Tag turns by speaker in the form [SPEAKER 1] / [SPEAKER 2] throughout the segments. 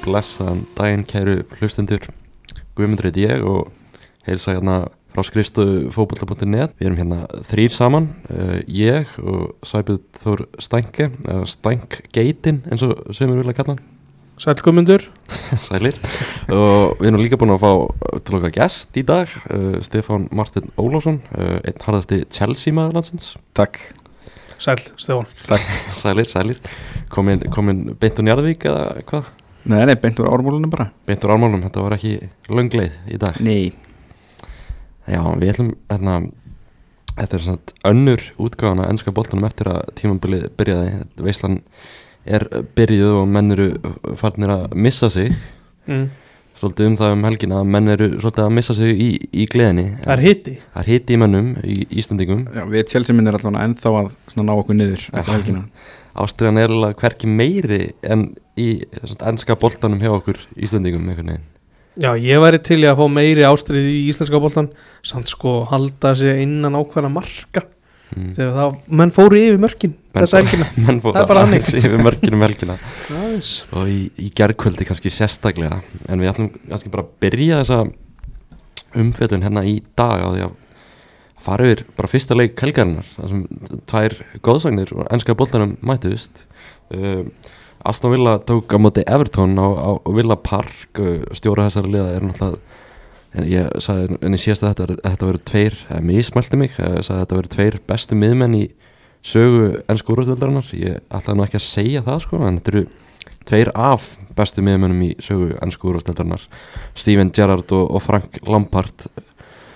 [SPEAKER 1] Blessaðan daginn kæru hlustendur Guðmundur heit ég og heilsa hérna frá skrifstofu fótbolta.net Við erum hérna þrýr saman uh, Ég og Sæbjörn Þór Stænke eða Stænkgeitin eins og sömur vilja kalla hann
[SPEAKER 2] Sælgumundur
[SPEAKER 1] Sælir Og við erum líka búin að fá til okkar gest í dag uh, Stefán Martin Ólásson uh, Einn harðasti Chelsea maður landsins
[SPEAKER 3] Takk
[SPEAKER 2] Sæl, Stefán
[SPEAKER 1] Sælir, sælir Komin, komin beint úr Njarðvík eða hvað?
[SPEAKER 3] Nei, nei, beint úr ármúlunum bara
[SPEAKER 1] Beint úr ármálum, þetta var ekki löngleið í dag
[SPEAKER 3] Nei
[SPEAKER 1] Já, við ætlum hérna Þetta er svona önnur útgáðan að ennska boltanum eftir að tímambilið byrjaði Veislan er byrjuð og menn eru farnir að missa sig
[SPEAKER 2] mm.
[SPEAKER 1] Svolítið um það um helgina að menn eru svolítið að missa sig í, í gleðinni
[SPEAKER 2] Það er hitti
[SPEAKER 1] Það er hiti í mönnum í Íslandingum
[SPEAKER 3] Já, við Chelsea minn er allavega ennþá að svona, ná okkur niður eftir helgina
[SPEAKER 1] Ástriðan er alveg hverki meiri en í svona, ennska boltanum hjá okkur Íslandingum einhvern veginn
[SPEAKER 2] Já, ég væri til í að fá meiri ástriði í íslenska boltan samt sko halda sig innan ákvæðna marka
[SPEAKER 1] Mm.
[SPEAKER 2] þegar það, menn fóru yfir mörkin
[SPEAKER 1] Menn
[SPEAKER 2] þessa helgina
[SPEAKER 1] Menn fór
[SPEAKER 2] Það er bara þannig.
[SPEAKER 1] yfir mörginum helgina
[SPEAKER 2] Aðeins.
[SPEAKER 1] og í, í gerðkvöldi kannski sérstaklega en við ætlum kannski bara að byrja þessa umfjöldun hérna í dag á því að fara yfir bara fyrsta leik helgarinnar þar sem tvær góðsagnir og ennska boltanum mættuðust um, Aston Villa tók á móti Everton á, á Villa Park uh, stjóra þessari liða er náttúrulega en ég sagði en ég síðast að þetta, að þetta verið tveir, eða mismælti mig eh, sagði að þetta verið tveir bestu miðmenn í sögu ennsku úrvastildarinnar ég ætlaði nú ekki að segja það sko en þetta eru tveir af bestu miðmennum í sögu ennsku úrvastildarinnar Steven Gerrard og, og Frank Lampard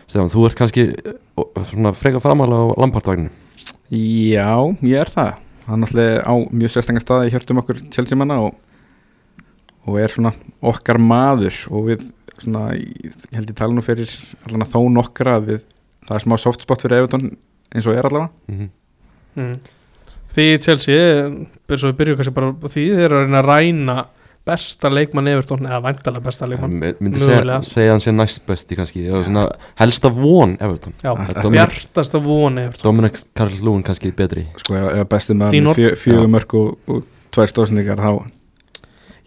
[SPEAKER 1] Stefán, þú ert kannski eh, og- svona freka framalega á Lampard-vagninu
[SPEAKER 3] Já, ég er það Hann náttúrulega á mjög sérstanga staði í hjörtum okkur Chelsea manna og, og er svona okkar maður og við svona, ég held ég tala nú fyrir allavega þó nokkra að við, það er smá softspot fyrir Everton eins og er allavega
[SPEAKER 1] mm -hmm.
[SPEAKER 2] mm. Því Chelsea byrjum svo við byrjum kannski bara á því þeir eru að reyna að ræna besta leikmann Everton eða væntalega besta leikmann
[SPEAKER 1] myndi segja,
[SPEAKER 2] Mögulega.
[SPEAKER 1] segja hann sé næst besti kannski eða svona helsta von Everton
[SPEAKER 2] Já,
[SPEAKER 3] Að-
[SPEAKER 1] að-
[SPEAKER 2] bjartasta von Everton
[SPEAKER 1] Dominic Karl Lúin kannski betri
[SPEAKER 3] sko, ef, ef bestu
[SPEAKER 2] Dean
[SPEAKER 3] maður með
[SPEAKER 2] Orth.
[SPEAKER 3] fjö,
[SPEAKER 1] Já.
[SPEAKER 3] fjögur mörg og, og tvær stóðsendingar þá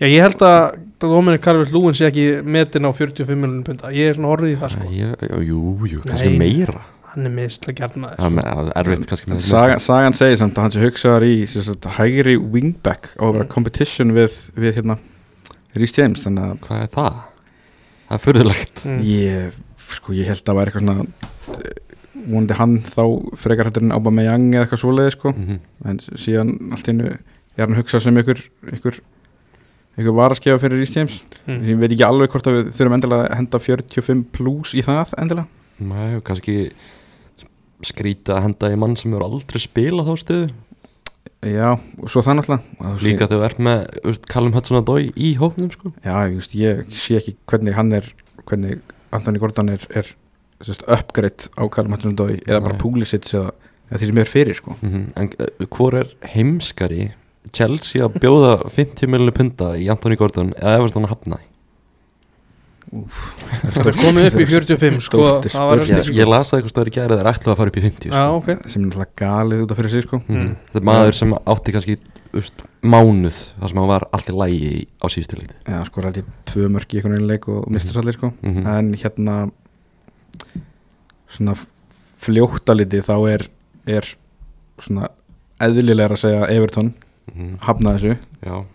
[SPEAKER 2] Já, ég held að Dominic Carver Lúin sé ekki metin á 45 miljonum punta Ég er svona horfið í það sko
[SPEAKER 1] Æ, já, jú, jú, kannski
[SPEAKER 2] Nei.
[SPEAKER 1] meira
[SPEAKER 2] Hann er mislega gjarnar
[SPEAKER 1] Það er með- það er erfitt kannski með
[SPEAKER 3] En Saga, sagan segir samt að hann sé hugsaðar í sem sagt, hægri wingback og vera
[SPEAKER 2] Mm.
[SPEAKER 3] competition við, við hérna Rhys James, þannig að
[SPEAKER 1] Hvað er það? Það er furðulegt
[SPEAKER 2] mm.
[SPEAKER 3] ég, sko, ég held að það væri eitthvað svona eh, vonandi hann þá frekar hættur en Aubameyang eða eitthvað svoleiði sko.
[SPEAKER 1] Mhm.
[SPEAKER 3] en síðan allt í einu er hann hugsað sem ykkur ykkur, ykkur varaskefa fyrir Rhys James
[SPEAKER 2] Mm.
[SPEAKER 3] ég veit ekki alveg hvort að við þurfum endilega að henda 45 plus í það endilega
[SPEAKER 1] Nei, og kannski skrýta að henda í mann sem eru aldrei spilað þá stöðu
[SPEAKER 3] já, og svo það náttúrulega að þú sé-
[SPEAKER 1] Líka þegar þú ert með þú veist, Callum Hudson að dói í hópnum sko.
[SPEAKER 3] Já, just, ég sé ekki hvernig hann er hvernig Anthony Gordon er, er sest, uppgreitt á Callum Hudson Dói eða bara
[SPEAKER 1] Nei.
[SPEAKER 3] Pulisic eða, eða því sem er fyrir sko.
[SPEAKER 1] mm -hmm. En eh, hvor er heimskari Chelsea að bjóða 50 miljonir punta í Anthony Gordon eða Everton að hafna því?
[SPEAKER 2] Þetta er komið upp í 45 sko
[SPEAKER 3] Stórt er
[SPEAKER 2] Það var eftir
[SPEAKER 3] spurt.
[SPEAKER 1] Ég,
[SPEAKER 2] sko
[SPEAKER 1] ég lasa eitthvað stöður í gæri þeir ætlu að fara upp í 50 sko.
[SPEAKER 2] Já, ok
[SPEAKER 3] sem er náttúrulega galið út af fyrir sig sko.
[SPEAKER 1] mm
[SPEAKER 2] Ah, Mm.
[SPEAKER 1] Þetta er maður sem átti kannski þú veist, mánuð þar sem hann var allt í lægi á síðustu leikti
[SPEAKER 3] eða sko rætti tvö mörg í einhvern veginn leik
[SPEAKER 2] Mhm.
[SPEAKER 3] og mistur allir sko.
[SPEAKER 1] mm
[SPEAKER 3] en hérna svona fljóttaliti þá er, er svona eðlilega að segja Everton hafna þessu
[SPEAKER 1] Mhm. Já,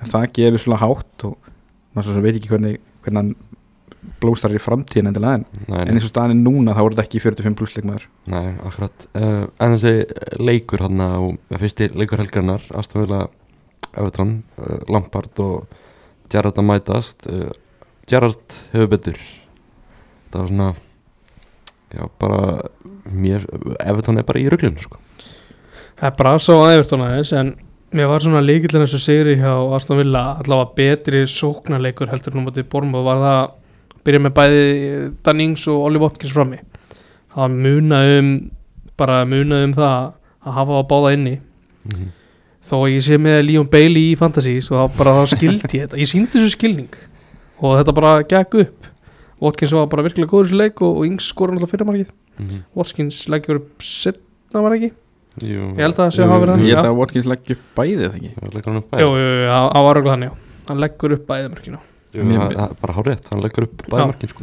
[SPEAKER 3] en það gefur svona hátt og maður svo sem veit ekki hvernig, hvernig hann blóstar í framtíðin endilega en
[SPEAKER 1] nei,
[SPEAKER 3] en eins og staðan er núna þá voru þetta ekki 45 pluss leikmaður
[SPEAKER 1] Nei, akkurat uh, En þessi leikur hann og fyrsti leikur helgarnar Astafélag Everton, uh, Lampard og Gerrard að mætast uh, Gerrard hefur betur Það var svona Já, bara mér, Everton er bara í ruglun sko.
[SPEAKER 2] Það er bara svo að Everton aðeins en mér var svona líkillin þessu sigri hjá Aston Villa allavega betri sóknarleikur heldur nú mútið Bormóð var það að byrja með bæði Dannings og Ollie Watkins frammi það muna um bara muna um það að hafa á báða inni
[SPEAKER 1] mm -hmm.
[SPEAKER 2] þó að ég sé með Leon Bailey í Fantasy svo þá bara þá skildi ég þetta ég síndi þessu skilning og þetta bara gekk upp Watkins var bara virkilega góður í þessu leik og, og Ings skora alltaf fyrramarkið
[SPEAKER 1] Mm -hmm.
[SPEAKER 2] Watkins leggjur upp setna var ekki
[SPEAKER 1] Jú,
[SPEAKER 2] ég held að það sé að hafa verið
[SPEAKER 3] ég
[SPEAKER 2] þannig, já.
[SPEAKER 3] held að Watkins leggja upp bæðið ekki
[SPEAKER 1] að Leikur hann upp
[SPEAKER 2] Jú, jú, jú, það það var auðvitað hann, já hann leggur upp bæðumörkina
[SPEAKER 1] Jú,
[SPEAKER 3] Mér-
[SPEAKER 1] það- það er bara hárið, hann leggur upp bæðmarkin sko.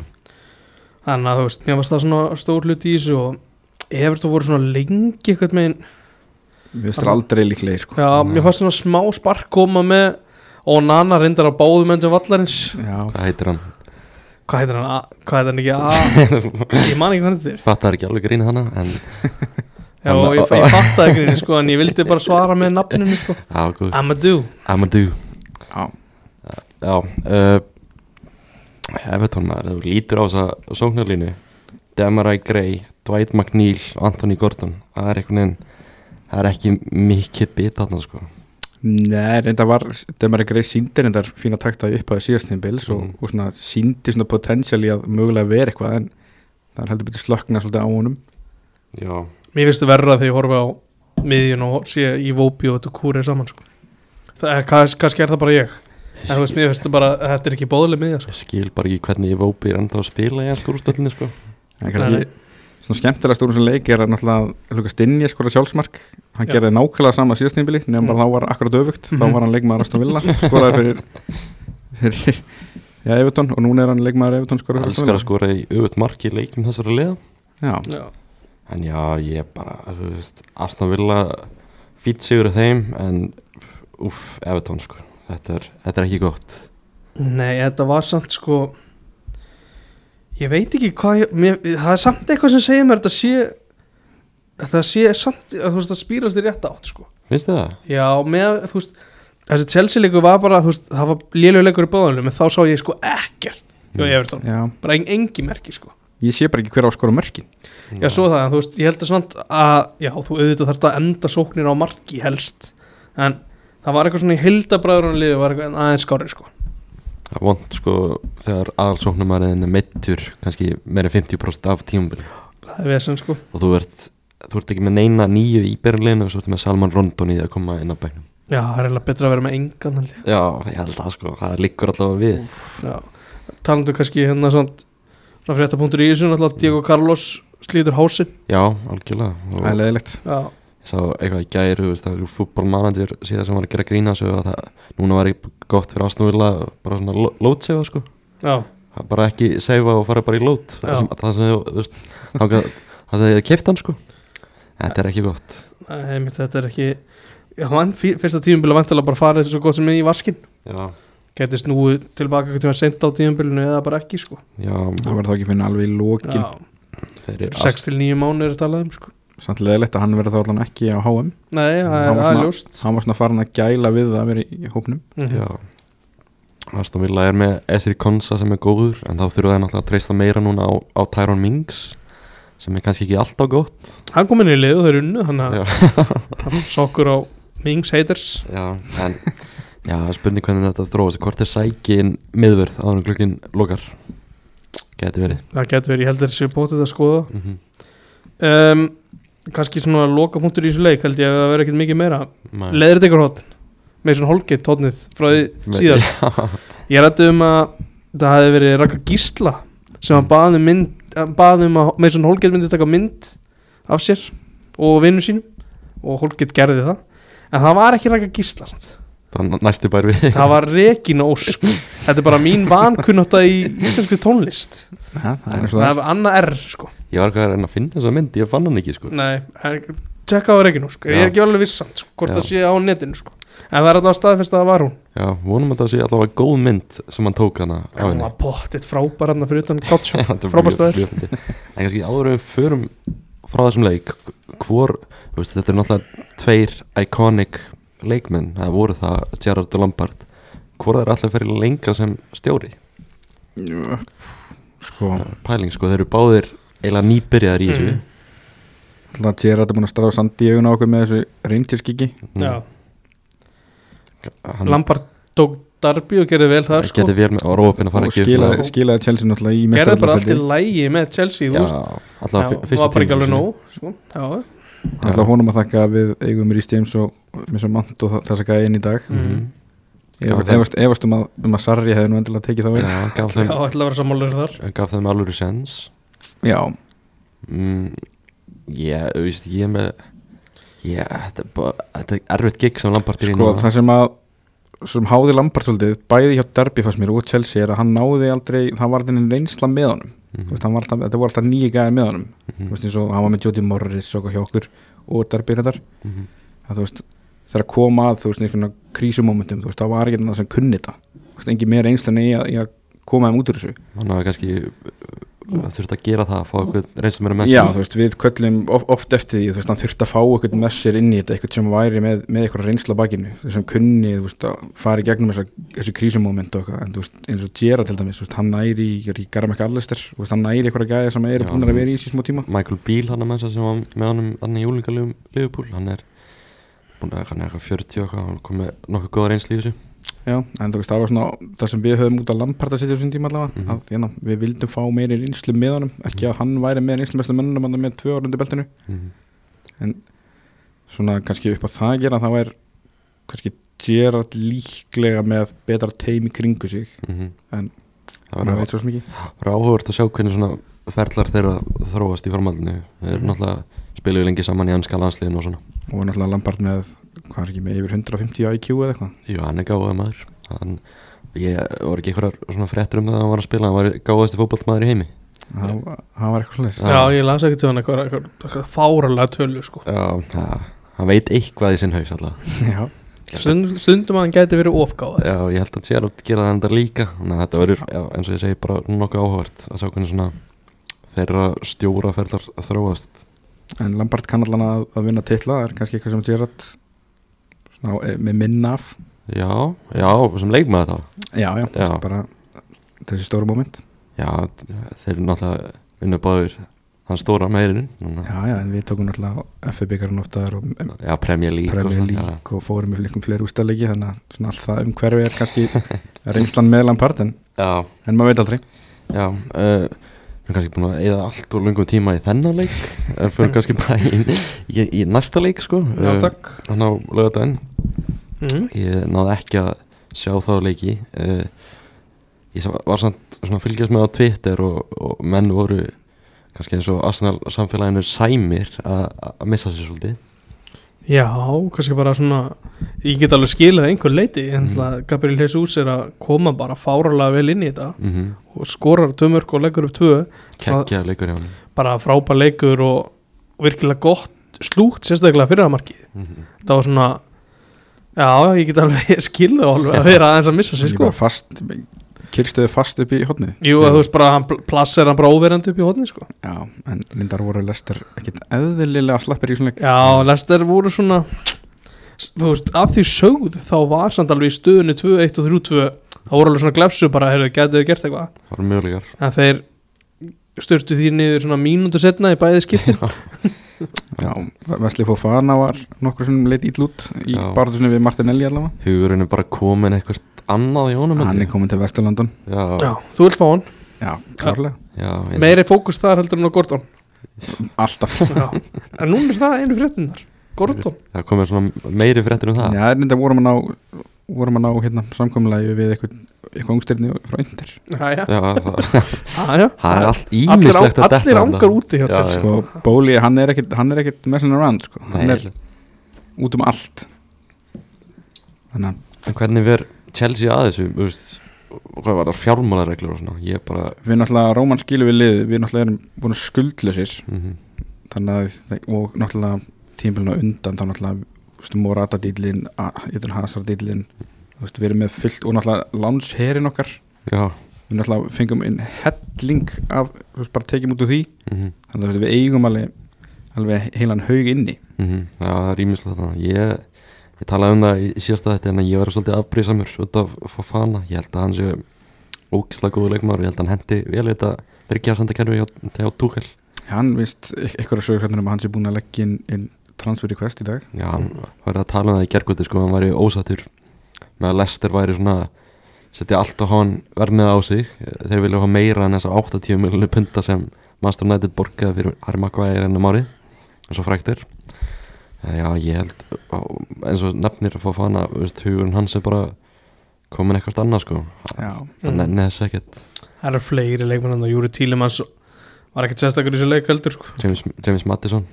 [SPEAKER 2] þannig að þú veist, mér varst það svona stór hluti í þessu og Everton voru svona lengi eitthvað megin
[SPEAKER 3] Mér finnst það aldrei líklegir sko
[SPEAKER 2] Já, mér fannst svona smá spark koma með og Nana reyndar á báðum endum vallarins
[SPEAKER 3] Já,
[SPEAKER 1] Hvað heitir hann?
[SPEAKER 2] Hvað heitir hann? A- Hvað heitir hann ekki? A ég man ekki hvað hann heitir
[SPEAKER 1] Fattar ekki alveg grína þannig En,
[SPEAKER 2] Já,
[SPEAKER 1] Hann-
[SPEAKER 2] og ég, ég fattaði ekki henni sko en ég vildi bara svara með nafninu sko
[SPEAKER 1] já, góð
[SPEAKER 2] Amadou
[SPEAKER 1] Amadou
[SPEAKER 3] já,
[SPEAKER 1] Já uh, Everton maður, ef þú lítur á þessa sóknarlínu Demarai Gray, Dwight McNeil og Anthony Gordon það er einhvern veginn það er ekki mikið bit þarna sko
[SPEAKER 3] Nei, reyndar var Demari Grey síndi reyndar fína takta upp á síðastin bils og,
[SPEAKER 1] Mhm.
[SPEAKER 3] og svona síndi svona potential í að mögulega vera eitthvað en það er heldur betur slökna svolítið á honum
[SPEAKER 1] Já,
[SPEAKER 2] Mér finnst verra þegar ég horfi á miðjun og sé í Vóbi og Dukúri saman sko Það, kannski, kannski er það bara ég en þú veist, mér finnst það bara, þetta er ekki bóðlega miðja sko
[SPEAKER 1] ég skil bara ekki hvernig ég vópi er ennþá að spila í allt úrstöldinni sko
[SPEAKER 3] en
[SPEAKER 2] Nei, nei.
[SPEAKER 3] kannski svona skemmtilegast úr þessum leik er að náttúrulega Luka Stinja skora sjálfsmark hann
[SPEAKER 2] Já.
[SPEAKER 3] gerði nákvæmlega sama síðastin bili nefnum bara þá var akkurat öfugt, þá var hann leikmaður Aston Villa skoraði fyrir, fyrir já, Everton og núna er hann sko- leikmaður Everton skoraði fyrir
[SPEAKER 1] Elskar að skora í auðvitað marki í leikjum þessara liða
[SPEAKER 3] Já,
[SPEAKER 2] Já,
[SPEAKER 1] En já, ég bara, þú veist, Aston Villa fýtt sigur af þeim en uff, Everton sko þetta er, þetta er ekki gott
[SPEAKER 2] Nei, þetta var samt sko Ég veit ekki hvað ég, mér, Það er samt eitthvað sem segir mér að Þetta sé að Það sé samt að þú veist að spýrast í rétt átt sko.
[SPEAKER 1] Finnst þið það?
[SPEAKER 2] Já, með þú veist Þessi Chelsea leikur var bara þú veist, Það var lélega leikur í báðanlega En þá sá ég sko ekkert Jó, ég verður þannig
[SPEAKER 3] já,
[SPEAKER 2] Bara en, engi merki sko
[SPEAKER 3] ég sé bara ekki hver á að skora mörkin
[SPEAKER 2] Já, svo það En þú veist, ég held að samt að Já, þú auðvitað þarf að enda sóknir á marki helst En það var eitthvað svona í hildabræðurunliði Var eitthvað aðeins skári sko
[SPEAKER 1] Það er vond sko þegar aðalsóknumæriðin er meittur kannski meira en 50% af tímabili
[SPEAKER 2] Það er vesen sko
[SPEAKER 1] og þú ert, þú ert ekki með neina nýju í byrjunleginu og svo ertu með Salman Rondon í því að koma inn á bænum.
[SPEAKER 2] Já, það er eiginlega betra að vera með engan held ég.
[SPEAKER 1] Já, ég held það sko, það liggur allavega við.
[SPEAKER 2] Já, talandu kannski hérna svona svona fréttapunktur í þessu náttúrulega Diego Carlos slítur hásin
[SPEAKER 1] Já, algjörlega.
[SPEAKER 3] Það er
[SPEAKER 1] Og
[SPEAKER 3] leðilegt
[SPEAKER 2] Já,
[SPEAKER 1] ég sá eitthvað í gæri, þú veist, það eru fútbolmanager síðan sem var að gera grína svo að það, núna var ekki gott fyrir aðsnúvila, bara svona lo- lótsefa sko.
[SPEAKER 2] já,
[SPEAKER 1] Það er Bara ekki seifa og fara bara í lót. Það
[SPEAKER 2] Já.
[SPEAKER 1] sem, það sem, þú veist, þangað- það sem þið keft hann sko. Þetta er ekki gott.
[SPEAKER 2] einmitt þetta er ekki Já, hann fí- fyrsta tímubil að vantala bara farið svo gott sem er í vaskin
[SPEAKER 1] Já,
[SPEAKER 2] Gæti snúið tilbaka hvernig var sent á tímubilinu eða bara ekki sko
[SPEAKER 3] það var þá ekki fyrir alveg í lokin
[SPEAKER 2] Já,
[SPEAKER 1] þeir eru
[SPEAKER 2] 6-9 mánuðir er talað um sko
[SPEAKER 3] samt leðilegt að hann verði þá allan ekki á HM
[SPEAKER 2] Nei, það
[SPEAKER 3] Hann
[SPEAKER 2] er-
[SPEAKER 3] var
[SPEAKER 2] það er
[SPEAKER 3] svona-
[SPEAKER 2] ljóst
[SPEAKER 3] hann var svona farin að gæla við það að vera í í hópnum
[SPEAKER 2] Mhm.
[SPEAKER 1] Já Aston Villa er með Esri Konsa sem er góður en þá þurfa það náttúrulega að treysta meira núna á, á Tyrone Mings sem er kannski ekki alltaf gott
[SPEAKER 2] Hann kom inn í lið og þeir unnu hann að
[SPEAKER 1] Já,
[SPEAKER 2] hann sokkur á Mings Haters
[SPEAKER 1] já en já, spurning hvernig þetta þróast hvort er sækin miðvörð áður en glukkin lokar Gæti verið
[SPEAKER 2] Það getur verið, ég held að þeir séu bótið að skoða
[SPEAKER 1] mm -hmm.
[SPEAKER 2] um, Kannski svona loka punktur í þessu leik held ég að það verið ekkert mikið meira leðrið ykkur hotn með svona holgeitt hotnið frá því síðast ég rætti um að það hefði verið Raka Gísla sem hann baði um mynd hann bað um að með svona holgeitt myndi taka mynd af sér og vinnu sínum og holgeitt gerði það en það var ekki Raka Gísla samt.
[SPEAKER 1] Það næstu bær við
[SPEAKER 2] það var Regina Ósk þetta er bara mín vankunnáta í íslenskri tónlist
[SPEAKER 3] ha, það er eins og
[SPEAKER 2] það
[SPEAKER 3] það er.
[SPEAKER 2] er Anna R sko
[SPEAKER 1] Ég var hvað að reyna að finna þessa mynd, ég fann hann ekki sko
[SPEAKER 2] Nei, en tjekka á Regina Ósk ég
[SPEAKER 1] Já.
[SPEAKER 2] er ekki alveg viss samt sko, hvort
[SPEAKER 1] Já.
[SPEAKER 2] það sé á netinu sko en það er alltaf staðfest að það var hún
[SPEAKER 1] Já, vonum að það sé allavega góð mynd sem hann tók hana á
[SPEAKER 2] Það
[SPEAKER 1] henni
[SPEAKER 2] var pottitt frábær hann fyrir utan Gottsjó
[SPEAKER 1] Þetta er
[SPEAKER 2] Frábær
[SPEAKER 1] mjög-
[SPEAKER 2] staður.
[SPEAKER 1] mjög fyndið. En kannski áður en við förum frá þessum leik hvor, þú veist, þetta er náttúrulega tveir iconic leikmenn það voru það Gerard og Lampard hvort er alltaf fyrir lengra sem stjóri
[SPEAKER 3] Jú, sko,
[SPEAKER 1] pæling sko, þeir eru báðir eiginlega nýbyrjaðar í þessu
[SPEAKER 2] Mm.
[SPEAKER 3] alltaf Gerard er búin að stráða sandi í augun á okkur með þessu reyndjurskiki
[SPEAKER 2] Já,
[SPEAKER 1] Mhm. hann
[SPEAKER 2] Lampard tók Darby og gerði vel það sko
[SPEAKER 1] geti verið með og rópinn að fara
[SPEAKER 3] og
[SPEAKER 1] að gefa
[SPEAKER 3] skilaði, skilaði Chelsea náttúrulega í
[SPEAKER 2] Gerði bara allt í
[SPEAKER 3] mestaröldarsæti
[SPEAKER 2] lægi með Chelsea þú
[SPEAKER 1] Já,
[SPEAKER 2] veist Já,
[SPEAKER 1] alltaf
[SPEAKER 2] var
[SPEAKER 1] fyrsta
[SPEAKER 2] bara ekki alveg
[SPEAKER 1] tímabilsinu.
[SPEAKER 2] nóg sko. Já,
[SPEAKER 3] alltaf honum að þakka að við eigum Rhys James og Missa Mant og þess að gæja inn í dag
[SPEAKER 1] Mhm.
[SPEAKER 2] mm.
[SPEAKER 1] Já,
[SPEAKER 3] Ef-
[SPEAKER 1] það-
[SPEAKER 3] efast, efast um að, um að Sarri hefði nú endilega tekið það
[SPEAKER 1] Já,
[SPEAKER 3] vel
[SPEAKER 1] gaf
[SPEAKER 2] já
[SPEAKER 1] þeim,
[SPEAKER 2] ætla að vera sammálur þar
[SPEAKER 1] gaf þeim alveg sens
[SPEAKER 3] já,
[SPEAKER 1] Mm, ég, þú veist, ég er með Ég, þetta er bara Þetta er erfitt gig sem Lampard er í
[SPEAKER 3] sko
[SPEAKER 1] núna.
[SPEAKER 3] það sem að sem háði Lampard svolítið bæði hjá Derby fannst mér og Chelsea er að hann náði aldrei, það var aldrei nein reynsla með honum
[SPEAKER 1] Mhm,
[SPEAKER 3] mm. veist, hann var alltaf, þetta voru alltaf nýja gæðir með honum mm. veist, eins og hann var með Jody Morris og hjá okkur og Derby reyndar
[SPEAKER 1] Mhm.
[SPEAKER 3] að þú veist, þegar að koma að þú veist, einhvern krísumomentum, þú veist, það var ekki annað sem kunni þetta, þú veist, engin meira einslan í að, í að koma þeim út úr þessu
[SPEAKER 1] hann hafi kannski uh, þurft að gera það, fá eitthvað reynslu meira með
[SPEAKER 3] Já,
[SPEAKER 1] sér.
[SPEAKER 3] þú veist, við köllum of, oft eftir því, þú veist, hann þurfti að fá eitthvað með sér inn í þetta, eitthvað sem væri með, með eitthvað reynsla á bakinu, þessum kunni, þú veist, að fara í gegnum þessa, þessu krísumoment og eitthvað, en þú veist, eins og Gerard til dæmis, þú veist, hann næri, ég er í Garmek Allister, þú veist, hann næri eitthvað gæja sem er
[SPEAKER 1] Já,
[SPEAKER 3] búin að vera í þessi smó tíma.
[SPEAKER 1] Michael Beale hann að mensa sem var með honum hann í júlingalegum Liverpool hann er búin að hann er eitthvað 40 og eitthvað hann kom með nokkuð góða reynslu í þessu
[SPEAKER 3] Já, en þú veist, það var svona það sem við höfum út að lamparta setja þessum tíma allavega
[SPEAKER 1] Mhm.
[SPEAKER 3] að hérna, við vildum fá meiri reynslu með honum, ekki að hann væri með reynslu mestu mönnum hann er með tvö orðundi beltinu
[SPEAKER 1] Mhm.
[SPEAKER 3] svona kannski upp á það að gera þá er kannski Gerard líklega með betra teimi kringu sig
[SPEAKER 1] Mhm.
[SPEAKER 3] En-
[SPEAKER 1] það
[SPEAKER 3] maður
[SPEAKER 1] verður
[SPEAKER 3] veit svo sem ekki
[SPEAKER 1] verður áhugavert að sjá hvernig svona ferlar þeirra þróast í formaldinu þeir
[SPEAKER 3] Mhm.
[SPEAKER 1] náttúrulega spiluðu lengi saman í anska landsliðin og svona
[SPEAKER 3] og náttúrulega Lampard með, hvað er ekki með yfir 150 IQ eða eitthvað
[SPEAKER 1] jú hann er gáða maður hann, ég voru ekki einhverjar svona frettur um það að hann var að spila hann var gáðasti fótballmaður í heimi
[SPEAKER 3] það, var- það var eitthvað svolítið
[SPEAKER 1] Já.
[SPEAKER 2] Já, ég las ekki til hann eitthvað, eitthvað, eitthvað fáralega tölu sko.
[SPEAKER 1] já, það, hann veit eitthvað í sinn haus alltaf
[SPEAKER 3] Já,
[SPEAKER 2] Stund, Stundum að hann gæti verið ofgáð
[SPEAKER 1] já, ég held að hann sé að gera það enda líka þannig að þetta verður, já, eins og ég segi, bara nokkuð áhugavert að sjá hvernig svona þeirra stjóraferðar þróast
[SPEAKER 3] en Lampard kann allan að, að vinna titla, það er kannski eitthvað sem Gerard svona, eh, með minna af
[SPEAKER 1] já, já, sem leikmaði þá
[SPEAKER 3] Já, já,
[SPEAKER 1] Já.
[SPEAKER 3] já. bara þessi stóru moment
[SPEAKER 1] já, þeir eru náttúrulega unna báður hann stóra meirinn já,
[SPEAKER 3] Já, já, en við tókum náttúrulega FB-byggarinn oftaðar og em,
[SPEAKER 1] já Premier League og
[SPEAKER 3] Premier
[SPEAKER 1] svona,
[SPEAKER 3] League og fórum yfir líkum fleiri ústæðleiki þannig að svona allt það um hverfi er kannski reynslan með Lampard en,
[SPEAKER 1] já, já,
[SPEAKER 3] en maður veit aldrei
[SPEAKER 1] já uh, við erum kannski búin að eða allt og lungum tíma í þennan leik en fyrir kannski bara í, í, í næsta leik sko
[SPEAKER 2] Já, takk
[SPEAKER 1] hann á lögadaginn
[SPEAKER 2] Mhm.
[SPEAKER 1] ég náði ekki að sjá þá leiki uh, ég sa- var samt svona að fylgjast með á Twitter og, og menn voru kannski eins og Arsenal samfélaginu sæmir að að missa sér svolítið
[SPEAKER 2] Já, kannski bara svona Ég get alveg skilið að einhver leiti En
[SPEAKER 1] Mhm.
[SPEAKER 2] það Gabriel Jesus er að koma bara fáralega vel inn í þetta
[SPEAKER 1] mm -hmm.
[SPEAKER 2] Og skorar tvö mörg og leggur upp tvö
[SPEAKER 1] keggja leikur hjá hann
[SPEAKER 2] Bara frábær leikur og og virkilega gott Slúgt sérstaklega fyrir að markið
[SPEAKER 1] Mhm.
[SPEAKER 2] Það var svona Já, ég get alveg skilið alveg að vera aðeins að missa sig
[SPEAKER 3] Ég
[SPEAKER 2] sko
[SPEAKER 3] bara fast, kyrstuðu fast upp í hotnið
[SPEAKER 2] Jú, að þú veist bara að hann plassir hann bara óverandi upp í hóðni sko
[SPEAKER 3] Já, en lindar voru lestar ekkit eðlilega slappir í svona leik
[SPEAKER 2] Já, Lester voru svona Þú veist, að því sögðu þá var samt alveg í stöðunni 2-1 og 3-2 þá voru alveg svona glefsu bara, heyrðu, gætu þau gert eitthvað
[SPEAKER 1] það voru mögulegar
[SPEAKER 2] en þeir styrtu því niður svona mínútu setna í bæði skiptin
[SPEAKER 3] Já, Vesli Fofana var nokkur sem leit íll út í
[SPEAKER 1] Já.
[SPEAKER 3] barðusunni við Martinelli allavega
[SPEAKER 1] hugurinn er bara komin eitthvað annað í honum held
[SPEAKER 3] Hann er
[SPEAKER 1] ég.
[SPEAKER 3] komin til Vesturlandun
[SPEAKER 1] já,
[SPEAKER 2] Já, þú vilt fá hann,
[SPEAKER 3] Já, klárlega
[SPEAKER 1] já, eins-
[SPEAKER 2] meiri fókus þar heldur en á Gordon
[SPEAKER 3] Alltaf
[SPEAKER 2] Já, en núna er það einu fréttinnar Gordon,
[SPEAKER 1] það komið svona meiri fréttir um það
[SPEAKER 3] Já, þetta vorum að ná, vorum að ná hérna, samkomulagi við eitthvað, eitthvað ungstirni frá yndir
[SPEAKER 2] já, já,
[SPEAKER 1] já, það,
[SPEAKER 2] já
[SPEAKER 1] það er allt
[SPEAKER 2] Allir, á,
[SPEAKER 1] ímislegt að detta
[SPEAKER 2] allir
[SPEAKER 1] þarna.
[SPEAKER 2] ángar úti hjá
[SPEAKER 1] Já,
[SPEAKER 2] Chelsea
[SPEAKER 1] já.
[SPEAKER 3] sko, Bóli, hann er ekkit, hann er ekkit messin around, sko, hann er
[SPEAKER 1] Nei,
[SPEAKER 3] út um allt þannig að
[SPEAKER 1] en hvernig verð Chelsea að þessu þú veist, hvað var það fjármálareglur og svona ég bara
[SPEAKER 3] við náttúrulega, Róman skilum við lið við náttúrulega erum búin skuldlausir
[SPEAKER 1] mm
[SPEAKER 3] þannig að, þe- og náttúrulega tímpilinu undan, þá náttúrulega veistu, Morata dýllin, Eden Hazard dýllin við erum með fullt og náttúrulega lánsherin okkar,
[SPEAKER 1] já
[SPEAKER 3] við náttúrulega fengum inn helling af, þú veist, bara tekjum út úr því
[SPEAKER 1] mm
[SPEAKER 3] þannig að þú veist, við eigum alveg, alveg heilan haug inni
[SPEAKER 1] Mm Já, það er ímislega þannig Ég, ég talaði um það í síðasta þetta en ég var svolítið afbrýðsamur út af Fofana Ég held að hann sé ógislega góðu leikmaður og Ég held að hann hendi vel í þetta þryggja sandakerfi hjá, hjá Tuchel
[SPEAKER 3] hann vist eitthvað sögur hvernig um að hann sé búin að leggja inn, inn transfer request í dag
[SPEAKER 1] Já, hann var að tala um það í gergóti sko, hann væri ósattur með að Lester væri svona setja allt á hann vermið á sig þeir vilja hafa meira en þessar 80 miljonir punta sem Master United borgaði fyrir Harry Maguire ennum árið eins og fræktir Eh, já ég held á- eins og nefnir að fá fana veist, hugurinn hans er bara komin eitthvað annað sko
[SPEAKER 3] Já,
[SPEAKER 2] Mm.
[SPEAKER 1] þannig að neðs ekkert
[SPEAKER 2] Það eru fleiri leikmenn og Júri Tílemans var ekkert sérstakur í þessu leik heldur sko.
[SPEAKER 1] James, James Madison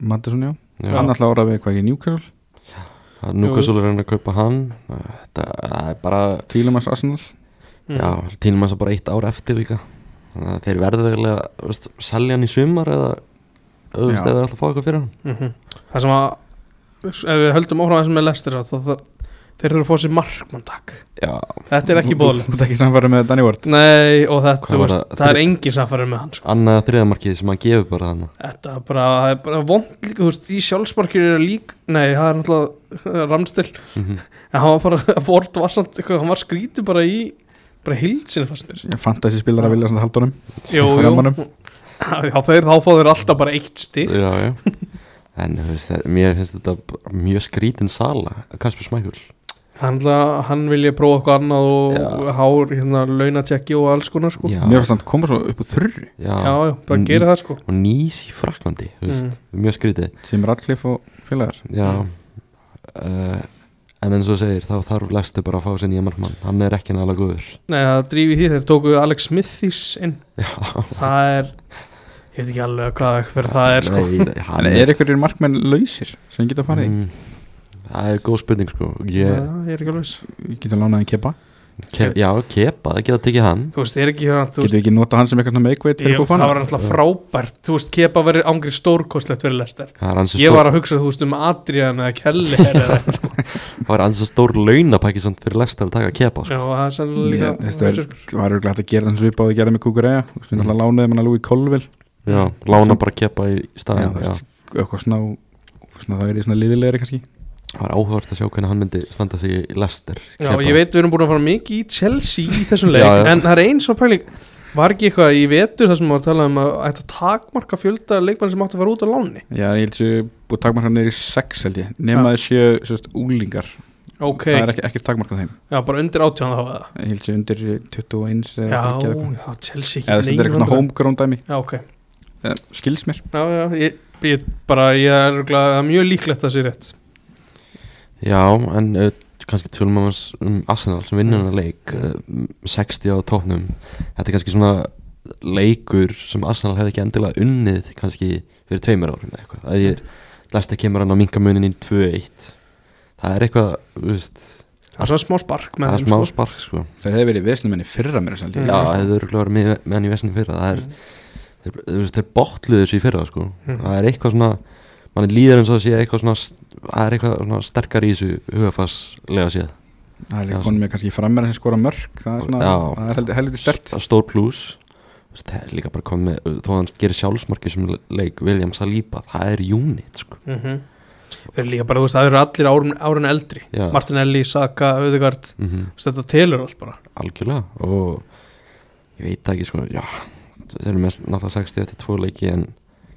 [SPEAKER 3] Mattisson já,
[SPEAKER 1] já,
[SPEAKER 3] hann alltaf áraði við hvað ekki Newcastle
[SPEAKER 1] Núkasúl er að reyna að kaupa hann Eh, þetta það er bara
[SPEAKER 3] Tílamans Arsenal
[SPEAKER 2] Mm.
[SPEAKER 1] já, tínum að það bara eitt ár eftir líka þannig að þeir verða eiginlega þú veist, selja hann í sumar eða þú veist,
[SPEAKER 3] Já.
[SPEAKER 1] eða er alltaf að fá eitthvað fyrir hann
[SPEAKER 2] Mhm. Það sem að ef við höldum áfram þessum með lestir þá það, þeir eru að fá sér markmann takk
[SPEAKER 1] já,
[SPEAKER 2] Þetta er ekki bóðlegt
[SPEAKER 3] Þetta er ekki samfæra með Danny Ward
[SPEAKER 2] Nei og þetta,
[SPEAKER 1] Hvað
[SPEAKER 2] þú
[SPEAKER 1] var
[SPEAKER 2] veist,
[SPEAKER 1] það?
[SPEAKER 2] það er
[SPEAKER 1] Þri-
[SPEAKER 2] engin samfæri með hann sko.
[SPEAKER 1] annað þriðamarkið sem hann gefur bara þannig
[SPEAKER 2] Þetta er bara, það er bara vond líka, þú veist, í sjálfsmarkir er lík Nei, það er náttúrulega ramstil
[SPEAKER 1] Mhm.
[SPEAKER 2] En hann var bara, Ford var samt, eitthvað, hann var skrítið bara í bara hild sinni fannst mér
[SPEAKER 3] Fantasy spilar að vilja svona haldunum
[SPEAKER 2] Jú, jú
[SPEAKER 3] Rammanum.
[SPEAKER 2] Já, þeir, þá fá þeir alltaf bara eitt stig
[SPEAKER 1] já, já en þú veist, það, mér finnst þetta bara mjög skrítin sala Kasper Smækul
[SPEAKER 2] Hann, ætla- hann vilja prófa eitthvað annað og
[SPEAKER 1] Já.
[SPEAKER 2] hár, hérna, launatjekki og alls konar sko.
[SPEAKER 1] já,
[SPEAKER 3] Mér finnst hann koma svo upp úr þurri
[SPEAKER 1] já,
[SPEAKER 2] já, já, bara
[SPEAKER 1] Mm.
[SPEAKER 2] gera það sko
[SPEAKER 1] og nýs í Fraklandi mm. mjög skrítið
[SPEAKER 3] sem Radcliffe og félagar
[SPEAKER 1] já
[SPEAKER 2] Mm.
[SPEAKER 1] uh, en eins og þú segir þá þarf Lester bara að fá sér nýja markmann hann er ekki nægilega góður
[SPEAKER 2] Nei, það drífi því, þeir tóku Alex Smithis inn
[SPEAKER 1] já,
[SPEAKER 2] Það er, ég veit ekki alveg hvað hver það er sko
[SPEAKER 1] Nei,
[SPEAKER 3] En
[SPEAKER 1] hann
[SPEAKER 3] er einhverjir markmenn lausir sem geta farið í?
[SPEAKER 1] Mm, það er góð spurning sko
[SPEAKER 2] yeah.
[SPEAKER 1] ég,
[SPEAKER 2] ég er ekki alveg viss.
[SPEAKER 3] Við Geta lánað en kepa
[SPEAKER 1] ke, já, kepa, það geta tekið hann
[SPEAKER 2] Þú veist, ég er ekki hérna, þú
[SPEAKER 3] Getum
[SPEAKER 2] veist
[SPEAKER 3] við ekki nota hann sem eitthvað svona make-weight
[SPEAKER 2] ég,
[SPEAKER 3] fyrir
[SPEAKER 2] Það
[SPEAKER 3] kúfana?
[SPEAKER 2] var náttúrulega frábært, þú veist, kepa verið ángri stórkostlegt fyrir lestar
[SPEAKER 1] það er ansi
[SPEAKER 2] Ég
[SPEAKER 1] stór,
[SPEAKER 2] var að hugsa, þú veist, um Adrian eða Kelly eða,
[SPEAKER 1] það er ansi stór launapakki samt fyrir Lester að taka kepa sko.
[SPEAKER 2] Já, það er sannlega
[SPEAKER 3] Ég- þetta
[SPEAKER 2] líka
[SPEAKER 3] er- var örglega hægt að gera þann svipað og gera með Kukureya þú veist, við
[SPEAKER 2] Mm.
[SPEAKER 3] náttúrulega lánaði manna Louis Colville
[SPEAKER 1] já, lána bara kepa í staðin
[SPEAKER 3] Já,
[SPEAKER 1] já,
[SPEAKER 3] það eitthvað svona, svona það er í svona liðilegri kannski
[SPEAKER 1] það var áhugavert að sjá hvernig hann myndi standa sig í Lester
[SPEAKER 2] Já, ég veit við erum búin að fara mikið í Chelsea í þessum leik,
[SPEAKER 1] Já, já.
[SPEAKER 2] en það er eins og pæling Var ekki eitthvað í vetur þar sem var að tala um að ætta takmarka fjölda leikmann sem áttu að fara út á láni
[SPEAKER 3] Já, ég held sér búið takmarka niður í 6 held ég nema
[SPEAKER 2] Já.
[SPEAKER 3] það séu sérst, úlingar
[SPEAKER 2] Ok,
[SPEAKER 3] það er ekki, ekki takmarka þeim
[SPEAKER 2] já, bara undir átján þá var það
[SPEAKER 3] ég held sér undir 21
[SPEAKER 2] Já,
[SPEAKER 3] eða ekki eða eitthvað.
[SPEAKER 2] já, Chelsea
[SPEAKER 3] Eða, þú veist,
[SPEAKER 2] ekki
[SPEAKER 3] þetta er eitthvað
[SPEAKER 2] 900.
[SPEAKER 3] svona homegrown dæmi
[SPEAKER 2] Já, ok,
[SPEAKER 3] Eh, skils mér
[SPEAKER 2] já, já, ég, ég bara, ég er örugglega- það er mjög líklegt að það sé rétt
[SPEAKER 1] Já, en uh, kannski tölum við aðeins um Arsenal sem vinnur hennar leik uh, 60 á tóknum Þetta er kannski svona leikur sem Arsenal hefði ekki endilega unnið kannski fyrir tveimur árum eða eitthvað Það er, Lesta kemur hann á minkamunin í 2-1 Það er eitthvað, þú veist,
[SPEAKER 2] Það er svona smá spark með
[SPEAKER 1] það er
[SPEAKER 2] þeim,
[SPEAKER 1] smá
[SPEAKER 2] sko.
[SPEAKER 1] spark sko
[SPEAKER 3] það hefði verið vesnum minni fyrra mér held
[SPEAKER 1] Já,
[SPEAKER 3] ég
[SPEAKER 2] Mm.
[SPEAKER 1] það hefur örgulega verið með, með hann í vestinni fyrra Það er, þeir, þú veist, þeir botluðu þessu í fyrra sko
[SPEAKER 2] Mm.
[SPEAKER 1] Það er eitthvað svona, mann líður eins og það sé eitthvað svona Það er eitthvað svona sterkar í þessu hugafasslega séð
[SPEAKER 3] það er
[SPEAKER 1] Já,
[SPEAKER 3] líka konum með kannski frammeira sem skora mörg það er, svona,
[SPEAKER 1] Já.
[SPEAKER 3] það er heldur, heldur stert
[SPEAKER 1] St- stór pluss Þú veist, það er líka bara komið þó að hann gerir sjálfsmarki sem leik William Saliba, það er unit sko.
[SPEAKER 2] Mhm. Þeir eru líka bara, þú veist, það eru allir árun, árun eldri
[SPEAKER 1] Já.
[SPEAKER 2] Martinelli, Saka, Öðegard
[SPEAKER 1] mm
[SPEAKER 2] Þetta telur allt bara
[SPEAKER 1] algjörlega og ég veit það ekki sko, já, þeir eru mest náttúrulega 60 eftir tvo leiki en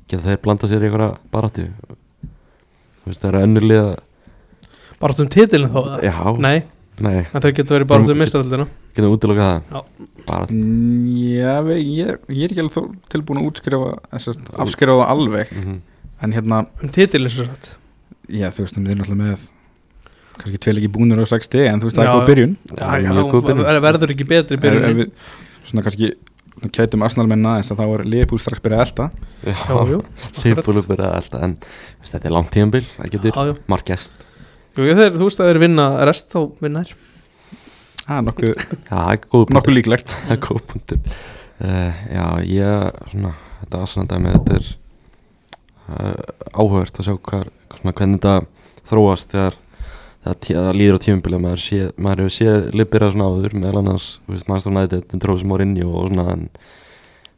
[SPEAKER 1] geta þeir blanda sér í einhverja baráttu Þú veist, það eru önnurlega
[SPEAKER 2] Bara um titilin þá eða?
[SPEAKER 1] já,
[SPEAKER 2] Nei,
[SPEAKER 1] nei,
[SPEAKER 2] en þeir getur verið bara
[SPEAKER 1] Þeir-
[SPEAKER 2] um mistaröldina
[SPEAKER 1] getum útilokað
[SPEAKER 2] Já.
[SPEAKER 1] það bara,
[SPEAKER 3] Mm, Já, við- ég, ég er ekki alveg þó- tilbúin að útskrifa sérst, afskrifa það alveg
[SPEAKER 1] mm
[SPEAKER 3] en hérna
[SPEAKER 2] Um titilin sem sagt
[SPEAKER 3] Já, þú veist, um þeir náttúrulega með kannski tveil ekki búnir á 60 en þú veist,
[SPEAKER 2] Já,
[SPEAKER 3] það er góð
[SPEAKER 2] já.
[SPEAKER 3] byrjun
[SPEAKER 1] það
[SPEAKER 2] Já,
[SPEAKER 1] er mjög góð byrjun
[SPEAKER 2] ver- Verður ekki betri
[SPEAKER 3] ef, ef
[SPEAKER 2] byrjun
[SPEAKER 3] við svona kannski kætum Arsenal menna aðeins að þá er Leopold strax byrjað að elta
[SPEAKER 2] Já, jú,
[SPEAKER 1] Leifbúlu byrjaði alltaf en þú veist, þetta er langt tíðanbil, það getur
[SPEAKER 2] Já, já.
[SPEAKER 1] margæst
[SPEAKER 2] Jú, ef þeir, þú veist að þeir vinna rest þá vinnar
[SPEAKER 3] það er nokkuð,
[SPEAKER 1] það er góð byrjun
[SPEAKER 3] nokkuð líklegt
[SPEAKER 1] það er góð punktur uh, já, ég svona, þetta aðsendæmi, þetta er uh, áhört að sjá hvar, svona, hvernig þetta þróast þegar það, tí- það líður á tímubilja maður, sé, maður hefur séð lippir að svona áður meðal annars, þú veist, maður stofnaði þetta en tróð sem á rinni og svona en,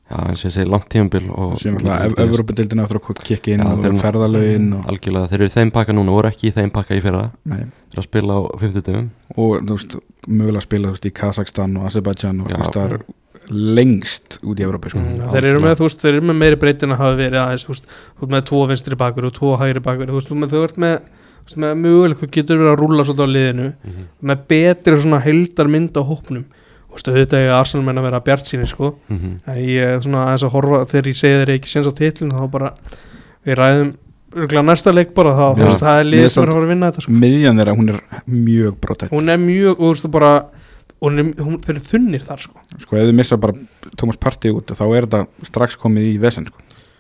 [SPEAKER 1] já, eins og ég segi, langt tímubil og
[SPEAKER 3] sem alltaf
[SPEAKER 1] Þú veist,
[SPEAKER 3] Evrópadeildin áttur að kikki inn
[SPEAKER 1] Já, þeir
[SPEAKER 3] og
[SPEAKER 1] eru-
[SPEAKER 3] ferðalögin og,
[SPEAKER 1] algjörlega, þeir eru í þeim pakka núna voru ekki í þeim pakka í fyrra
[SPEAKER 3] nei,
[SPEAKER 1] þeir eru að spila á 50 dögum
[SPEAKER 3] og þú veist, mögulega spila þú veist, í Kazakstan og Azerbaijan og
[SPEAKER 1] Já.
[SPEAKER 3] þú veist, það er lengst út í Evrópi sko.
[SPEAKER 1] Mm.
[SPEAKER 2] Mm, Þeir eru með, þú veist, þeir eru með meiri breytin að hafa verið aðeins, þú veist, þú veist, með tvo vinstri bakur og tvo hægri bakur, þú veist, þú með- þú ert með þú veist, með möguleik, þú getur verið að rúla svolítið á liðinu,
[SPEAKER 1] mm -hmm.
[SPEAKER 2] með betri svona heildarmynd á hópnum, þú veist, auðvitað eiga Arsenal menn að vera bjart síni, sko
[SPEAKER 1] Mhm.
[SPEAKER 2] en ég er svona aðeins að horfa, þegar ég segi þeir eru ekki séns á titlun, þá bara við ræðum, örgulega næsta leik bara þá, þú
[SPEAKER 1] Já.
[SPEAKER 2] veist, það er
[SPEAKER 3] Mér
[SPEAKER 2] liðið
[SPEAKER 3] er
[SPEAKER 2] sem er
[SPEAKER 3] samt-
[SPEAKER 2] að fara að vinna þetta, sko
[SPEAKER 3] miðjan þeirra, hún er mjög brotett
[SPEAKER 2] hún er mjög, og þú veist, þú bara hún er, hún, þeir eru þunnir þar, sko
[SPEAKER 3] sko, ef þið missa bara Thomas Partey út þá er þetta strax komið í vesen sko.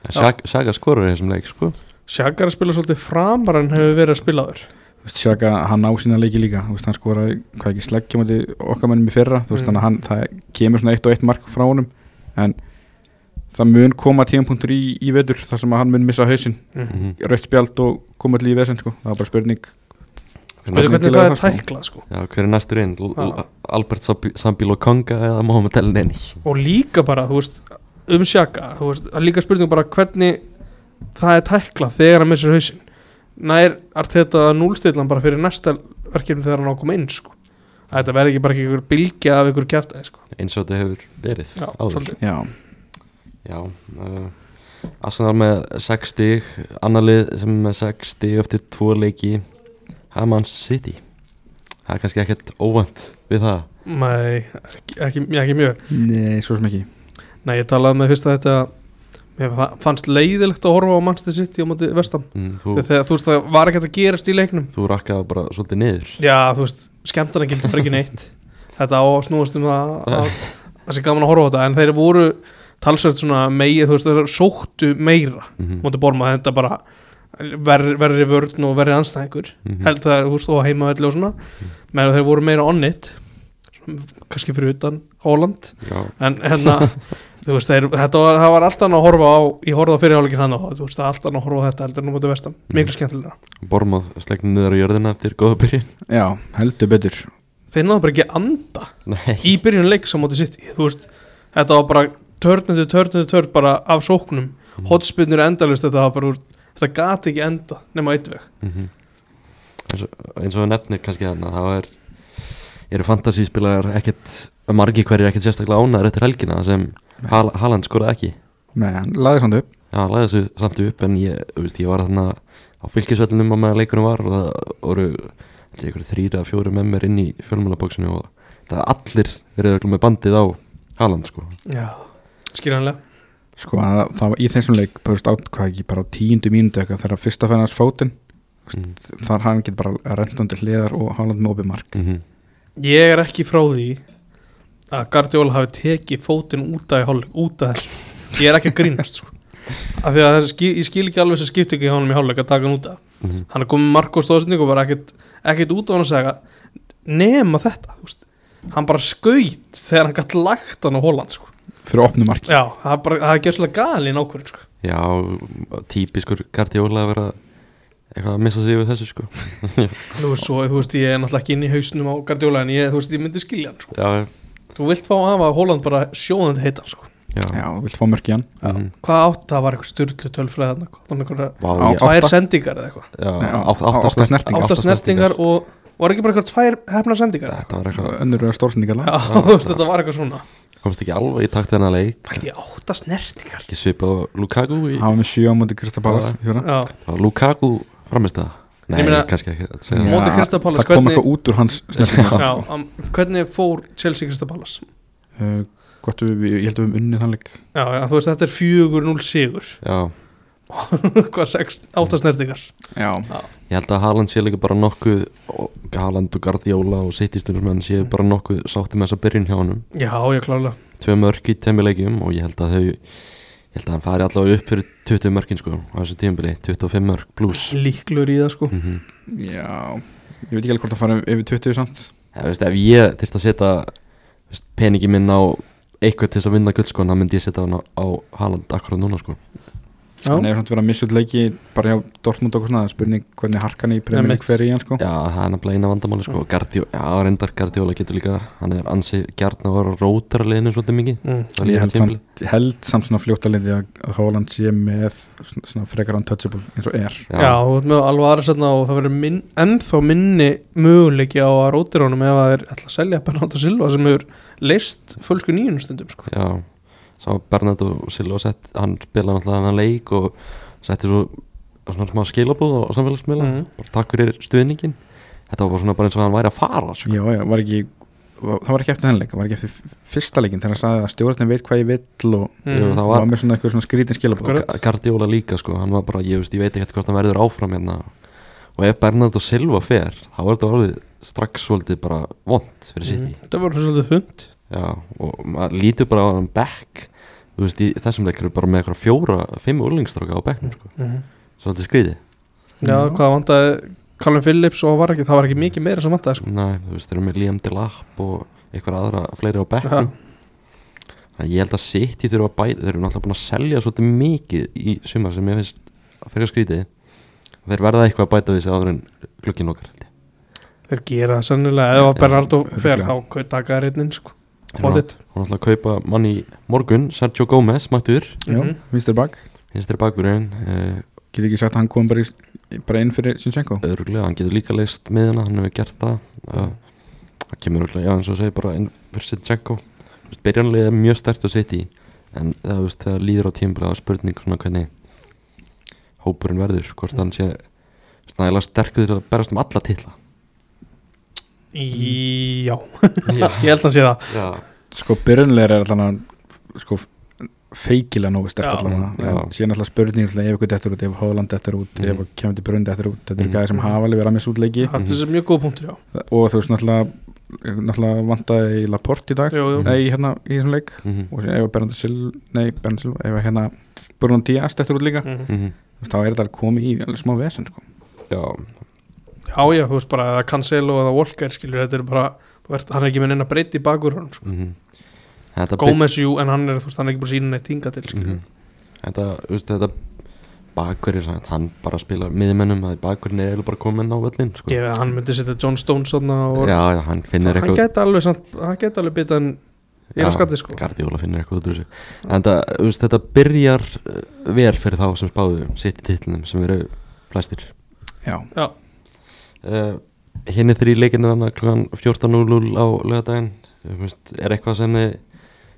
[SPEAKER 1] Saga, saga skorur í þessum leik sko
[SPEAKER 2] Sjaka er að spila svolítið framar en hefur verið að spila þur
[SPEAKER 3] Þú veist, Sjaka, hann á sína leiki líka Þú veist, hann skoraði, hvað ekki sleggja múti okkar mennum í fyrra, þú veist,
[SPEAKER 2] Mm.
[SPEAKER 3] þannig að hann það kemur svona eitt og eitt mark frá honum en það mun koma tímapunktur í, í vetur þar sem að hann mun missa hausinn
[SPEAKER 2] mm.
[SPEAKER 1] Mhm.
[SPEAKER 3] rautt spjald og koma allir í vesend sko. það var bara spurning
[SPEAKER 1] Hver er
[SPEAKER 2] Veitu
[SPEAKER 1] næstur-
[SPEAKER 2] hvernig
[SPEAKER 3] Spurðu skemmtilega
[SPEAKER 2] það er
[SPEAKER 3] það, sko.
[SPEAKER 2] tæklað sko
[SPEAKER 1] Já, hver er næstur inn? L-
[SPEAKER 2] Já.
[SPEAKER 1] Albert Sambi- Sambil og Konga eða Mohamed El Neni
[SPEAKER 2] og líka bara, þú veist, um sjaka þú veist, að líka spurning bara hvernig það er tæklað þegar hann missir hausinn nær arteta að núlstillan bara fyrir næsta verkefni þegar hann á að koma inn sko að þetta verði ekki bara ekki ykkur bylgja af ykkur kjæftæði sko
[SPEAKER 1] eins og þetta hefur verið
[SPEAKER 2] Já,
[SPEAKER 1] áður.
[SPEAKER 2] svolítið.
[SPEAKER 3] já,
[SPEAKER 1] Já uh, Arsenal með 6 stig Annalið sem er með 6 stig eftir 2 leiki Haman City Það er kannski ekkert óvænt við það
[SPEAKER 2] Nei, ekki, ekki, ekki mjög
[SPEAKER 3] nei, svo sem ekki
[SPEAKER 2] Nei, ég talaði með fyrst að þetta mér fa- fannst leiðilegt að horfa á Manchester City á móti vestam
[SPEAKER 1] mm, Þú,
[SPEAKER 2] þegar þegar, þú veist það var ekki að gerast í leiknum
[SPEAKER 1] þú rakkaði bara svolítið niður
[SPEAKER 2] Já, þú veist, skemmtana gildi bara ekki neitt Þetta á að snúast um það að- það sé gaman að horfa á þetta en þeir voru talsvert svona megi, þú veist, þeir sóttu meira
[SPEAKER 1] mm
[SPEAKER 2] móti borma þetta bara ver, verri vörn og verri anstæðingur
[SPEAKER 1] mhm. Mm.
[SPEAKER 2] held það, þú veist, og heimavelli og svona meðan þeir voru meira on it svona, kannski fyrir utan Holland
[SPEAKER 1] Já,
[SPEAKER 2] en hérna, þú veist, þeir, þetta var, það var alltaf annað að horfa á, ég horfði á fyrirháleikin hann og þú veist, það er alltaf annað að horfa á þetta heldur en á móti vestam, miklu skemmtilega
[SPEAKER 1] Bormað slegnum niður á jörðina eftir góða byrjun
[SPEAKER 3] já, heldur betur
[SPEAKER 2] þeir náðu bara ekki að anda í
[SPEAKER 1] Nei,
[SPEAKER 2] byrjun leiks á móti sitt þú veist, þetta var bara törnandi, törnandi, törn bara af sóknum mm. hotspinnur endalust, þetta var bara úr, þetta gati ekki enda nema eitt veg
[SPEAKER 1] mm eins, og, eins og við nefnir kannski þannig þá er, eru fantasíspilarar ekkert margi hverjir ekkert sérstaklega ánæður eftir helgina sem Hal Haaland skoraði ekki
[SPEAKER 3] nei, hann laði samt upp
[SPEAKER 1] Já, hann lagði þessu samt upp en ég, þú veist, ég var þarna á fylgisvellinum á meðan leikunum var og það voru held ég, ykkur þrýra, fjóri með mér inn í fjölmjölabóksinu og það allir verið öllum með bandið á Haaland sko.
[SPEAKER 2] já, skiljanlega
[SPEAKER 3] sko, að, það var í þessum leik bara, þú veist, á, hvað ekki, bara á tíundu mínútu eitthvað þegar fyrsta fæðan hans fótinn
[SPEAKER 1] mm
[SPEAKER 3] þar hann getur bara rendandi hliðar og hálfand með opið mark
[SPEAKER 1] -hmm.
[SPEAKER 2] ég er ekki frá því að Guardiola hafi tekið fótinn út af í hálfleik, út af hálfleik ég er ekki að grínast sko af því að þessi, skil- ég skil ekki alveg þessi skipt ekki honum í hálfleik að taka hann út af
[SPEAKER 1] Mm -hmm.
[SPEAKER 2] hann er komið Marko stóðsending og bara ekkert, ekkert út á hann að segja nema þetta þú veist. hann bara skaut þegar hann gætt lagt hann á Holland sko.
[SPEAKER 3] fyrir opnu mark
[SPEAKER 2] já, það er, bara, það er gjössalega galin ákvörð sko.
[SPEAKER 1] Já, típiskur Gardiola að vera eitthvað að missa sig við þessu sko.
[SPEAKER 2] nú er svo, þú veist, ég er náttúrulega ekki inn í hausnum á Guardiola en ég, þú veist, ég myndi skilja hann sko.
[SPEAKER 1] Já,
[SPEAKER 2] þú vilt fá af að Holland bara sjóðandi heita hann, sko. Mm.
[SPEAKER 1] já,
[SPEAKER 3] já, vilt fá mörk í hann
[SPEAKER 1] Mhm.
[SPEAKER 2] hvað átt það var eitthvað styrlu tölfræðan eitthvað,
[SPEAKER 1] Vá,
[SPEAKER 3] Á-
[SPEAKER 1] ég-
[SPEAKER 3] á-
[SPEAKER 2] tvær
[SPEAKER 3] Átta.
[SPEAKER 2] sendingar eða eitthvað
[SPEAKER 1] já,
[SPEAKER 3] Nei, á-
[SPEAKER 1] átt-
[SPEAKER 3] á- átta
[SPEAKER 1] átta snert-
[SPEAKER 3] snertingar.
[SPEAKER 1] átta
[SPEAKER 2] átta snertingar og var ekki bara eitthvað tvær hefna sendingar eða eitthvað?
[SPEAKER 1] Þetta var eitthvað,
[SPEAKER 3] önnur er stórsendingar
[SPEAKER 2] já, þú veist, þetta var eitthvað svona
[SPEAKER 1] komst ekki alveg í takt þennan leik
[SPEAKER 2] pælt ég átta snertingar
[SPEAKER 1] ekki svipað á Lukaku í,
[SPEAKER 3] hann var með 7 á móti Kristapalas
[SPEAKER 1] Já.
[SPEAKER 2] já
[SPEAKER 1] Það var Lukaku framist það? Nei,
[SPEAKER 2] Ég meina-
[SPEAKER 1] kannski ekki að segja
[SPEAKER 2] Já. Móti Crystal Palace,
[SPEAKER 3] það kom
[SPEAKER 2] hvernig-
[SPEAKER 3] eitthvað út úr hans snertingar
[SPEAKER 2] Já,
[SPEAKER 3] sko.
[SPEAKER 2] um, hvernig fór Chelsea Crystal Palace?
[SPEAKER 3] uh, gott við, við- ég held að við um unnið hann leik
[SPEAKER 2] Já, já, þú veist, þetta er 4-0 sigur
[SPEAKER 1] Já,
[SPEAKER 2] Hvað, 6, 8 snertingar
[SPEAKER 3] já,
[SPEAKER 1] ég held að Haaland sé líka bara nokkuð og Haaland og Gardiola og City-stundumenn sé bara nokkuð sátti með þessa byrjun hjá honum
[SPEAKER 2] Já, ég klálega
[SPEAKER 1] Tvö mörk í temilegjum og ég held að þau ég held að hann fari allavega upp fyrir 20 mörkin sko á þessu tímabili, 25 mörk pluss
[SPEAKER 2] Líklur í það, sko
[SPEAKER 1] mm -hmm.
[SPEAKER 3] já ég veit ekki alveg hvort að fara yfir 20 samt
[SPEAKER 1] veist, Ef ég þyrfti að setja þú veist, peningi minn á eitthvað til þess að vinna gull sko, þá myndi ég setja hann á, á Haaland akkurat núna sko
[SPEAKER 2] Já,
[SPEAKER 3] hann er samt verið að missa út leiki bara hjá Dortmund og okkur svona það er spurning hvernig harkan í
[SPEAKER 2] Nei,
[SPEAKER 3] premjum
[SPEAKER 2] mitt.
[SPEAKER 3] leik fer í hann sko
[SPEAKER 1] Já, það er nefnilega eina vandamáli sko Gardjó, Já, reyndar Gardiola getur líka Hann er ansi gjarn að vera rótar að liðinu svolítið mikið
[SPEAKER 2] mm.
[SPEAKER 1] Það
[SPEAKER 3] ég
[SPEAKER 1] líður
[SPEAKER 3] held
[SPEAKER 1] að tímabili
[SPEAKER 3] samt, held samt svona fljóttalindi að að Haaland sé með svona svona frekar untouchable eins og er
[SPEAKER 2] já. þú veist, með alveg aðra setna og það verður minn, ennþá minni möguleiki á að rótir honum ef að þeir ætla að selja Bernardo Silva sem hefur leist fölsku nýjunum stundum, sko
[SPEAKER 1] Já, sá Bernard og Silva sett, Hann spilaði náttúrulega hann leik Og setti svo svona smá skilabúð á samfélagsmiðla
[SPEAKER 2] Mhm.
[SPEAKER 3] Mm.
[SPEAKER 1] Bara takk fyrir stuðningin Þetta var bara svona bara eins og hann væri að fara sko.
[SPEAKER 3] já, já, var ekki það var ekki eftir þenn leik, það var ekki eftir fyrsta leikin þegar hann sagði að stjórnarni veit hvað ég vill og
[SPEAKER 2] Mm.
[SPEAKER 1] Jú, það
[SPEAKER 3] og
[SPEAKER 1] var
[SPEAKER 3] var með svona eitthvað svona skrítin skilabók
[SPEAKER 2] Akkurat.
[SPEAKER 1] Ga- Guardiola líka sko, hann var bara, ég veist, ég veit ekki hvort hann verður áfram hérna og ef Bernard og Silva fer, þá er þetta orðið strax svolítið bara vond fyrir City
[SPEAKER 2] mm. Það var svolítið fund
[SPEAKER 1] Já, og maður lítur bara á hann back þú veist, í þessum leik eru bara með eitthvað fjóra, fimm úlingstráka á backnum, sko,
[SPEAKER 2] mm.
[SPEAKER 1] svolítið skriði
[SPEAKER 2] Já,
[SPEAKER 3] Já.
[SPEAKER 2] hvað vantaði Callum Phillips og var ekki, það var ekki mikið meira sem vantaði sko.
[SPEAKER 1] Nei, þú veist, þeir eru með Liam Delap og einhver aðra fleiri á bekknum Þannig að Ég held að City þurfa að bæta Þeir eru náttúrulega búin að selja svolítið mikið í sumar sem ég finnst að fyrir skrítið Þeir verða eitthvað að bæta við þessi áður en klukkin lokar held ég.
[SPEAKER 2] þeir gera það sennilega ef að
[SPEAKER 1] Já,
[SPEAKER 2] Bernardo fer
[SPEAKER 3] örugglega.
[SPEAKER 2] þá kau- taka þær einnig sko.
[SPEAKER 1] Þeir eru
[SPEAKER 2] Pottitt.
[SPEAKER 1] Hún ætla að kaupa mann í morgun, Sergio Gómez, mættur,
[SPEAKER 3] já,
[SPEAKER 2] Mhm.
[SPEAKER 3] Mr. Bug
[SPEAKER 1] hinstir bakurinn, uh,
[SPEAKER 3] Getur ekki sagt að hann kom bara, í, bara inn fyrir Sinchenko
[SPEAKER 1] örgulega, hann getur líka leist miðina, hann hefur gert það, uh, það kemur örgulega, já eins og segir bara inn fyrir Sinchenko, Þú veist, byrjanlega er mjög stert að setja í, en það, þú veist, það líður á tímlega að spurning svona hvernig hópurinn verður, hvort hann sé snæðilega sterkur til að berast um alla titla.
[SPEAKER 2] Í- já,
[SPEAKER 1] Já,
[SPEAKER 2] ég held að sé það
[SPEAKER 1] já,
[SPEAKER 3] Sko byrjunlegar er allan að sko feikilega nógu stert
[SPEAKER 2] Já. Mm.
[SPEAKER 3] allan
[SPEAKER 1] Já.
[SPEAKER 3] að síðan alltaf spurning alltaf ef ykkur dettur út, ef Holland dettur út
[SPEAKER 1] Mhm.
[SPEAKER 3] ef kemur til Brund dettur út, þetta eru
[SPEAKER 1] Mhm.
[SPEAKER 3] gæði
[SPEAKER 2] Mm.
[SPEAKER 3] sem hafa alveg verið að missa út leiki
[SPEAKER 2] þetta er mjög góð punktur já,
[SPEAKER 3] og þú veist náttúrulega náttúrulega vantaði í Laporte í dag
[SPEAKER 2] jú, jú.
[SPEAKER 1] Mhm.
[SPEAKER 3] nei, hérna í þessum leik
[SPEAKER 1] mhm,
[SPEAKER 3] og síðan ef Bernardo Silva, nei Bernardo Silva ef hérna Bruno Díaz dettur út líka
[SPEAKER 2] Mhm.
[SPEAKER 1] mhm.
[SPEAKER 3] þú veist, þá er þetta komið í alveg smá vesen sko.
[SPEAKER 1] já,
[SPEAKER 2] já, já, þú veist bara eða Cancelo eða Walker skilur, þetta er bara þú ert, hann er ekki með neina breytt í bakur hann sko.
[SPEAKER 1] mhm. Þetta byr-
[SPEAKER 2] Gómez jú, en hann er, þú veist, hann er ekki búin sína neitt hinga til skilur,
[SPEAKER 1] Mhm. Þetta, þú veist, þetta bakverðir, hann- hann bara spila miðmennum að bakverðin er eiginlega bara komin á völlin sko.
[SPEAKER 2] gefið að hann myndi setja John Stones þarna og
[SPEAKER 1] já, já, hann finnir
[SPEAKER 2] hann
[SPEAKER 1] eitthvað
[SPEAKER 2] gæti alveg, samt- hann gæti alveg bitað hann í
[SPEAKER 1] Já,
[SPEAKER 2] raskatið sko
[SPEAKER 1] Guardiola finnir eitthvað út úr þessu en það, þú veist, þetta byrjar uh, vel fyrir þá sem spáðu sitt í titlinum sem eru flestir
[SPEAKER 3] já,
[SPEAKER 1] uh, hinn er þrý leikinu þannig klukkan 14.00 á lögadaginn Þú veist, er eitthvað sem þið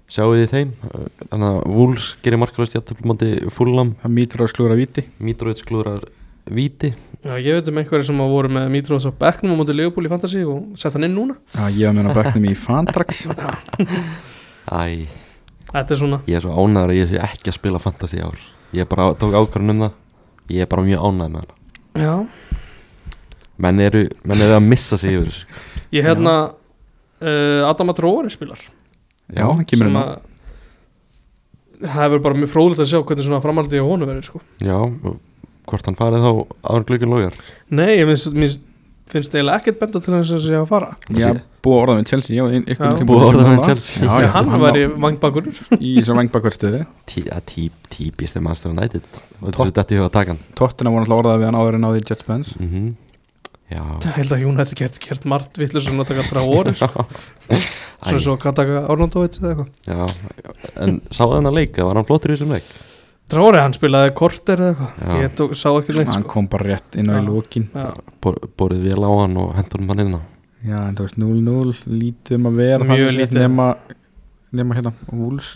[SPEAKER 1] sjáuð í þeim Uh, þannig að Wolves gerir markalist játtöflumandi fullam,
[SPEAKER 3] það mýtur á slúra viti
[SPEAKER 1] Mitrovic klúrar víti
[SPEAKER 2] Já, ég veit um einhverja sem að voru með Mitros á bekknum á móti Leopold í Fantasí og sett hann inn núna
[SPEAKER 3] já, ég var meina bæknum í Fantrax
[SPEAKER 1] æ,
[SPEAKER 2] Þetta er svona,
[SPEAKER 1] Ég er svo ánæður að ég sé ekki að spila fantasy í ár Ég bara á- tók ákvörðun um það Ég er bara mjög ánæður með hana
[SPEAKER 2] já
[SPEAKER 1] Menn eru, menn eru að missa sig yfir þessu. sko.
[SPEAKER 2] Ég hérna uh, Adama Tróari spilar
[SPEAKER 3] já, hann kemur
[SPEAKER 2] sem
[SPEAKER 3] inn á
[SPEAKER 2] að- Það hefur bara mjög fróðlegt að sjá hvernig svona framhaldið á honum verið sko
[SPEAKER 1] Já, og hvort hann farið þá áður glöggin lógar
[SPEAKER 2] Nei, ég finnst, mér finnst eiginlega ekkert benda til þess að sé að fara
[SPEAKER 3] já, búið að orða með Chelsea já, ein-
[SPEAKER 2] Já.
[SPEAKER 3] ykkur tíma
[SPEAKER 1] Búið að orða
[SPEAKER 3] sem
[SPEAKER 1] við
[SPEAKER 3] var.
[SPEAKER 1] Chelsea.
[SPEAKER 2] Já,
[SPEAKER 3] já, já,
[SPEAKER 2] hann
[SPEAKER 3] hann
[SPEAKER 2] var
[SPEAKER 3] var
[SPEAKER 2] í vangbakurur
[SPEAKER 3] í þessu vangbakvarstuði
[SPEAKER 1] Tí, að tí, Típist er mannstöðan nættið Og
[SPEAKER 3] Topp.
[SPEAKER 1] þessu dætti ég að taka hann
[SPEAKER 3] tóttina voru alltaf orðað við hann áður en áður í Jet Spence
[SPEAKER 1] mm Já
[SPEAKER 2] Ég held að Jún hefði gert, gert margt vitlu sem að taka Tróari sko.
[SPEAKER 1] Æ,
[SPEAKER 2] Svo svo að taka Ornandóvits eða eitthvað
[SPEAKER 1] Já, en sáðu hann að leika, var hann flottur í þessum leik?
[SPEAKER 2] Tróari, hann spilaði korter eða eitthvað
[SPEAKER 1] Já.
[SPEAKER 2] Ég tók, sá ekki neitt
[SPEAKER 3] hann
[SPEAKER 2] sko
[SPEAKER 3] kom bara rétt inn á í
[SPEAKER 2] Já.
[SPEAKER 3] lókin
[SPEAKER 2] Já.
[SPEAKER 1] Bor, borið vel á hann og hendur hann inn á
[SPEAKER 3] já, en þú veist 0-0 lítið um að vera
[SPEAKER 2] Mjög
[SPEAKER 3] þannig séð,
[SPEAKER 2] lítið.
[SPEAKER 3] nema, nema hérna, Wolves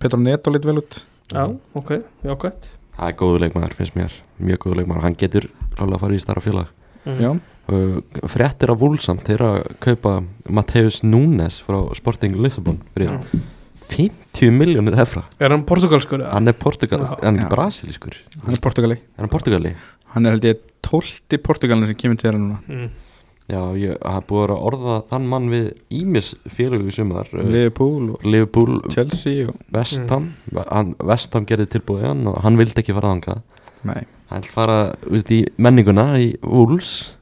[SPEAKER 3] Petra Neto lít vel út
[SPEAKER 2] Já, ok, jákvæmt
[SPEAKER 1] Það er góðu leikmaður, finnst mér Mjög góðu leikmaður, hann getur hlálega að fara í starra félag
[SPEAKER 2] Mm.
[SPEAKER 3] já,
[SPEAKER 1] Uh, fréttir af Wolfsam þeir að kaupa Mateus Núnes frá Sporting Lisbon fyrir 50 miljónir efra
[SPEAKER 2] Er hann portugalskur eða?
[SPEAKER 1] hann er portugal,
[SPEAKER 2] Já.
[SPEAKER 1] hann er
[SPEAKER 3] Já.
[SPEAKER 1] brasilískur
[SPEAKER 3] hann er Portugali
[SPEAKER 1] er hann portugali?
[SPEAKER 3] hann er held ég 12. Portugalin sem kemur til þeirra núna
[SPEAKER 2] Mm.
[SPEAKER 1] Já, ég hafa búið að vera að orða þann mann við Ímis félugu sumar uh,
[SPEAKER 3] Liverpool og
[SPEAKER 1] Liverpool,
[SPEAKER 3] Chelsea og
[SPEAKER 1] Vestham mm. Vestham gerði tilbúið hann og hann vildi ekki fara þangað
[SPEAKER 3] nei,
[SPEAKER 1] hann ætl fara, veist, í menninguna í Wolves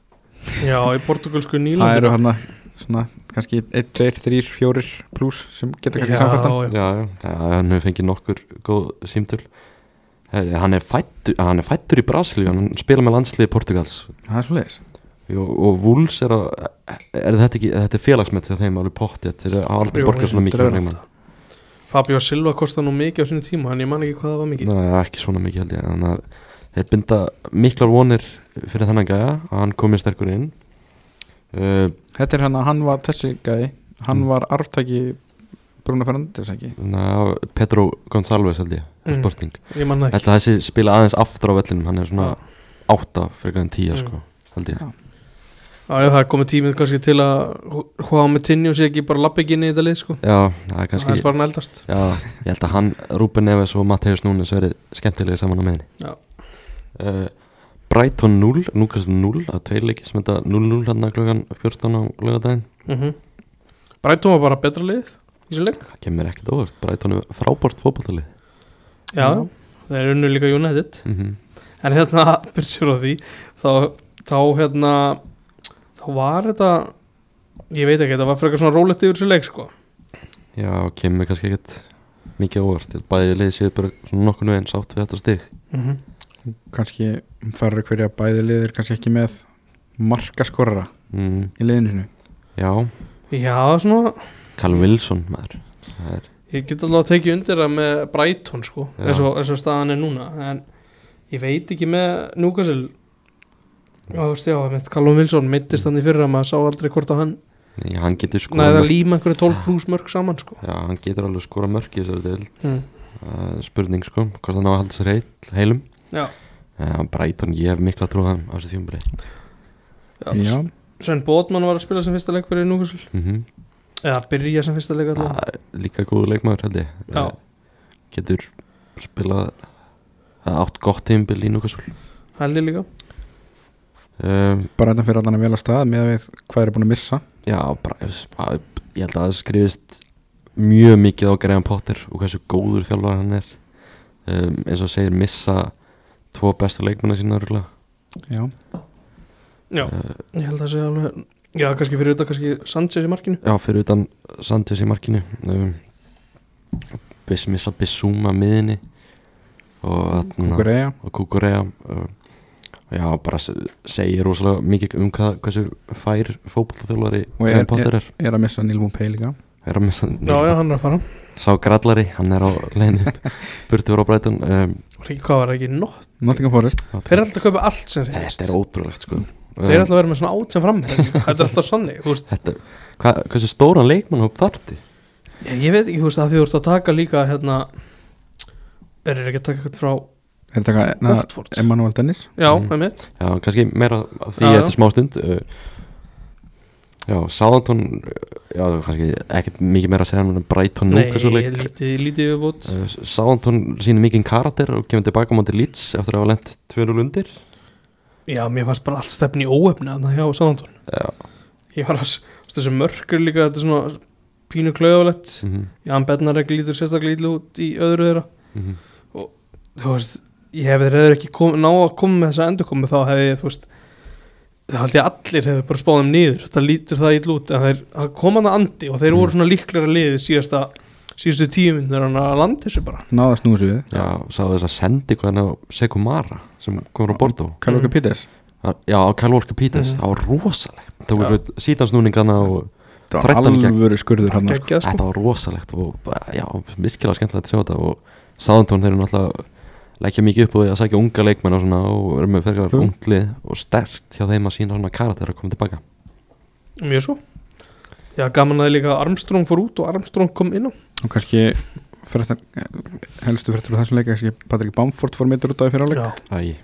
[SPEAKER 2] Já, í portugalsku
[SPEAKER 3] það
[SPEAKER 2] nýlandu
[SPEAKER 3] eru hann svona kannski 1, 2, 3, 4 pluss sem geta kannski samkvæmt
[SPEAKER 2] Já,
[SPEAKER 3] hann
[SPEAKER 1] já,
[SPEAKER 2] já.
[SPEAKER 1] já, það- hann hefur fengið nokkur góð símtöl Herri, hann er fættur, hann er fættur í Brasilíu hann spila með landsliði Portugals
[SPEAKER 3] það er svo leiðis
[SPEAKER 1] Jú, og Wolves er að er þetta ekki, þetta er félagsmett þegar þeim alveg pottið þeir hafa aldrei
[SPEAKER 2] Jú,
[SPEAKER 1] borgað svona mikið fyrir leikmann.
[SPEAKER 2] Fabio Silva kostaði nú mikið á sinu tíma en ég man ekki hvað það var mikið
[SPEAKER 1] Nei, ekki svona mikið held ég þannig að þeir binda miklar vonir fyrir þennan gæja að hann komið sterkur inn uh,
[SPEAKER 3] þetta er hann að hann var þessi gæi hann
[SPEAKER 1] Mm.
[SPEAKER 3] var arftæki Bruno Fernandes ekki
[SPEAKER 1] na, Pedro Gonçalves held ég
[SPEAKER 2] Mm.
[SPEAKER 1] mm. sporting,
[SPEAKER 2] Ég man það ekki
[SPEAKER 1] þetta þessi spila aðeins aftur á vellinum, hann er svona
[SPEAKER 2] Já.
[SPEAKER 1] átta fyrir grann tíja
[SPEAKER 2] Mm.
[SPEAKER 1] sko, held ég
[SPEAKER 2] Já, já, það er komið tímið kannski til að hvaða með tinni og sé ekki bara lappa ekki inn í þetta lið sko
[SPEAKER 1] já, það er
[SPEAKER 2] Það
[SPEAKER 1] kannski
[SPEAKER 2] er bara hann eldast
[SPEAKER 1] Já, ég held að hann, Rúben Neves og Matthäus Núnes verið skemmtilega saman á meðinni
[SPEAKER 2] Já.
[SPEAKER 1] uh, Brighton 0, Núkas 0 að tveir leiki sem þetta 0-0 hann klokkan 14 hérna á lögadaginn
[SPEAKER 2] mm Brætum var bara betra lið í þessu leik
[SPEAKER 1] það kemur ekkert óvart, Brighton er frábært fótballtalið
[SPEAKER 2] Já, já. þeir eru nú líka United
[SPEAKER 1] mm -hmm.
[SPEAKER 2] En hérna, byrjum sér á því þá þá hérna þá var þetta ég veit ekki, þetta var frekar svona rólegt yfir þessu leik sko.
[SPEAKER 1] Já, kemur kannski ekkert mikið á óvart Bæði liðið séu bara svona nokkurnu eins átt við þetta stig
[SPEAKER 2] Mhm.
[SPEAKER 3] kannski fara hverja bæði liðir kannski ekki með markaskorra
[SPEAKER 1] mm,
[SPEAKER 3] í liðinu sinu
[SPEAKER 1] Já,
[SPEAKER 2] já, svona
[SPEAKER 1] Callum Wilson maður Það er,
[SPEAKER 2] ég get allavega tekið undir það með Brighton sko,
[SPEAKER 1] Já.
[SPEAKER 2] eins og, eins og staðan er núna en ég veit ekki með Newcastle Já, þú veist, já, mitt Callum Wilson mittist hann í fyrra maður sá aldrei hvort að hann
[SPEAKER 1] já, Sko, hann getur skora
[SPEAKER 2] næði að
[SPEAKER 1] mörk-
[SPEAKER 2] líma einhverju 12 plus mörg saman sko.
[SPEAKER 1] Já, hann getur alveg skora mörk í þessari del
[SPEAKER 2] mm.
[SPEAKER 1] uh, Spurning sko, hvort hann á að halda sér heil, heilum
[SPEAKER 2] Já.
[SPEAKER 1] Já, Brighton, ég hef mikla trú á þeim á þessu þjómbri
[SPEAKER 3] já,
[SPEAKER 2] Sven Bótmann var að spila sem fyrsta leik fyrir Newcastle
[SPEAKER 1] mm
[SPEAKER 2] eða byrja sem fyrsta leik allavega
[SPEAKER 1] Ah, Líka góðu leikmaður held ég
[SPEAKER 2] Já.
[SPEAKER 1] Eh, Getur spilað eh, átt gott tímbil í núkasvöld
[SPEAKER 2] held ég líka
[SPEAKER 1] um,
[SPEAKER 3] bara þetta fyrir allan að vel að stað með að við hvað er búin að missa
[SPEAKER 1] Já, bara, að- ég held að það skrifist mjög mikið á Graham Potter og hversu góður þjálfar hann er um, eins og segir missa tvo bestu leikmanna sína örugglega.
[SPEAKER 3] já,
[SPEAKER 2] já,
[SPEAKER 1] Eh,
[SPEAKER 2] ég held að segja alveg já, kannski fyrir þetta, kannski Sanchez í markinu
[SPEAKER 1] Já, fyrir utan Sanchez í markinu um, Biss missa Bissúma miðinni og þarna
[SPEAKER 3] okkur eiga
[SPEAKER 1] og Kukurea uh, já, bara se- segir rosalega mikið um hvað, hversu fær fótballþjólari
[SPEAKER 3] Og er-
[SPEAKER 1] Graham Potter er,
[SPEAKER 3] er að missa Nilmún Pei líka
[SPEAKER 1] er að missa
[SPEAKER 2] já, já, hann er að fara
[SPEAKER 1] sá grallari, hann er á leginu burtu voru á breytun um,
[SPEAKER 2] og ekki hvað var það ekki, nótt
[SPEAKER 3] Nottingham Forest
[SPEAKER 2] þeir eru alltaf að kaupa allt sem þeir
[SPEAKER 1] þetta er ótrúlegt sko
[SPEAKER 2] þeir eru alltaf að vera með svona átján fram þetta er alltaf sannig, þú veist
[SPEAKER 1] þetta, hva, hversu stóran leikmann hóp þarti
[SPEAKER 2] ég, ég veit ekki, þú veist, að því þú ert að taka líka hérna er þeir ekki að taka eitthvað frá
[SPEAKER 3] er þetta eitthvað
[SPEAKER 2] Watford já,
[SPEAKER 3] Emanuel Dennis
[SPEAKER 1] Mm.
[SPEAKER 2] með mitt
[SPEAKER 1] já, kannski meira af því
[SPEAKER 2] Já, já.
[SPEAKER 1] eftir smá stund uh, já, Sáðantón já, kannski ekkert mikið meira að segja hann breytun
[SPEAKER 2] nei,
[SPEAKER 1] núka svo leik
[SPEAKER 2] lítið, lítið viðbútt
[SPEAKER 1] Sáðantón sýnir mikinn karakter og kemur tilbaka á móti Leeds eftir að hafa lent 2-0 undir
[SPEAKER 2] já, mér fannst bara allt stefni í óefni þannig að hjá Sáðantón
[SPEAKER 1] Já.
[SPEAKER 2] ég var að, s- þú veist, þessi mörkur líka þetta er svona pínu klauðalegt
[SPEAKER 1] Mhm,
[SPEAKER 2] já, hann Bednarek lítur sérstaklega ítlu út í öðru þeirra
[SPEAKER 1] mhm.
[SPEAKER 2] þú veist, ég hefði reyður ekki kom, ná að koma með þessa endurkomi þá hefði ég, þú veist þá held ég allir hefði bara spáð þeim niður það lítur það ítl út, en þeir, það kom hann að andi og þeir
[SPEAKER 1] Mm.
[SPEAKER 2] voru svona líklar að liði síðasta síðustu tíu minn þegar hann að landi þessu bara
[SPEAKER 3] náðast nú þessu við
[SPEAKER 1] Já, sá þess að sendi hvað hann á Sekumara sem komur á Bordeaux
[SPEAKER 3] Kalóka
[SPEAKER 2] Mm.
[SPEAKER 3] Pítes
[SPEAKER 1] Það- Já, á Kyle Walker Peters,
[SPEAKER 2] Mhm.
[SPEAKER 1] það var rosalegt Það
[SPEAKER 2] Já.
[SPEAKER 1] var sítansnúningana og
[SPEAKER 3] það var
[SPEAKER 1] Þrettán í gegn.
[SPEAKER 3] alvöru skurður hann sko.
[SPEAKER 2] Geggjað, sko.
[SPEAKER 1] þetta var rosalegt og bara, já, virkilega skemmtilegt að sjá þetta og Sáðantón þeir eru náttúrulega leggja mikið upp og að sækja unga leikmenn og svona og eru með fergar
[SPEAKER 3] Jú.
[SPEAKER 1] ungt lið og sterkt hjá þeim að sína svona karakter að koma tilbaka
[SPEAKER 2] mjög svo já, gaman að líka Armstrong fór út og Armstrong kom inn á
[SPEAKER 3] og kannski frettan, helstu frettur á þessum leik kannski Patrick Bamford fór mittur út af fyrir áleik
[SPEAKER 2] já,
[SPEAKER 1] Æ,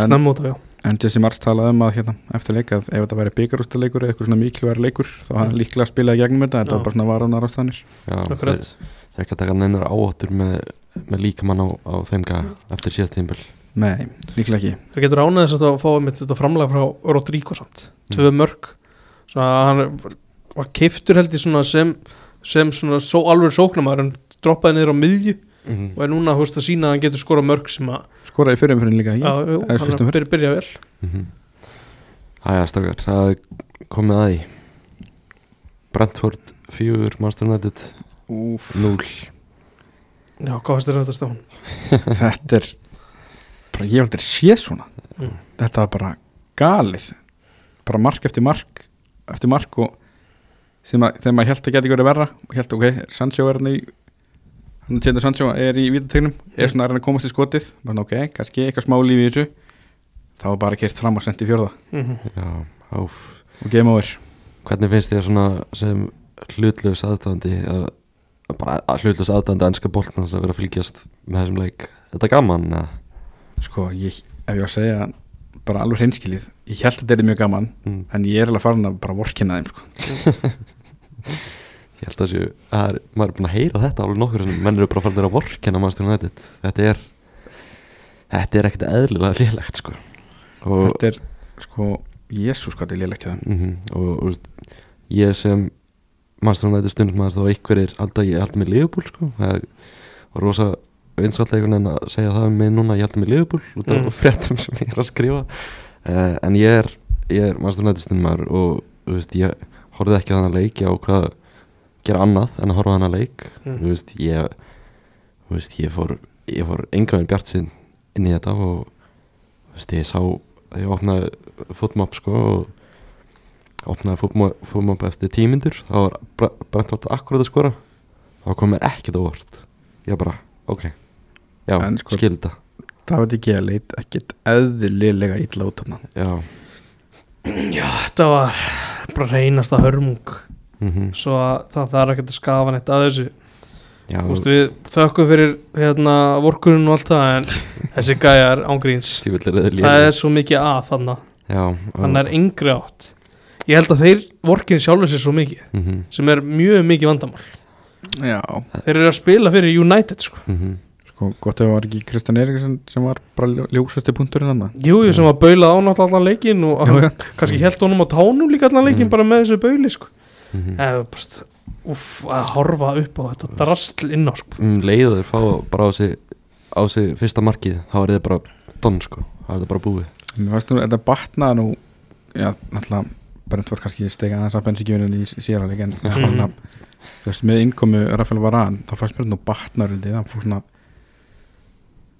[SPEAKER 3] en,
[SPEAKER 2] snemma út af já
[SPEAKER 3] en Jesse Mars talaði um að hérna, eftir leik að ef þetta væri byggarústaleikur eða eitthvað svona mikilværi leikur þá hafði hann líklega spilaði gegnum þetta þetta
[SPEAKER 2] Já.
[SPEAKER 3] var bara svona varunar ástæðanir
[SPEAKER 1] já, þeir,
[SPEAKER 2] Akkurat.
[SPEAKER 1] þeir ekki að taka neinar áhættur með, með líkamann á, á þeim gaga eftir síðast tímpil
[SPEAKER 3] nei, líklega ekki
[SPEAKER 2] þeir getur ánæðis að það fá einmitt þetta framlega frá Rodrigo samt,
[SPEAKER 1] Mm.
[SPEAKER 2] tvö mörg svona að hann var keiftur held ég svona sem, sem svona só, alveg sóknamaður en droppaði niður á miðju og er núna þú veist að sína að hann getur skora mörg sem að,
[SPEAKER 3] skoraði fyrir umfyrin líka ekki
[SPEAKER 2] að jú,
[SPEAKER 3] það er
[SPEAKER 2] hann
[SPEAKER 3] fyrst
[SPEAKER 2] er
[SPEAKER 3] um
[SPEAKER 2] að byrja, byrja vel
[SPEAKER 1] Mhm. Æja, strákar, það er komið að því Brentford 4, Manchester United
[SPEAKER 3] Úf,
[SPEAKER 1] 0
[SPEAKER 2] já, hvað fannst þér þetta stafan?
[SPEAKER 3] þetta er bara ég heldur sé svona
[SPEAKER 2] Mm.
[SPEAKER 3] þetta var bara galið bara mark eftir mark eftir mark og sem að, þegar maður held að geta verið verra og held ok, Sancho er hann í hann tjendur Sancho er í vítategnum er svona að reyna að komast í skotið bara ok, kannski eitthvað smá lífi í þessu þá var bara kert fram að sendi fjörða
[SPEAKER 2] Mm -hmm.
[SPEAKER 1] Já, áf
[SPEAKER 3] og game over
[SPEAKER 1] Hvernig finnst þér svona sem hlutlaus aðdæðandi að að bara að hlutlaus aðdæðandi ennska boltnans að vera að fylgjast með þessum leik Þetta er gaman, eða?
[SPEAKER 3] sko, ég, ef ég var að segja bara alveg hreinskilið, ég held að þetta er mjög gaman
[SPEAKER 1] Mm.
[SPEAKER 3] en ég er alveg farin að bara vorkina þeim sko.
[SPEAKER 1] Ég held að séu, að er, maður er búin að heyra þetta alveg nokkur en menn eru bara farin að vorkenna Manchester United Þetta er, þetta er ekkert eðlilega lélegt sko Og
[SPEAKER 3] þetta er sko, jésús hvað þetta er lélegt hjá þeim
[SPEAKER 1] mm og, og veist, ég sem Manchester United stundum maður þá einhverjir alltaf ég held með Liverpool sko það var rosa einskallega einhvern veginn að segja það um mig núna ég held með Liverpool út af
[SPEAKER 2] Mm.
[SPEAKER 1] fréttum sem ég er að skrifa uh, en ég er, ég er mannstofnættistinn maður og þú veist, ég horfði ekki að hana leik ég á hvað gera annað en að horfa á hana leik
[SPEAKER 2] Mm.
[SPEAKER 1] þú veist, ég þú veist, ég fór, ég fór engaðin bjart sinn inn í þetta og þú veist, ég sá, ég opnaði fútmop sko og opnaði fútmop eftir tímindur þá var Brentford akkurat að skora þá kom mér ekkert á vort ég bara, ok já,
[SPEAKER 3] En sko-
[SPEAKER 1] skil þetta
[SPEAKER 3] David ekki að leit ekkit eðlilega illa út hann
[SPEAKER 1] já,
[SPEAKER 2] Þetta var bara reynasta hörmung
[SPEAKER 1] mm
[SPEAKER 2] Svo að það þarf ekki að skafa neitt að þessu
[SPEAKER 1] já
[SPEAKER 2] Þú veist við þökkum fyrir hérna vorkunum og allt það En þessi gæjar ángríns
[SPEAKER 1] Tífull er það
[SPEAKER 2] Það er svo mikið að þarna
[SPEAKER 1] Já
[SPEAKER 2] Þannig er yngri átt Ég held að þeir vorkin sjálfur sér svo mikið
[SPEAKER 1] mm -hmm,
[SPEAKER 2] Sem er mjög mikið vandamál
[SPEAKER 3] Já,
[SPEAKER 2] Þeir eru að spila fyrir United sko
[SPEAKER 1] mm -hmm.
[SPEAKER 3] sko gott ef það var ekki Kristján Eriksson sem var bara ljósusti punkturinn hann
[SPEAKER 2] Jú, jú, sem var baulað á náttúrulega allan leikin og
[SPEAKER 3] Já, já.
[SPEAKER 2] kannski held honum á tánum líka allan leikin
[SPEAKER 1] Mm.
[SPEAKER 2] bara með þessu bauli sko
[SPEAKER 1] Mm -hmm.
[SPEAKER 2] eða bara uff, að horfa upp á þetta drastl inn á sko
[SPEAKER 1] Um leiður fá bara á sig á sig fyrsta markið þá er þið bara donn sko þá er það bara búið
[SPEAKER 3] Mér fannst nú, þetta batnaði nú Já, náttúrulega Brent var kannski steika aðeins að bensíkjöfinu í síðara leik en
[SPEAKER 2] Mhm.
[SPEAKER 3] svona, þú veist, með innkomu Rafael Varan, þá fannst mér nú batnarundi það fór svona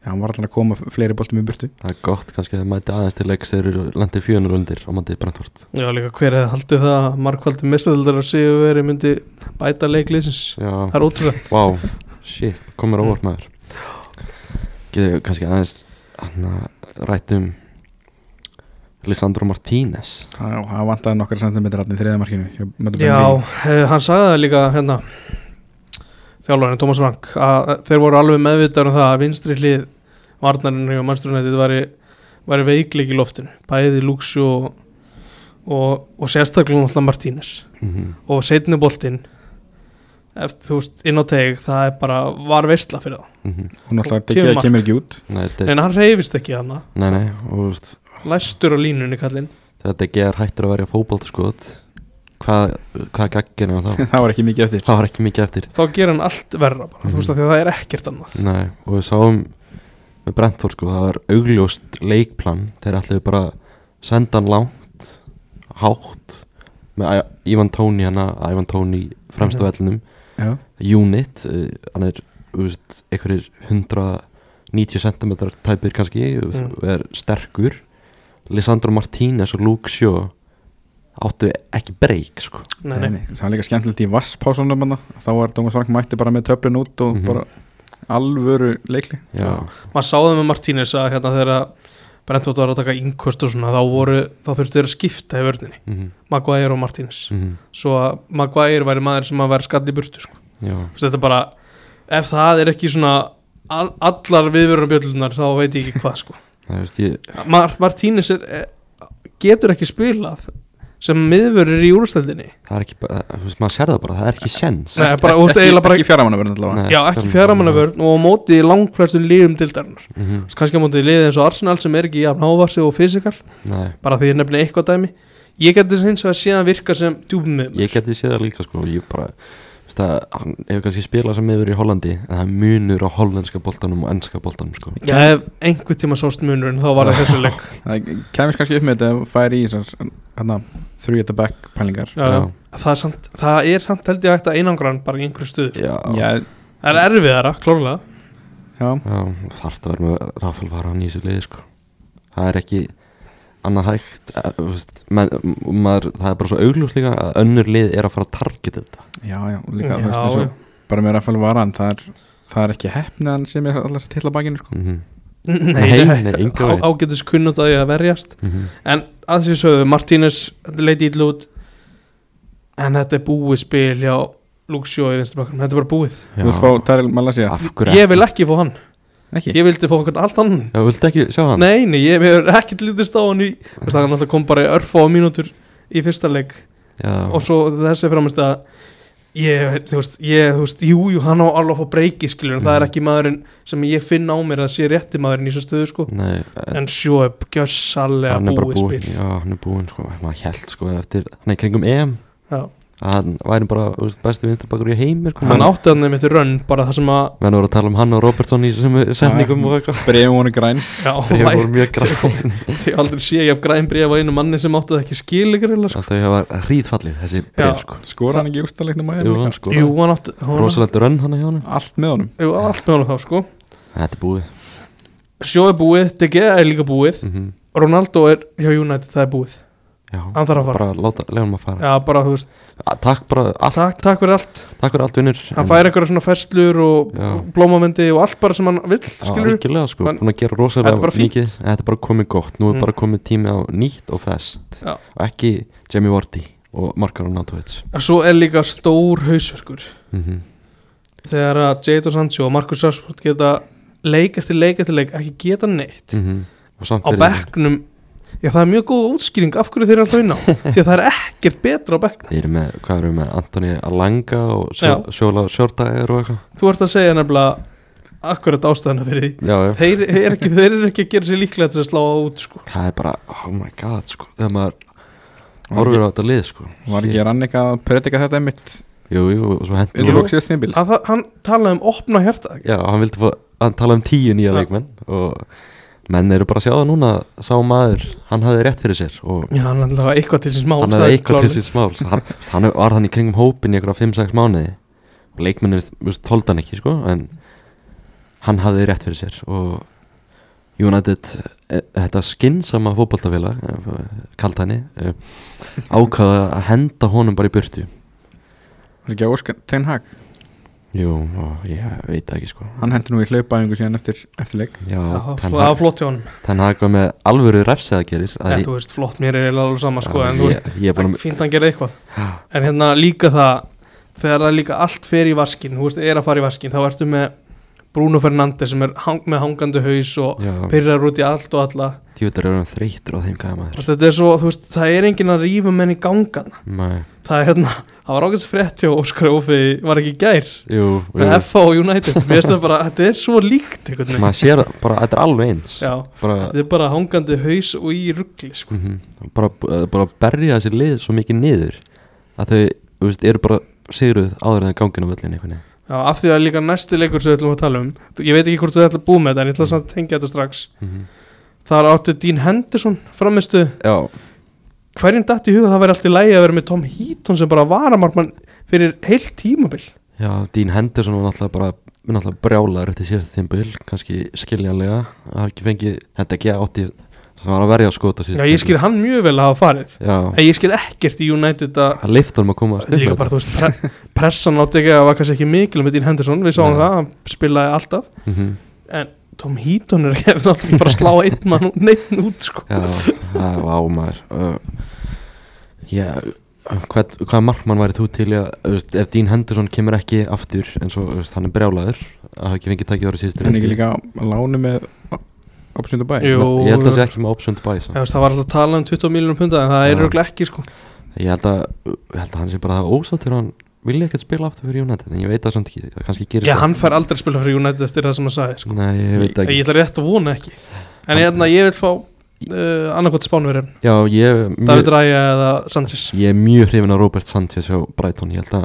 [SPEAKER 3] Já, hann var alltaf að koma fleiri boltum í burtu
[SPEAKER 1] það er gott kannski að þið mæti aðeins til leiks þeir eru landið fjöðunur undir á mandið Brentford
[SPEAKER 2] Já, líka hver hefði haldið það að markvaldi mestadöldar að séu verið myndi bæta leikliðsins
[SPEAKER 1] Já
[SPEAKER 2] það er ótrúlegt
[SPEAKER 1] Vá Shit komur óvart maður Getur kannski aðeins hann rættum Lisandro Martínez
[SPEAKER 3] Já, hann vantaði nokkar sentimetrar þarna í þriðja markinu hjá Möndubelli.
[SPEAKER 2] Já, eh, hann sagði það líka hérna þjálfarinn Thomas Frank að þeir voru alveg meðvitaður um það að vinstri hlið varnarinn og mannstrunættið væri, væri veikleik í loftinu bæði Luxu og, og, og sérstaklega náttúrulega Martínez
[SPEAKER 1] mm -hmm.
[SPEAKER 2] og setni boltinn eftir þú veist inn á teg það er bara var veistla fyrir það
[SPEAKER 1] Mm -hmm.
[SPEAKER 3] Hún alltaf
[SPEAKER 2] Og kemur
[SPEAKER 3] ekki,
[SPEAKER 2] mark.
[SPEAKER 3] kemur ekki út
[SPEAKER 1] Nei, þetta er-
[SPEAKER 2] en hann reyfist ekki hana
[SPEAKER 1] nei, nei og þú veist
[SPEAKER 2] læstur á línunni kallinn
[SPEAKER 1] þegar DG er hættur að verja fótboltaskot hvað, hvað gaggin er þá?
[SPEAKER 3] Það var ekki mikið eftir
[SPEAKER 1] það var ekki mikið eftir
[SPEAKER 2] þá ger hann allt verra bara þú veist að því að það er ekkert annað
[SPEAKER 1] Nei, og við sáum með Brentford sko, það var augljóst leikplan þeir ætluðu bara að senda hann langt hátt með Æ- Ivan Tóni hana Ivan Tóni fremsta
[SPEAKER 2] Mhm.
[SPEAKER 1] vellinum
[SPEAKER 3] Já,
[SPEAKER 1] unit, eh, hann er þú veist, einhverjir 190 cm tæpir kannski
[SPEAKER 2] Mm.
[SPEAKER 1] mm. er sterkur Lisandro Martínez og Luke Sjó áttu ekki breyk sko.
[SPEAKER 2] nei, nei.
[SPEAKER 3] Það er líka skemmtilegt í vasspásunum hann þá var Dómas Frank mætti bara með töflin út og
[SPEAKER 1] Mhm.
[SPEAKER 3] bara alvöru leikli
[SPEAKER 1] Já,
[SPEAKER 2] maður sáði með Martínez að hérna þegar að Brentford var að taka innkvöst og svona þá voru þá þurftu þeir að skipta í vörninni
[SPEAKER 1] mhm,
[SPEAKER 2] Maguire og Martínez
[SPEAKER 1] mhm,
[SPEAKER 2] svo að Maguire væri maður sem að vera skall í burtu sko.
[SPEAKER 1] já
[SPEAKER 2] Þú veist, þetta bara ef það er ekki svona all, allar viðvörunarbjöllunar þá veit ég ekki hvað sko
[SPEAKER 1] Það veist ég
[SPEAKER 2] Mar Martínez er, eh, getur ekki spilað sem miðvörur í úrstöldinni
[SPEAKER 1] Það er ekki bara, þú veist, maður sér það bara, það er ekki sjens
[SPEAKER 2] Nei, bara, þú veist,
[SPEAKER 3] Ekki,
[SPEAKER 2] eiginlega bara
[SPEAKER 3] ekki fjármanna verið allavega
[SPEAKER 1] Nei,
[SPEAKER 2] Já, ekki fjármannavörn og á móti langflestum liðum dildarinnar
[SPEAKER 1] Mhm,
[SPEAKER 2] kannski á móti liðið eins og Arsenal sem er ekki jafn hávarsi og fysikal
[SPEAKER 1] Nei,
[SPEAKER 2] bara því ég nefni eitthvað dæmi Ég geti þess eins og að síðan virka sem djúpum miðum
[SPEAKER 1] ég geti séð það líka, sko Ég bara, þú veist að, hann hefur kannski spilað sem meður í Hollandi En það er munur á hollenska boltanum og ennska boltanum, sko
[SPEAKER 2] Já, ef einhver tíma sást munurinn þá var það þessu leik
[SPEAKER 3] Það kemist kannski upp með þetta ef færi í þessar hana, three at the back pælingar
[SPEAKER 2] Já, það, er samt, það er samt held ég hægt að einangran bara í einhverju stuðu
[SPEAKER 1] já, já,
[SPEAKER 3] Já,
[SPEAKER 2] Það er erfiðara, klárlega
[SPEAKER 3] já
[SPEAKER 1] já Þarft að vera með Rafael Varan í þessu liði, sko Það er ekki annað hægt eh, þú veist, menn, maður, Það er bara svo augljúst líka að önnur lið er að fara að targeta þetta
[SPEAKER 3] Já, já, og líka,
[SPEAKER 2] Já,
[SPEAKER 3] þú veist, eins og bara með Rafael Varan það er, það er ekki heppni að hann sem er alltaf til að bakinu sko.
[SPEAKER 1] Mhm,
[SPEAKER 2] Nei,
[SPEAKER 1] Nei,
[SPEAKER 2] nei,
[SPEAKER 1] nei,
[SPEAKER 2] nei
[SPEAKER 1] engan veginn.
[SPEAKER 2] ágætis kunnátt að ég að verjast
[SPEAKER 1] mhm,
[SPEAKER 2] En að því sögðu, Martínez leiti ítl út En þetta er búið spil hjá Luxjó í vinstrbakkanum, þetta er bara búið
[SPEAKER 3] Þú vilt fá Taril Malasia
[SPEAKER 1] Af hverju
[SPEAKER 2] Ég vil ekki fá hann,
[SPEAKER 3] Ekki,
[SPEAKER 2] ég vildi fá einhvern allt annan
[SPEAKER 1] Já, viltu ekki sjá hann?
[SPEAKER 2] Nei, nei, ég hefur ekkert lítist á hann í Þú veist, hann alltaf kom bara í örfá mínútur í fyrsta leik
[SPEAKER 1] Já,
[SPEAKER 2] Og svo þessi framist að Ég, þú veist, ég, þú veist, jú, jú, hann á alveg að fá breyki skilur Það er
[SPEAKER 1] Mhm.
[SPEAKER 2] ekki maðurinn sem ég finn á mér að sé rétti maðurinn í þessu stöðu sko
[SPEAKER 1] nei eh,
[SPEAKER 2] En sjó upp, gjössalega
[SPEAKER 1] hann er bara
[SPEAKER 2] búið
[SPEAKER 1] búinn
[SPEAKER 2] spil
[SPEAKER 1] já, hann er búinn sko, maður held sko eftir, hann er kringum EM
[SPEAKER 2] Já,
[SPEAKER 1] að hann væri bara þú veist, besti vinstabakur í heimir
[SPEAKER 2] hann átti hann einmitt í raun bara það sem að
[SPEAKER 1] menn voru að tala um hann og Robertson í þessum sendingum og eitthvað
[SPEAKER 3] Breiðum honum græn
[SPEAKER 2] já,
[SPEAKER 1] þeir
[SPEAKER 2] væ-
[SPEAKER 1] voru mjög græn
[SPEAKER 2] ég aldrei sé ég af græn bríf á einu manni sem átti það ekki skilíkarilega sko.
[SPEAKER 1] að þau hafa hríðfallið þessi
[SPEAKER 2] Já.
[SPEAKER 1] breyf sko
[SPEAKER 3] Skora hann ekki í úrstaleiknum að
[SPEAKER 1] Jú, hann sko,
[SPEAKER 2] jú, hann átti hann
[SPEAKER 1] rosalegt rönn hann hjá hann
[SPEAKER 3] Allt með honum
[SPEAKER 2] jú, allt með honum þá sko
[SPEAKER 1] Þetta er búið
[SPEAKER 2] sjó er búið, DG er líka búið
[SPEAKER 1] mm
[SPEAKER 2] Ronaldo er hjá United, það er búið
[SPEAKER 1] Já,
[SPEAKER 2] hann þarf að fara
[SPEAKER 1] bara láta, lega hann að fara
[SPEAKER 2] já, bara, þú veist,
[SPEAKER 1] A, Takk bara, allt,
[SPEAKER 2] takk, takk fyrir allt
[SPEAKER 1] takk fyrir allt vinnur
[SPEAKER 2] hann fær eitthvað svona festlur og
[SPEAKER 1] Já.
[SPEAKER 2] blómamendi og allt bara sem hann vill skilur
[SPEAKER 1] Algjörlega sko,
[SPEAKER 2] Hann-
[SPEAKER 1] búin að gera
[SPEAKER 2] Þetta er
[SPEAKER 1] rosalega
[SPEAKER 2] bara fínt.
[SPEAKER 1] mikið Þetta er bara komið gott, nú er
[SPEAKER 2] Mm.
[SPEAKER 1] bara komið tími á nýtt og fest
[SPEAKER 2] Já.
[SPEAKER 1] og ekki Jamie Vardy og Marko Ronaldovic
[SPEAKER 2] en svo er líka stór hausverkur
[SPEAKER 1] mm
[SPEAKER 2] þegar að Jadon Sancho og Marcus Rashford geta leik eftir leik eftir leik ekki geta neitt
[SPEAKER 1] Mm, Mhm. Og samt
[SPEAKER 2] á
[SPEAKER 1] er
[SPEAKER 2] bekknum já það er mjög góð útskýring af hverju þeir eru alltaf inn á því að það er ekkert betra á bekknum
[SPEAKER 1] Þeir eru með, hvað eru með, Antoni Alanga og
[SPEAKER 2] Já.
[SPEAKER 1] Sjó- Sjóla Sjórdæger og eitthvað
[SPEAKER 2] þú ert að segja nefnilega akkurat ástæðana fyrir því
[SPEAKER 1] Já, já
[SPEAKER 2] þeir eru ekki, þeir eru ekki að gera sér líklega til að slá á út sko
[SPEAKER 1] Það er bara, oh my god sko Þegar maður horfir á þetta lið sko
[SPEAKER 3] Var ekki
[SPEAKER 1] Shit.
[SPEAKER 3] rann eitthvað að predika þetta mitt
[SPEAKER 1] Jú, jú, og svo hendur
[SPEAKER 3] Undir lóksíðast tímbil
[SPEAKER 2] að það, hann talaði um opna hjarta
[SPEAKER 1] Já, hann vildi fá, hann tala um tíu nýja
[SPEAKER 2] Já.
[SPEAKER 1] leikmenn og menn eru bara að sjá það núna sá maður, hann hafði rétt fyrir sér og
[SPEAKER 2] já hann er alltaf eitthvað til síns mál
[SPEAKER 1] hann
[SPEAKER 2] það
[SPEAKER 1] hafði
[SPEAKER 2] er
[SPEAKER 1] eitthvað til
[SPEAKER 2] klárlega.
[SPEAKER 1] síns mál Svo hann, hann var hann í kringum hópin í einhverja 5-6 mánuði og leikmennir þóldi hann ekki sko, en hann hafði rétt fyrir sér og United eh, þetta skinnsama fótboltafélag kalt henni eh, ákvaða að henda honum bara í burtu
[SPEAKER 3] Var ekki að óska Ten Hag
[SPEAKER 1] Jú, og ég veit það ekki sko
[SPEAKER 3] Hann hendi nú í hlaupaðingu síðan eftir, eftir leik
[SPEAKER 1] Já,
[SPEAKER 2] Já,
[SPEAKER 1] Ten
[SPEAKER 2] það var
[SPEAKER 1] Hag-
[SPEAKER 2] flott hjá hann
[SPEAKER 1] Ten Hag var með alvöru refsæðagerir
[SPEAKER 2] Já, þú veist, flott, mér er eiginlega alveg sama sko,
[SPEAKER 1] Já,
[SPEAKER 2] en þú
[SPEAKER 1] ég-
[SPEAKER 2] veist,
[SPEAKER 1] ég er búin að
[SPEAKER 2] fínt að hann gera eitthvað
[SPEAKER 1] Já.
[SPEAKER 2] en hérna líka það þegar það líka allt fer í vaskin þú veist, er að fara í vaskin, þá ertu með Bruno Fernandes sem er hang, með hangandi haus og
[SPEAKER 1] já,
[SPEAKER 2] pyrrar út í allt og alla
[SPEAKER 1] djúður er hann þreytur á þeim gæða
[SPEAKER 2] Þú
[SPEAKER 1] maður
[SPEAKER 2] veist, þetta er svo, þú veist, það er enginn að rífa menn í gangan,
[SPEAKER 1] Nei,
[SPEAKER 2] það er hérna það var ákveðs frétt hjá Óskar Ófi var ekki í gær,
[SPEAKER 1] jú, jú
[SPEAKER 2] með FA og United mér finnst það bara, þetta er svo líkt einhvern veginn,
[SPEAKER 1] maður sér það bara, þetta er alveg eins
[SPEAKER 2] já,
[SPEAKER 1] bara,
[SPEAKER 2] þetta er bara hangandi haus og í ruggli, sko,
[SPEAKER 1] mhm, bara, bara berja þessi lið svo mikið niður að þau, þú veist, eru bara sigruð áður en gangin á völlin einhvern
[SPEAKER 2] já, af því að líka næsti leikur sem við ætlum að tala um, ég veit ekki hvort þau ætla að búa með þetta, en ég ætla samt að tengja þetta strax
[SPEAKER 1] veginn
[SPEAKER 2] þar átti Dean Henderson framistu
[SPEAKER 1] Já,
[SPEAKER 2] hverjum datt í huga það væri alltaf í lægi að vera með Tom Heaton sem bara varamarkmann fyrir heilt tímabil
[SPEAKER 1] já, Dín Henderson var náttúrulega bara við náttúrulega brjálaður eftir síðast tímbil kannski skiljanlega að hafa ekki fengið þetta ekki átti það var að verja að skota síðast
[SPEAKER 2] já ég skil hann mjög vel að hafa farið
[SPEAKER 1] Já,
[SPEAKER 2] en ég skil ekkert í United að
[SPEAKER 1] hann leifta um að koma að
[SPEAKER 2] líka bara þú veist pre pressan átti ekki að var kannski ekki mikil með Dean Henderson, við sáum
[SPEAKER 1] Nei.
[SPEAKER 2] það, hann spilaði alltaf
[SPEAKER 1] Mhm.
[SPEAKER 2] Tom Heaton er ekki náttúrulega bara að slá einn mann út- neinn út sko
[SPEAKER 1] Já, það var ámaður uh, Já, hvað, hvað markmann væri þú til í að, þú veist, ef Dín Henderson kemur ekki aftur en svo, þú veist, hann er brjálaður að hafa ekki fengið takið ára síðustu
[SPEAKER 3] Hann er ekki líka á láni með Opsund og bæ
[SPEAKER 2] Jú.
[SPEAKER 1] Ég held að það sé ekki með option to buy
[SPEAKER 2] Já, þú
[SPEAKER 1] samt.
[SPEAKER 2] veist, það var alltaf að tala um 20 miljónum punda en það
[SPEAKER 1] Já.
[SPEAKER 2] er örugglega ekki sko
[SPEAKER 1] Ég held að, ég held að hann sé bara það ósáttur og hann vilja ekkert spila aftur fyrir United en ég veit það samt ekki, það kannski gerist
[SPEAKER 2] Já,
[SPEAKER 1] það.
[SPEAKER 2] hann fær aldrei að spila fyrir United eftir það sem hann sagði sko.
[SPEAKER 1] Nei, ég veit það
[SPEAKER 2] Ég
[SPEAKER 1] ekki
[SPEAKER 2] ætla rétt að vona ekki En hérna, ég vil fá uh, annarkot spánverðin
[SPEAKER 1] Já, ég er
[SPEAKER 2] David
[SPEAKER 1] mjög,
[SPEAKER 2] Ræja eða Sanchez
[SPEAKER 1] ég er mjög hrifin að Robert Sanchez og Brighton, ég held að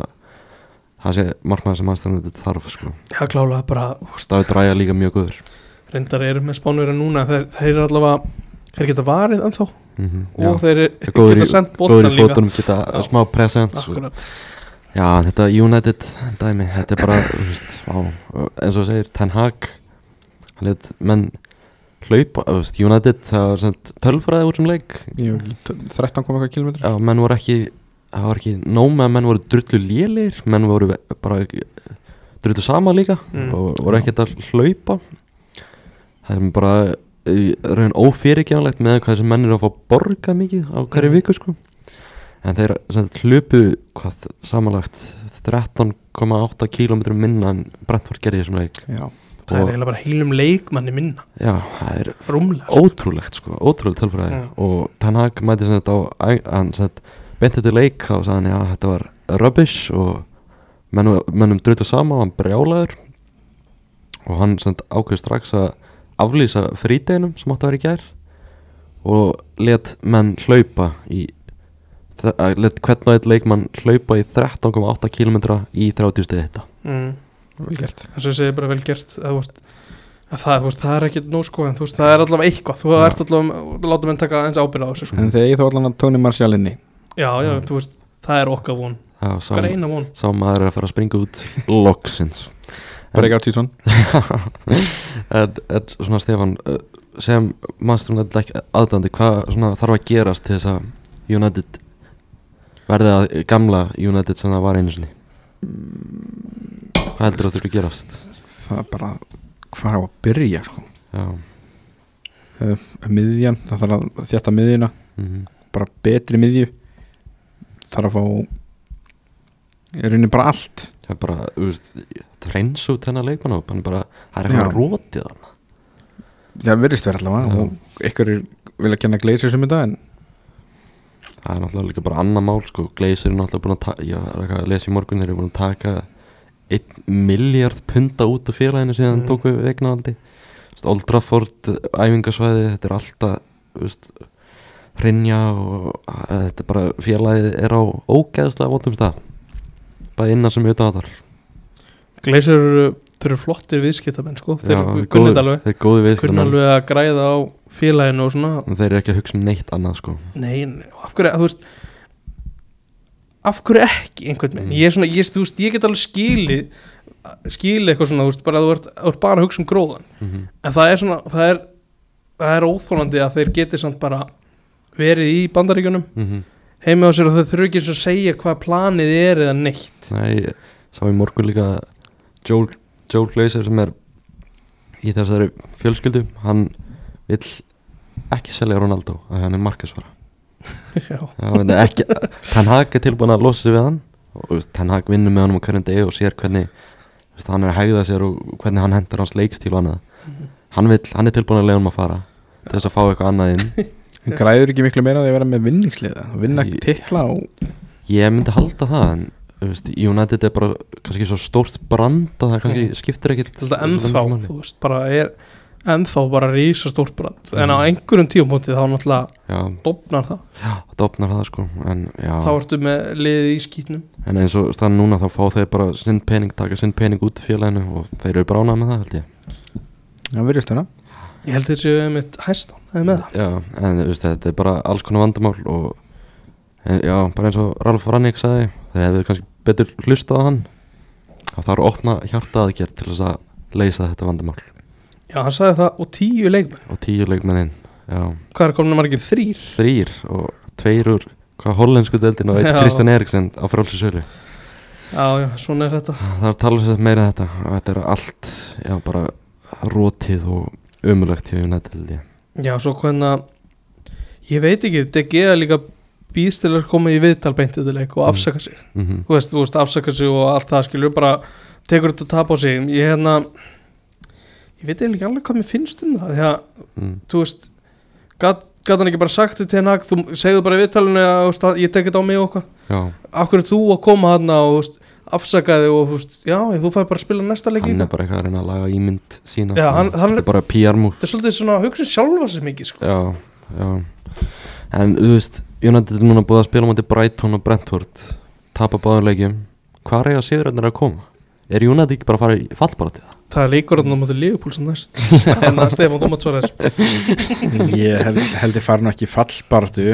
[SPEAKER 1] það sé markmann sem aðstæðan þetta þarf sko.
[SPEAKER 2] Já, klálega bara úst,
[SPEAKER 1] David Raya líka mjög góður
[SPEAKER 2] Reyndar eru með spánverðin núna Þeir, þeir eru allavega Þeir geta varið ennþá
[SPEAKER 1] mm
[SPEAKER 2] Og þeir
[SPEAKER 1] Já, góðir
[SPEAKER 2] geta
[SPEAKER 1] í-
[SPEAKER 2] sendt
[SPEAKER 1] góður
[SPEAKER 2] boltan
[SPEAKER 1] í
[SPEAKER 2] líka
[SPEAKER 1] fótunum geta
[SPEAKER 2] Já.
[SPEAKER 1] smá presens
[SPEAKER 2] Akkurat
[SPEAKER 1] já þetta United dæmi þetta er bara þú veist, á, eins og þú segir Ten Hag hann let menn hlaupa þú veist, United það var svona tölfræði úr sem leik
[SPEAKER 3] Jú, 13 koma eitthvað kilometri
[SPEAKER 1] já, menn voru ekki það var ekki nóg með að menn voru drullu lélir menn voru bara drullu sama líka
[SPEAKER 2] Mm.
[SPEAKER 1] og voru ekkert að hlaupa það er bara eh, raun ófyrirgjanlegt með hvað þessum menn eru að fá borga mikið á hverju
[SPEAKER 2] Mm.
[SPEAKER 1] viku sko en þeir sem sagt hlupu hvað samanlagt 13,8 km minna en Brentford gerði í þessum leik
[SPEAKER 3] Já,
[SPEAKER 2] Það er
[SPEAKER 1] Og-
[SPEAKER 2] eiginlega bara heilum leikmanni minna
[SPEAKER 1] já, það er
[SPEAKER 2] Rúmlega sko.
[SPEAKER 1] ótrúlegt sko, ótrúlegt tölfræði
[SPEAKER 2] Já.
[SPEAKER 1] og Ten Hag mæti sem þetta á æ- hann sem þetta beinti þetta leik og sagði hann já þetta var rubbish og mennum, mennum drötu sama og hann brjálaður og hann sem þetta ákveð strax að aflýsa frídeginum sem átti að vera í gær og let menn hlaupa í þe- að let hvern og einn leikmann hlaupa í 13,8 km í 30 stið hitta
[SPEAKER 2] mm.
[SPEAKER 3] Vel gert
[SPEAKER 2] eins og ég segi bara vel gert að, þú veist, að það, þú veist, það er ekki nóg sko en þú veist, það er allavega eitthvað þú
[SPEAKER 1] Já.
[SPEAKER 2] ert allavega, þú láta menn taka eins ábyrða á þessu sko.
[SPEAKER 3] En þegar ég þá allan að Tony Marshall inni
[SPEAKER 2] já, já,
[SPEAKER 1] Mm.
[SPEAKER 2] þú veist, það er okkar von
[SPEAKER 1] Já,
[SPEAKER 2] það er
[SPEAKER 1] sá,
[SPEAKER 2] eina von
[SPEAKER 1] sá maður er að fara að springa út loksins
[SPEAKER 3] Bara ekki á tíson
[SPEAKER 1] en, en svona Stefan eh, sem mannstur United aðdandi hvað svona, þarf að gerast til þess að United verði að gamla United sem það var einu sinni hvað heldur að þurfi að gerast
[SPEAKER 3] Það er bara Hvar á að byrja sko
[SPEAKER 1] já,
[SPEAKER 3] Miðjan, það þarf að þjætta miðjuna
[SPEAKER 1] mhm,
[SPEAKER 3] Bara betri miðju Þarf að fá Ég raunin bara allt
[SPEAKER 1] það er bara þú veist, það reyns út þennan leikmann hann er bara, það er eitthvað
[SPEAKER 3] Já.
[SPEAKER 1] rótið hann
[SPEAKER 3] Það virðist verið allavega
[SPEAKER 1] Já.
[SPEAKER 3] og ykkur vilja kenna gleysir sem þetta en
[SPEAKER 1] það er náttúrulega líka bara annað mál sko, Glazer er náttúrulega búin að taka ég er eitthvað að lesa í morgun, þeir eru búin að taka 1 miljard punda út af félaginu síðan
[SPEAKER 2] Mhm.
[SPEAKER 1] mm. tók við eignaldi Old Trafford, æfingasvæði þetta er alltaf þú veist, hreinja og að, þetta er bara félagið er á ógeðslega vondum stað bara innan sem utan að þar
[SPEAKER 2] Gleisir eru, þeir eru flottir viðskiptamenn sko, þeir
[SPEAKER 1] Já,
[SPEAKER 2] kunna
[SPEAKER 1] góðir-
[SPEAKER 2] þetta alveg
[SPEAKER 1] þeir eru góði
[SPEAKER 2] kunna
[SPEAKER 1] viðskiptar
[SPEAKER 2] alveg að græða á félaginu og svona
[SPEAKER 1] þeir eru ekki að hugsa um neitt annað sko
[SPEAKER 2] Nei, nei, og af hverju, þú veist af hverju ekki einhvern veginn,
[SPEAKER 1] Mm.
[SPEAKER 2] ég er svona, ég, þú veist, ég get alveg skilið skilið eitthvað svona, þú veist, bara að þú ert, þú ert bara að hugsa um gróðan,
[SPEAKER 1] mm
[SPEAKER 2] en það er svona það er, það er óþólandi að þeir geti samt bara verið í bandaríkjunum, heima á sér og þau þurfi ekki eins og að segja hvað planið er eða neitt
[SPEAKER 1] Nei, ég sá í morgun líka Joel, Joel Glazer sem er í þessari fjölskyldu hann vill ekki selja Ronaldo að hann er markasvara
[SPEAKER 2] Já,
[SPEAKER 1] hann er ekki, Ten Hag er tilbúin að losa sig við hann og þú veist, Ten Hag vinnur með honum á hverjum degi og sér hvernig þú veist, hann er að hegða sér og hvernig hann hendur hans leikstíl og annað hann, vill, hann er tilbúin að leiða um að fara til þess að fá eitthvað annað inn
[SPEAKER 3] En græður ekki miklu meira að því að vera með vinningsliða og vinna
[SPEAKER 1] Í-
[SPEAKER 3] titla og
[SPEAKER 1] Ég myndi halda það en þú veist, United er bara kannski svo stórt brand að það kannski skiptir ekkit
[SPEAKER 2] þetta ennþá,
[SPEAKER 1] máli.
[SPEAKER 2] þú veist, bara er ennþá bara rísa stórbrann en á
[SPEAKER 1] Mm.
[SPEAKER 2] einhverjum tíumpóti þá náttúrulega
[SPEAKER 1] Já,
[SPEAKER 2] dofnar það,
[SPEAKER 1] Já, þetta opnar það sko en, já,
[SPEAKER 2] þá ertu með liðið í skýtnum
[SPEAKER 1] en eins og staðan núna þá fá þeir bara sinn pening, taka sinn pening út í félaginu og þeir eru bránað með það held ég
[SPEAKER 3] það virðist þarna
[SPEAKER 2] Ég held þessi mitt hæstan, það er með það
[SPEAKER 1] Já, en þú veist, þetta er bara alls konar vandamál og en, já, bara eins og Ralf Rannik sagði, þeir hefðu kannski betur hlustað á hann þá þarf að opna hjartaaðgerð til þess að leysa þetta vandamál
[SPEAKER 2] Já, hann sagði það og tíu leikmenn
[SPEAKER 1] og tíu leikmennin, já,
[SPEAKER 2] Hvað er komin margir? Þrýr?
[SPEAKER 1] þrýr og tveir úr hvað hollensku deildin og eitt
[SPEAKER 2] Já.
[SPEAKER 1] Kristjan Eriksen á frálsins sölu
[SPEAKER 2] Já, já, svona er þetta
[SPEAKER 1] Það er talað sér meira en þetta og þetta er allt, já bara rótið og umulagt hjá United held ég
[SPEAKER 2] Já, svo hvernig Ég veit ekki, DG er líka býðstilar komið í viðtal beintið til leik og
[SPEAKER 1] Mm.
[SPEAKER 2] afsaka sig
[SPEAKER 1] mm
[SPEAKER 2] Þú veist, þú veist, afsaka sig og allt það skilur bara tekur þetta tap á sig Ég hérna Ég veit eiginlega ekki alveg hvað mér finnst um það því að,
[SPEAKER 1] mm.
[SPEAKER 2] þú veist gat, gat hann ekki bara sagt þetta hérna þú segðu bara í viðtalinu að þú veist, að ég tek þetta á mig og hvað
[SPEAKER 1] Já,
[SPEAKER 2] af hverju ert þú að koma hann og þú veist, afsaka þig og þú veist, já, ég- þú fær bara að spila næsta leik
[SPEAKER 1] hann er
[SPEAKER 2] líka.
[SPEAKER 1] bara eitthvað að reyna að laga ímynd sína
[SPEAKER 2] Já,
[SPEAKER 1] sko.
[SPEAKER 2] hann- hann-
[SPEAKER 1] Þetta er bara PR múf
[SPEAKER 2] þetta er svolítið svona að hugsa um sjálfa sig mikið sko.
[SPEAKER 1] Já, já En þú veist, United er núna búið að spila mútið Brighton og Brentford tapa báðum leikjum Hvar eiga sigurarnir að koma? Er United ekki bara að fara í fallbara til það?
[SPEAKER 2] það er leikur hann á móti Liverpool sem næst en að Stefán Dómatsvares
[SPEAKER 3] Ég held, held ég fara nú ekki í fallbaratu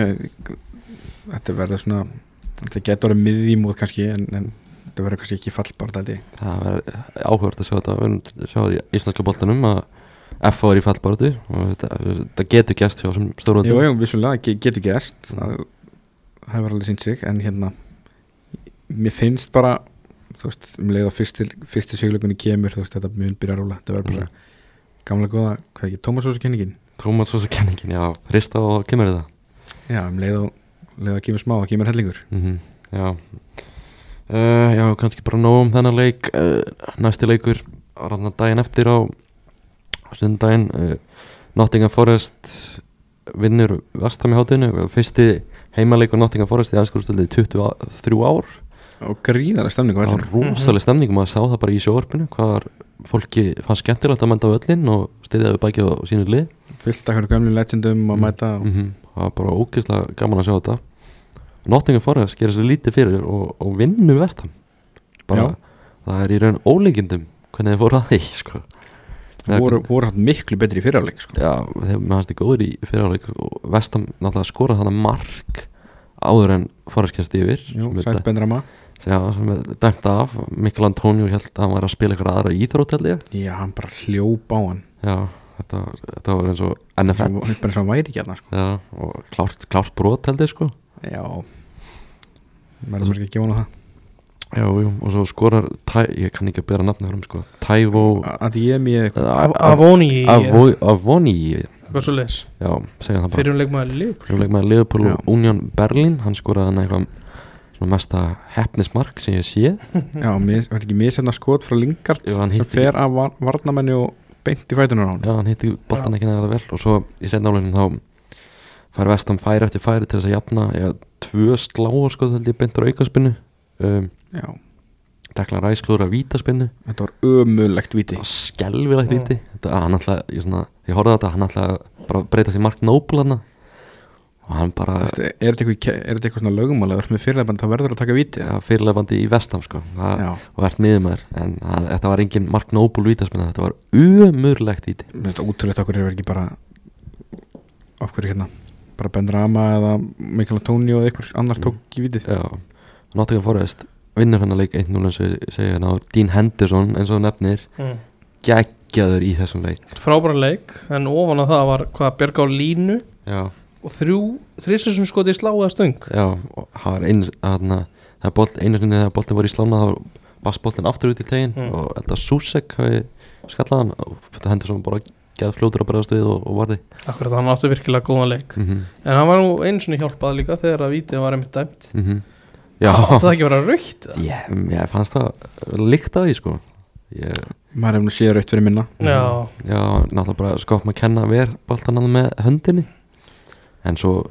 [SPEAKER 3] Þetta verður svona Þetta getur orðið miðjumóð kannski en, en þetta verður kannski ekki fallbaratu held ég
[SPEAKER 1] Það verður áhverð að sjá þetta við erum sjá því í íslenska boltanum að FH er í fallbaratu og þetta, þetta getur gæst hjá sem stóru
[SPEAKER 3] Jú, jú, vissulega, ge- getur gerst Það það hefur alveg sínt sig en hérna Mér finnst bara þú veist, um leið á fyrsti, fyrsti siglugunni kemur þú veist, þetta mun byrja að rúla þetta verður bara gamla góða, hvað er ekki, Tómas Ósa kenningin
[SPEAKER 1] Tómas Sosa kenningin, já, hrista og kemur þetta
[SPEAKER 3] Já, um leið á leið að kemur smá, það kemur hellingur
[SPEAKER 1] mm Já uh, Já, kannski bara nóg um þennan leik uh, Næsti leikur var hann daginn eftir á sundaginn uh, Nottingham Forest vinnur vestam í hátinu Fyrsti heimaleikur Nottingham Forest í aðskurstöldi 23 ár
[SPEAKER 3] og gríðarlega stemning á
[SPEAKER 1] Það var
[SPEAKER 3] vellinum.
[SPEAKER 1] rosaleg stemning, maður sá það bara í sjóorpinu hvað var, fólki fann skemmtilegt að mænda völlin og stiðjaði bækið á sínu lið
[SPEAKER 3] Mm.
[SPEAKER 1] Mhm.
[SPEAKER 3] fullt af hverju gamlu legendum að mæta og
[SPEAKER 1] -hmm. það var bara ógeðslega gaman að sjá þetta Nottingham Forest gerir svo lítið fyrir og, og vinnum vestam bara,
[SPEAKER 3] Já.
[SPEAKER 1] það er í raun ólíkindum hvernig þeir fóru að því sko.
[SPEAKER 3] Þeir voru, voru hann miklu betri í fyrirleik sko.
[SPEAKER 1] Já, þegar maður hans er góður í fyriráleik og vestam náttúrulega skorað þannig mark áður en Forest kemst yfir
[SPEAKER 3] Jú,
[SPEAKER 1] sem er
[SPEAKER 3] Sætt
[SPEAKER 1] dæ-
[SPEAKER 3] Benrama
[SPEAKER 1] já, sem er dæmt af Mikkel Antonio held að hann var að spila eitthvað aðra íþrótt held ég
[SPEAKER 3] Já, hann bara hljóp á hann
[SPEAKER 1] Já, þetta, var- þetta var eins og NFL
[SPEAKER 3] Svo- bara eins og hann væri ekki hann sko.
[SPEAKER 1] Já, og klárt, klárt brot held ég sko
[SPEAKER 3] Já Verður mér ekki að vona það
[SPEAKER 1] Já, jú, og svo skorar Ty, ég kann ekki að bera nafni fram sko Taivo
[SPEAKER 3] Að ég mér
[SPEAKER 2] Avoni eh, Eitthvað
[SPEAKER 1] Avo- Avoni
[SPEAKER 2] svo leis
[SPEAKER 1] Já, segja það bara
[SPEAKER 2] Fyrir um leikmaður líf
[SPEAKER 1] Leikmaður Liverpool og
[SPEAKER 3] Já.
[SPEAKER 1] Union Berlin hann skoraði hann eitthvað svona mesta hefnismark sem ég sé
[SPEAKER 3] Já, mis- var þetta ekki misefna skot frá Lingard
[SPEAKER 1] Jú, hann
[SPEAKER 3] sem
[SPEAKER 1] hitti-
[SPEAKER 3] fer af var, varnamenni og beint í fætunar á hann
[SPEAKER 1] Já, hann hitti boltan ekki nægilega vel og svo í setna álegin þá fær vestam færi eftir færi til þess að jafna eða tvö sláar sko held ég beintur aukaspinnu um,
[SPEAKER 3] Já,
[SPEAKER 1] Dekla Ræsklúra vítaspinnu
[SPEAKER 3] þetta var ömulegt viti
[SPEAKER 1] skelvilegt
[SPEAKER 2] Já.
[SPEAKER 1] víti þetta, að hann alltaf, ég, svona, ég horfði á þetta hann alltaf bara breytast í Mark Noble hann og hann bara
[SPEAKER 3] Veistu, Er þetta eitthvað, í ke- er þetta eitthvað svona lögumál eða þú ert með fyrirleifan þá verður að taka viti
[SPEAKER 1] ja, fyrirlefandi í vestam sko það,
[SPEAKER 3] Já,
[SPEAKER 1] og ert miðumæður en að, þetta var engin Mark Noble vítaspinna þetta var umurlegt víti
[SPEAKER 3] Mér finnst það útrúlegt okkur er ekki bara okkur hérna bara Ben Rama eða Michael Antonio eða einhver annar
[SPEAKER 1] Mm.
[SPEAKER 3] tók ekki vitið
[SPEAKER 1] Já, Nottingham Forest vinnur hennar leik 1-0 eins og ég segi hérna og Dean Henderson eins og þú nefnir
[SPEAKER 2] mm.
[SPEAKER 1] geggjaður í þessum leik
[SPEAKER 2] Frábæra leik En ofan á það var hvað Björg á línu
[SPEAKER 1] Já,
[SPEAKER 2] Og þrjú Þrísir sem skoti í slá eða stöng
[SPEAKER 1] já og það var einu þarna, það er bolt, einu sinni þegar boltin var í slána þá bass boltin aftur út í tegin
[SPEAKER 2] Mm.
[SPEAKER 1] og held að Susek hafi skallað hann og þetta Henderson bara geð fljótur að bregðast við og, og varði
[SPEAKER 2] Akkurat hann átti virkilega góðan leik
[SPEAKER 1] mm -hmm.
[SPEAKER 2] En hann var nú einu sinni hjálpað líka Þegar að vítið var einmitt dæmt
[SPEAKER 1] Mm -hmm. Já,
[SPEAKER 2] Átti það ekki að vera raukt eða?
[SPEAKER 1] ég, ég fannst það líkt að því sko ég,
[SPEAKER 3] maður hefur nú séð raut fyrir minna
[SPEAKER 1] Mhm.
[SPEAKER 2] Já
[SPEAKER 1] Já, náttúrulega bara skopp maður kenna ver boltan hann með höndinni en svo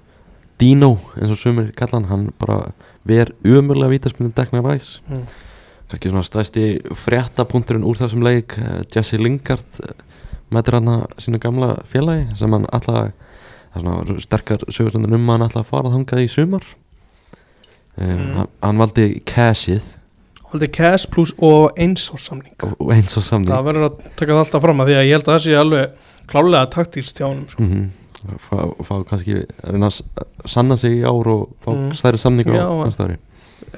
[SPEAKER 1] Dino eins og sumir kalla hann, hann bara ver umurlega vítaspinnu Dagnar Ræs
[SPEAKER 2] Mm.
[SPEAKER 1] kannski svona stæsti fréttapunkturinn úr þessum leik eh, Jesse Lingard eh, mætir hann að sínu gamla félagi sem hann alltaf það er svona sterkar sögursöndur um að hann alltaf að fara þangað í sumar um,
[SPEAKER 2] Mm.
[SPEAKER 1] hann, hann valdi cashið
[SPEAKER 2] Haldi cash plus og einsórsamning
[SPEAKER 1] og, og eins og samning
[SPEAKER 2] Það verður að taka það alltaf fram að því að ég held að það sé alveg klálega taktílst hjá honum sko.
[SPEAKER 1] mm fá, fá kannski reyna að s- sanna sig í ár og fá
[SPEAKER 2] Mhm.
[SPEAKER 1] stærri samningur
[SPEAKER 2] Já,
[SPEAKER 1] á
[SPEAKER 2] en-
[SPEAKER 1] næsta ári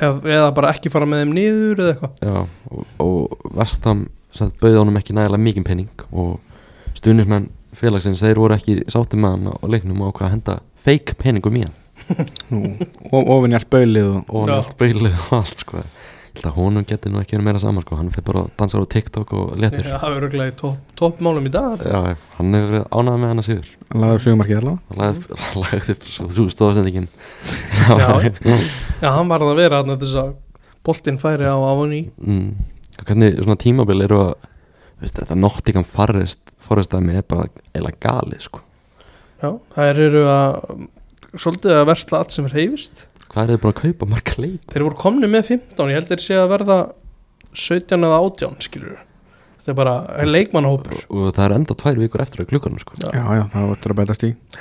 [SPEAKER 2] eða, eða bara ekki fara með þeim niður eða eitthvað
[SPEAKER 1] Já, og, og Vestam sagt, bauði honum ekki nægilega mikið penning og stuðnismenn félagsins þeir voru ekki sátti með hann á leiknum og hvað henda fake penningum í hann
[SPEAKER 3] Nú, og ofin hjálp baulið og
[SPEAKER 1] og
[SPEAKER 2] Já.
[SPEAKER 1] hann allt beilið og allt sko Ég held að honum geti nú ekki verið meira saman sko hann fyrir bara að dansa á TikTok og letur
[SPEAKER 2] Já, það verður glæði topp top málum í dag
[SPEAKER 1] Já, hann hefur verið ánægð með hann að síður
[SPEAKER 3] hann laði upp sögumarkið allavega
[SPEAKER 1] hann lagði upp- lagði upp svo- svo stóðsendingin
[SPEAKER 2] Já. Já, hann varð að vera þarna til þess að boltinn færi á Avoni
[SPEAKER 1] mm. hvernig svona tímabil eru að veist, þetta Nottingham Forest Forest dæmi er bara eila gali sko.
[SPEAKER 2] Já, þær eru að svolítið að versla allt sem reyfist
[SPEAKER 1] hvað er þið búin að kaupa marga leik
[SPEAKER 2] Þeir voru komni með 15, ég held þeir sé að verða 17 eða 18 skilur Þetta er bara leikmannhópur
[SPEAKER 1] og það er enda tvær vikur eftir að glukkanum sko.
[SPEAKER 2] Já.
[SPEAKER 3] já, já, það var þetta að bætast í
[SPEAKER 1] og,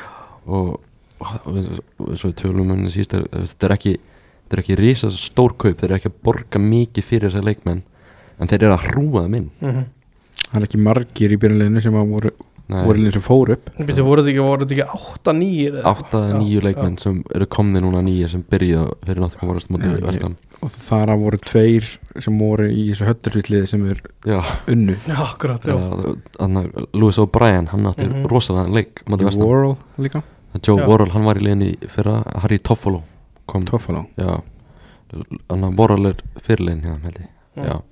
[SPEAKER 1] og, og, og svo í tölum um síst, er, þetta er ekki þetta er ekki risa stór kaup þeir eru ekki að borga mikið fyrir þessa leikmenn en þeir eru að hrúa þeim inn
[SPEAKER 2] mm -hmm.
[SPEAKER 3] það er ekki margir í byrjunleginu sem að voru,
[SPEAKER 1] Nei,
[SPEAKER 3] voru liðin sem fór upp
[SPEAKER 2] Voru þetta ekki, voru þetta ekki 8, 9
[SPEAKER 1] átta eða nýju leikmenn sem eru komni núna nýju sem byrjuðu fyrir Nottingham Forest
[SPEAKER 3] Já,
[SPEAKER 1] mótið
[SPEAKER 3] ég-
[SPEAKER 1] vestam
[SPEAKER 3] og þar að voru tveir sem voru í þessu höttursvillið sem er
[SPEAKER 1] já,
[SPEAKER 3] unnu
[SPEAKER 2] Já, akkurat, já,
[SPEAKER 1] þannig að Lewis O'Brien hann átti
[SPEAKER 2] Mhm.
[SPEAKER 1] rosalega leik mótið vestam
[SPEAKER 3] Worrell líka,
[SPEAKER 1] Joe
[SPEAKER 2] Já.
[SPEAKER 1] Worrell, hann var í liðinni fyrra Harry Toffolo kom
[SPEAKER 3] Toffalo
[SPEAKER 1] Já, hann að Worrell er fyrirliðin hérna, held ég
[SPEAKER 2] Mm.
[SPEAKER 1] Já,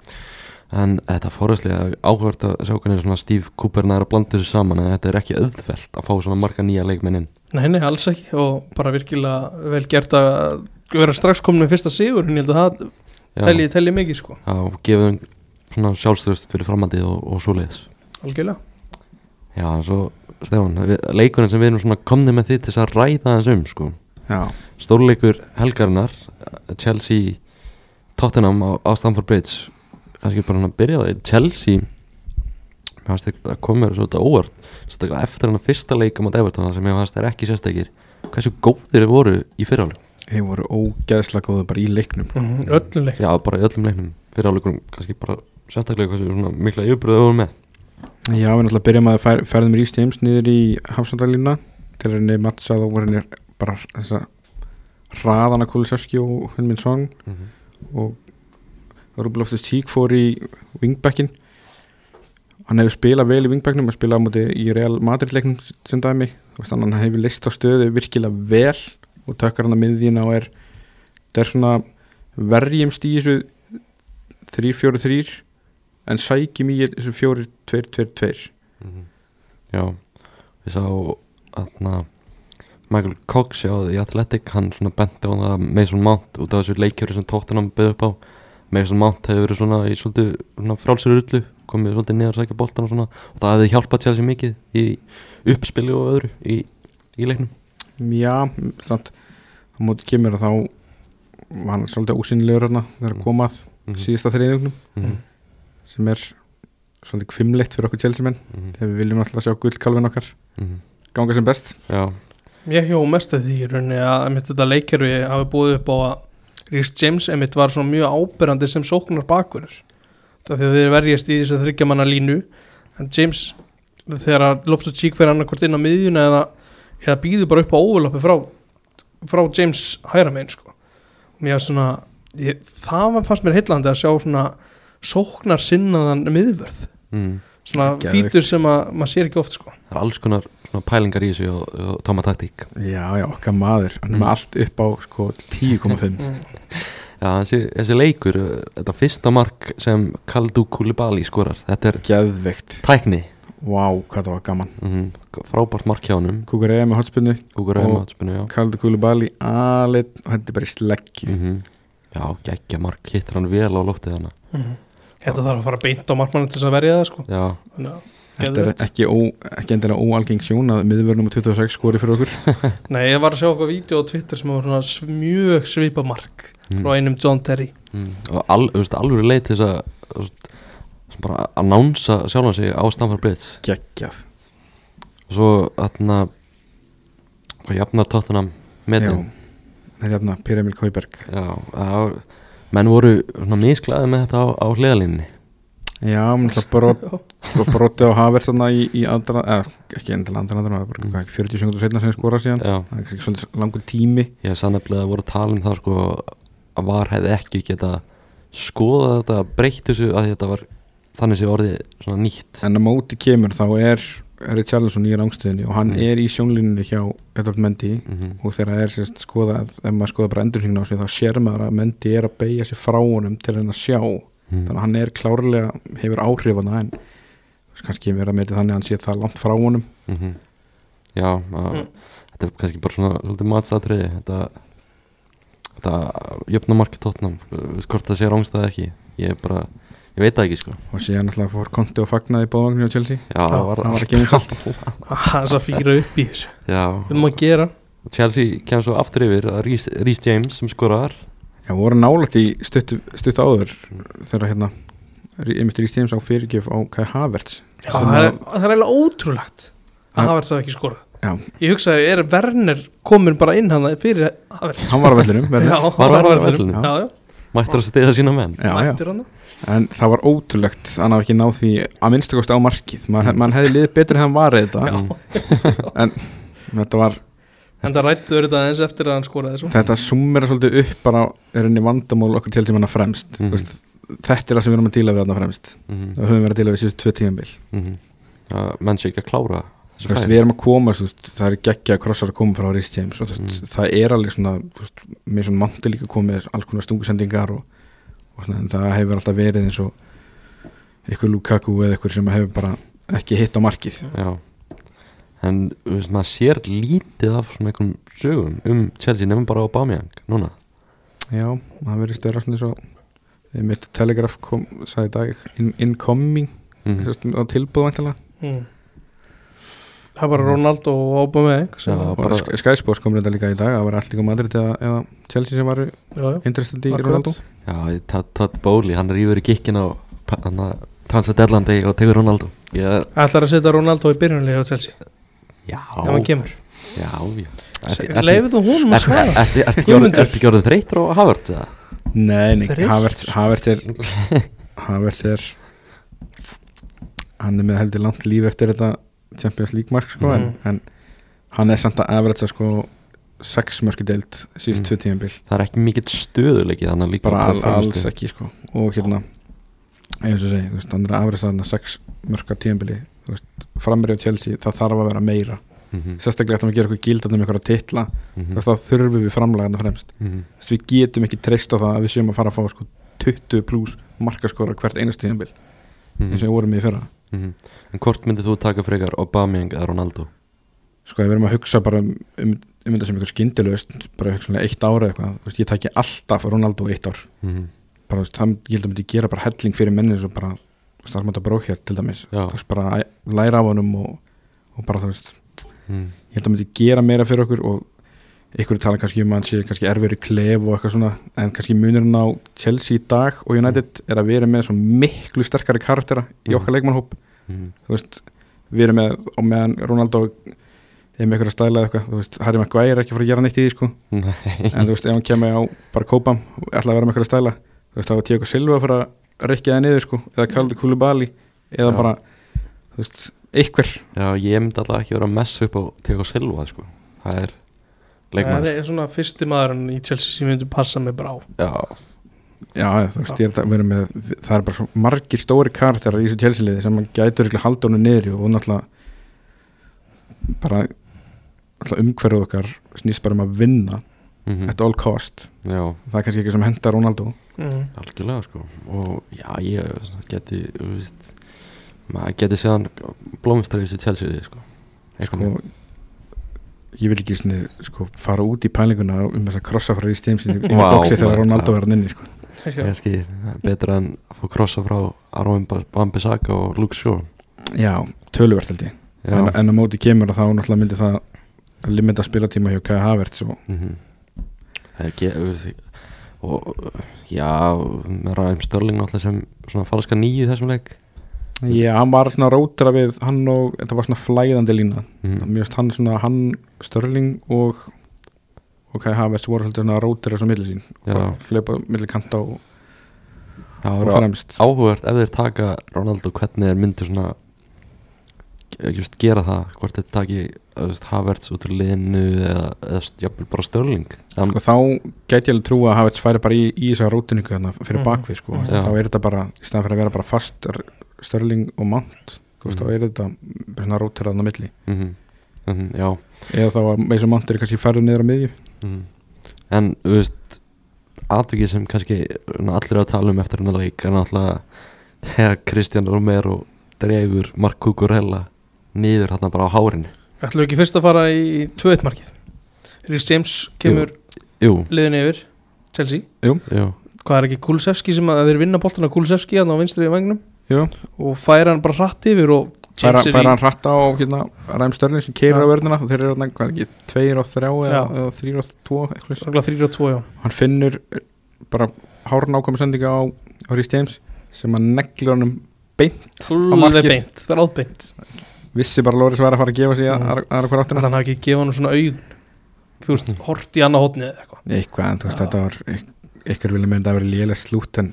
[SPEAKER 1] en þetta fórhastlega áhvert að sjá hvernig svona Steve Cooper nær að blanda þessu saman en þetta er ekki auðvelt að fá svona marga nýja leikmenn inn
[SPEAKER 2] Nei, nei, alls ekki og bara virkilega vel gert að vera strax komin með fyrsta sigur en ég held að það telji,
[SPEAKER 1] Já,
[SPEAKER 2] telji mikið sko,
[SPEAKER 1] já og gefið um svona sjálfstöðust fyrir framaldið og, og svoleiðis
[SPEAKER 2] algjörlega
[SPEAKER 1] Já, en svo Stefán, við- leikurinn sem við erum svona komni með því til þess að ræða þess um sko
[SPEAKER 3] já,
[SPEAKER 1] stórleikur helgarinnar Chelsea Tottenham á, á Stamford Bridge kannski bara hann að byrja það Chelsea mér fannst þeir- það komur svo þetta óvart sérstaklega eftir hann að fyrsta leika mot Everton þar sem ég fannst þeir ekki sérstakir hversu góðir þeir voru í fyrrálu
[SPEAKER 3] já, þeir voru ógeðslega góða bara í leiknum
[SPEAKER 1] Mhm.
[SPEAKER 2] öllum leik
[SPEAKER 1] Já, bara í öllum leiknum Fyrir áleikunum, kannski bara sérstaklega hversu svona mikla yfirbröðu við vorum með
[SPEAKER 3] Já, við náttúrulega byrjum að fær, færðum Rís James niður í hafsandalína til henni mattsa þá voru henni bara þessa hraðana Kulisevski og Hunmin Song
[SPEAKER 1] mm -hmm.
[SPEAKER 3] og Rúblóftus Tík fór í vingbekkin hann hefur spilað vel í vingbekkinum hann spilaði á móti í Real Madrid leiknum sem dæmi Þú veist, hann hann hefur leist á stöðu virkilega vel og tökkar hann að miðjina og er það er svona verjumst í þessu 3-4-3 en sækjum í þessu 4-2-2-2
[SPEAKER 1] Já, ég sá aðna Michael Cox á The Athletic hann svona benti á það að Mason Mount út af þessu leikjöru sem tóttunum byggði upp á Mason Mount hefur verið svona í svolítið svona frálsir rullu, komið svolítið niður að sækja boltan og svona og það hefði hjálpað sér sér mikið í uppspili og öðru í, í leiknum
[SPEAKER 3] Já, samt á móti kemur að þá var hann svolítið ósynlegur þarna þegar
[SPEAKER 1] Mm.
[SPEAKER 3] komað
[SPEAKER 1] Mhm.
[SPEAKER 3] síðasta þriðjungnum
[SPEAKER 1] Mhm,
[SPEAKER 3] sem er svolítið kvimleitt fyrir okkur tjelsimenn
[SPEAKER 1] mhm,
[SPEAKER 3] þegar við viljum alltaf sjá gullkalvin okkar
[SPEAKER 1] mhm.
[SPEAKER 3] ganga sem best
[SPEAKER 1] Já,
[SPEAKER 2] Ég hjó mest að því í rauninni að einmitt þetta leikkerfi hafi búið upp á að Rhys James einmitt var svona mjög ábyrrandi sem sóknar bakverður það þegar þeir verjast í þess að þryggja manna línu en James þegar að loftu tík fyrir annarkvort inn á miðjuna eða, eða býður bara upp á overlappi frá, frá James hæra megin sko. og mér svona ég, það var fannst mér heillandi að sjá svona sóknar sinnaðan miðvörð
[SPEAKER 1] mhm
[SPEAKER 2] svona
[SPEAKER 3] Geðveikt.
[SPEAKER 2] fítur sem að, maður sér ekki oft sko.
[SPEAKER 1] það er alls konar svona pælingar í þessu og, og tóma taktík
[SPEAKER 3] Já, já, okkar maður, hann er með
[SPEAKER 1] Mm.
[SPEAKER 3] allt upp á sko 10,5
[SPEAKER 1] Já, þessi, þessi leikur, uh, þetta fyrsta mark sem Kaldu Kulibali skorar þetta er
[SPEAKER 3] Geðveikt,
[SPEAKER 1] tækni
[SPEAKER 3] vá, hvað það var gaman
[SPEAKER 1] mm frábært mark hjá hannum
[SPEAKER 3] Kukur eða með hotspinnu,
[SPEAKER 1] Gugur
[SPEAKER 3] Og-
[SPEAKER 1] Raumatspinu, já
[SPEAKER 3] Kaldu Kulubali alit og þetta er bara í sleggi
[SPEAKER 1] mm Já, geggja mark, hittir hann vel á lóttið hana
[SPEAKER 2] Þetta þarf að fara beint á markmann til þess að verja það sko
[SPEAKER 1] Já,
[SPEAKER 2] Þannig að-
[SPEAKER 3] Þetta er
[SPEAKER 2] Geðveikt.
[SPEAKER 3] ekki, ó, ekki endilega óalgeng sjón að miðvörnum 26 skori fyrir okkur
[SPEAKER 2] Nei, ég var að sjá okkur vídeo á Twitter sem var svona sv- mjög svipa mark
[SPEAKER 1] mm,
[SPEAKER 2] frá einum John Terry
[SPEAKER 1] mm. og al, þú veist, alveg leið til þess að þú veist, sem bara annánsa sjálfan sig á Stamford Bridge
[SPEAKER 3] Geggjað
[SPEAKER 1] og svo þarna hvað jafnar tóttina metin
[SPEAKER 3] Já, það er hérna Pyramil Kauberg
[SPEAKER 1] Já, það var, menn voru svona nýsklaði með þetta á, á hliðalínni
[SPEAKER 3] Já, mér ætla brot, sko, broti á Havert þarna í, í andra, eða ekki endilega andra andra, það er bara hvað, 40 sekundur setna sem ég skora síðan,
[SPEAKER 1] Já,
[SPEAKER 3] það er kannski svolítið langur tími
[SPEAKER 1] ég sann nefnilega að voru að tala um það sko að var hefði ekki geta skoða þetta, breytt þessu að þetta var þannig sé orðið svona nýtt
[SPEAKER 3] en að móti kemur þá er Richarlison í rangstöðinni og hann
[SPEAKER 1] Mm.
[SPEAKER 3] er í sjónlínunni hjá Edvard Mendy
[SPEAKER 1] Mhm,
[SPEAKER 3] og þegar það er sérst skoða ef maður skoða bara endurhingna á sig þá sér maður að Mendy er að beigja sér frá honum til henn að sjá þannig
[SPEAKER 1] mhm,
[SPEAKER 3] að hann er klárlega, hefur áhrifana en þú veist, kannski verið að meti þannig að hann sé það langt frá honum
[SPEAKER 1] mhm. Já, að,
[SPEAKER 2] Mm.
[SPEAKER 1] þetta er kannski bara svona svolítið matsatriði þetta, þetta jöfna markið tóttnum hvort það sé rángstæði ekki ég er bara, ég veit það ekki sko
[SPEAKER 3] og síðan alltaf fór konti og fagnaði bóðvagnir á Chelsea
[SPEAKER 1] Já, það var,
[SPEAKER 3] það var ekki eins allt
[SPEAKER 2] þess að fýra upp í þessu
[SPEAKER 1] Já,
[SPEAKER 2] um að gera
[SPEAKER 1] Chelsea kemur svo aftur yfir að Rhys Rhys James sem skorar
[SPEAKER 3] Já, voru nálægt í stutt, stutt áður þegar hérna Rí- einmitt Rís James á fyrirgjöf á Kai Havertz
[SPEAKER 2] Já,
[SPEAKER 3] Sem
[SPEAKER 2] það, er,
[SPEAKER 3] að-
[SPEAKER 2] það er eiginlega ótrúlegt að
[SPEAKER 3] Að-
[SPEAKER 2] Havertz hafi ekki skorað
[SPEAKER 3] Já.
[SPEAKER 2] Ég hugsaði, er Werner komin bara inn hann fyrir Havertz
[SPEAKER 3] hann var að vellinum
[SPEAKER 2] Já,
[SPEAKER 3] verður.
[SPEAKER 1] Var hann á
[SPEAKER 2] hann á vellinum.
[SPEAKER 1] vellinum?
[SPEAKER 2] Já, já,
[SPEAKER 1] mættur að stiða sína menn
[SPEAKER 3] já, já.
[SPEAKER 2] mættur hann
[SPEAKER 3] en það var ótrúlegt að hann hafi ekki náð því að minnstakost á markið Man, mann hefði liðið betur en hann var þetta
[SPEAKER 1] Já.
[SPEAKER 3] þetta, var,
[SPEAKER 2] En það rættu verið það eins eftir að hann skoraði þessu
[SPEAKER 3] þetta summera svolítið upp bara er henni vandamál okkur til sem hann fremst
[SPEAKER 1] Mhm.
[SPEAKER 3] mm veist, þetta er það sem við erum að díla við hann fremst
[SPEAKER 1] Mhm.
[SPEAKER 3] það höfum við verið að díla við síðust tvö tíðanbíl
[SPEAKER 1] Mhm. Það menn sé ekki að klára þessi
[SPEAKER 3] Þú veist,
[SPEAKER 1] færi.
[SPEAKER 3] við erum að koma, þú veist, það er geggja að krossar að koma frá Rhys James og þú veist,
[SPEAKER 1] Mm.
[SPEAKER 3] það er alveg svona, þú veist, með svona manti líka komið alls konar stungusendingar og, og svona, en það hefur alltaf verið eins og ykkur Lukaku eða ykkur sem hefur bara ekki hitt á markið
[SPEAKER 1] Já. en þú veist, maður sér lítið af svona einhverjum sögum um Chelsea nefnum bara á Bamiang núna
[SPEAKER 3] Já, það verið stöðra svona eins og þegar mitt telegraf kom, sagði í dag in, incoming,
[SPEAKER 1] mm.
[SPEAKER 3] þú veist, á tilbúð vantilega,
[SPEAKER 2] Mm. Það er bara Ronaldo og Aubameyang sem-
[SPEAKER 1] Já,
[SPEAKER 2] Já,
[SPEAKER 1] Það bara-
[SPEAKER 3] og Sk- Sky Sports kom reynda líka í dag, það var allt líka Madrid eða, eða Chelsea sem var
[SPEAKER 2] já,
[SPEAKER 3] interested í
[SPEAKER 2] Akkurat.
[SPEAKER 3] Ronaldo
[SPEAKER 1] já, Todd- Todd Bowley, hann rýfur í gikkin á pa- hann að Transa Delandi og tegur Ronaldo ég,
[SPEAKER 2] Ætlar að setja Ronaldo í byrjunlega á Chelsea
[SPEAKER 1] já,
[SPEAKER 2] ef hann kemur
[SPEAKER 1] Já, já Ertu- ertu-
[SPEAKER 2] Leifir þú honum að
[SPEAKER 1] ertu-
[SPEAKER 2] svara
[SPEAKER 1] ertu- Ertu ekki orðin-
[SPEAKER 2] Guðmundur.
[SPEAKER 1] ertu ekki orðið þreytur á Havert eða?
[SPEAKER 3] Nei, nei,
[SPEAKER 2] Þreytt.
[SPEAKER 3] Havert Havert er Havert er hann er með heldur langt líf eftir þetta Champions League mark sko,
[SPEAKER 2] Mhm.
[SPEAKER 3] en, en hann er samt að average sko sex mörki deild síðust
[SPEAKER 1] Mhm.
[SPEAKER 3] tvö tímabil
[SPEAKER 1] Það er ekki mikill stöðuleiki þannig að líka
[SPEAKER 3] Mm. bara
[SPEAKER 1] á
[SPEAKER 3] al, alls
[SPEAKER 1] frammistöðu.
[SPEAKER 3] ekki sko og hérna eins og segi, þú veist, hann er að average þarna sex mörka tímabili þú veist, framri á Chelsea, það þarf að vera meira
[SPEAKER 1] Mhm,
[SPEAKER 3] sérstaklega eftir að gera eitthvað gildan um einhverja titla mm.
[SPEAKER 1] mhm,
[SPEAKER 3] þá þurfum við framlega þarna fremst
[SPEAKER 1] mhm.
[SPEAKER 3] Þú veist, við getum ekki treyst á það að við séum að fara að fá sko 20 pluss markaskora hvert einast tíðanbíl
[SPEAKER 1] Mhm,
[SPEAKER 3] eins og við vorum í fyrra
[SPEAKER 1] mhm. En hvort myndið þú taka frekar Aubameyang eða Ronaldo?
[SPEAKER 3] sko ef við erum að hugsa bara um, um, um þetta sem ykkur skyndilegust bara hugsanlega eitt ár eða eitthvað Þú veist, ég taki alltaf Ronaldo eitt ár
[SPEAKER 1] Mhm,
[SPEAKER 3] bara þú veist, það ég held að myndi gera bara helling fyrir menni eins og bara þú veist, Armanda Brókjær til dæmis
[SPEAKER 1] Já.
[SPEAKER 3] Þú veist, bara að læra af honum og, og bara þú veist
[SPEAKER 1] mhm,
[SPEAKER 3] ég held að myndi gera meira fyrir okkur og ykkur tala kannski um að hann sé kannski erfiður í klef og eitthvað svona, en kannski munurinn á Chelsea í dag og United er að vera með svo miklu sterkari karaktera í okkar leikmannhóp,
[SPEAKER 1] mhm.
[SPEAKER 3] þú veist við erum með, og meðan Ronaldo er með ykkur að stæla eða eitthvað, þú veist Harry Maguire er ekki að fara að gera neitt í því sko
[SPEAKER 1] Nei.
[SPEAKER 3] en þú veist, ef hann kemur á bara kópam og ætla að vera með ykkur að stæla, þú veist, þá er Tiago Silva að fara að rekja það niður sko, eða Kaldi Kulubali eða
[SPEAKER 1] Já.
[SPEAKER 3] bara, þú veist, einhver
[SPEAKER 1] Já, ég myndi alltaf ekki vera að messa upp á Tego Silva, sko Það er
[SPEAKER 2] Það
[SPEAKER 1] leikmann
[SPEAKER 2] er svona fyrsti maðurinn í Chelsea sem myndi passa mig brá
[SPEAKER 1] Já,
[SPEAKER 3] Já, þú veist, ég er að vera með það er bara svo margir stóri karakterar í þessu tjelsiliði sem mann gætur ekki halda honum niður í og náttúrulega bara náttúrulega umhverfið okkar snýst bara um að vinna
[SPEAKER 1] mhm,
[SPEAKER 3] at all cost,
[SPEAKER 1] já
[SPEAKER 3] það er kannski ekki sem henda Ronaldo
[SPEAKER 2] mm.
[SPEAKER 1] Algjörlega sko og já ég svona, geti þú veist, maður geti séðan blómistrið þessu tjálsýði sko.
[SPEAKER 3] sko, ég vil ekki sinni, sko, fara út í pælinguna um þess að krossa frá í stímsinni í
[SPEAKER 1] Vá,
[SPEAKER 3] boxi þegar
[SPEAKER 1] maður,
[SPEAKER 3] Ronaldo
[SPEAKER 1] það-
[SPEAKER 3] verður inni sko.
[SPEAKER 2] Ekki,
[SPEAKER 1] kannski betra en að fá krossa frá Aron Bambisaka og Luke Shaw
[SPEAKER 3] Já, töluvert held ég
[SPEAKER 1] já,
[SPEAKER 3] en, en á móti kemur að þá náttúrulega myndi það limita spilatíma hjá Kai Havertz og
[SPEAKER 1] mhm. Það er ge- þú veist, og já með ræðum Störling náttúrulega sem svona falska nýju í þessum leik
[SPEAKER 3] Já, hann var svona rótara við hann og þetta var svona flæðandi lína
[SPEAKER 1] mhm.
[SPEAKER 3] Mér finnst hann svona, hann Störling og og Kai Havertz voru svolítið svona rótara svo millir sín
[SPEAKER 1] já,
[SPEAKER 3] Fleipa millir kanta og,
[SPEAKER 1] það
[SPEAKER 3] og
[SPEAKER 1] voru
[SPEAKER 3] fremst
[SPEAKER 1] áhugavert ef þeir taka Ronaldo hvernig þeir myndu svona eh, just gera það hvort þeir taki þú veist, Havertz út úr liðinu eða, eða jafnvel bara Störling
[SPEAKER 3] Sko þá gæti ég alveg trú að Havertz færi bara í, í þessa rótuningu þarna fyrir
[SPEAKER 1] Mm.
[SPEAKER 2] Mhm.
[SPEAKER 3] bakvið sko
[SPEAKER 2] Mhm.
[SPEAKER 3] Þá er þetta bara, í staðan fyrir að vera bara fast er Störling og Mount Þú veist,
[SPEAKER 1] Mhm.
[SPEAKER 3] þá er þetta svona rótara þarna á milli
[SPEAKER 1] mm já
[SPEAKER 3] Eða þá að með þessum Mount er kannski færður niður á miðju
[SPEAKER 1] mm en þú veist atvikið sem kannski svona, allir eru að tala um eftir hennar leik er náttúrulega þegar Kristján Romero dregur Mark Kukurella niður hann bara á hárinu
[SPEAKER 2] Ætlum við ekki fyrst að fara í 2-1 markið Rhys James kemur
[SPEAKER 1] jú,
[SPEAKER 2] liðin yfir Chelsea
[SPEAKER 1] jú,
[SPEAKER 2] Hvað er ekki Kulusevski sem að þeir vinna boltana Kulusevski hann á vinstri í vagnum
[SPEAKER 3] Jú.
[SPEAKER 2] og færa hann bara hratt yfir og
[SPEAKER 3] færa,
[SPEAKER 2] James
[SPEAKER 3] færa
[SPEAKER 2] er í
[SPEAKER 3] hann hratt á hérna, Ræm Störling sem keirir
[SPEAKER 2] Já.
[SPEAKER 3] á verðina og þeir eru hérna, hvað er ekki, tveir og þrjá eða,
[SPEAKER 2] Já.
[SPEAKER 3] eða þrýr og tvo eitthvað svo.
[SPEAKER 2] Sangla 3-2 já
[SPEAKER 3] hann finnur eh, bara hárn ákvæmi sendinga á, á Rhys James sem að neglir honum beint
[SPEAKER 2] Alveg
[SPEAKER 3] markið.
[SPEAKER 2] beint, það er albeint
[SPEAKER 3] vissi bara Lóris var að fara að gefa
[SPEAKER 2] Mm.
[SPEAKER 3] sig mm. aðra að hvora
[SPEAKER 2] Þannig að
[SPEAKER 3] áttina
[SPEAKER 2] hann hafi ekki gefið hann svona augun Þú veist, hort í annað hotnið eða eitthvað
[SPEAKER 3] eitthvað, en þú veist
[SPEAKER 2] Já.
[SPEAKER 3] þetta var yk- ykkur vilja mynda að vera lélega slútt en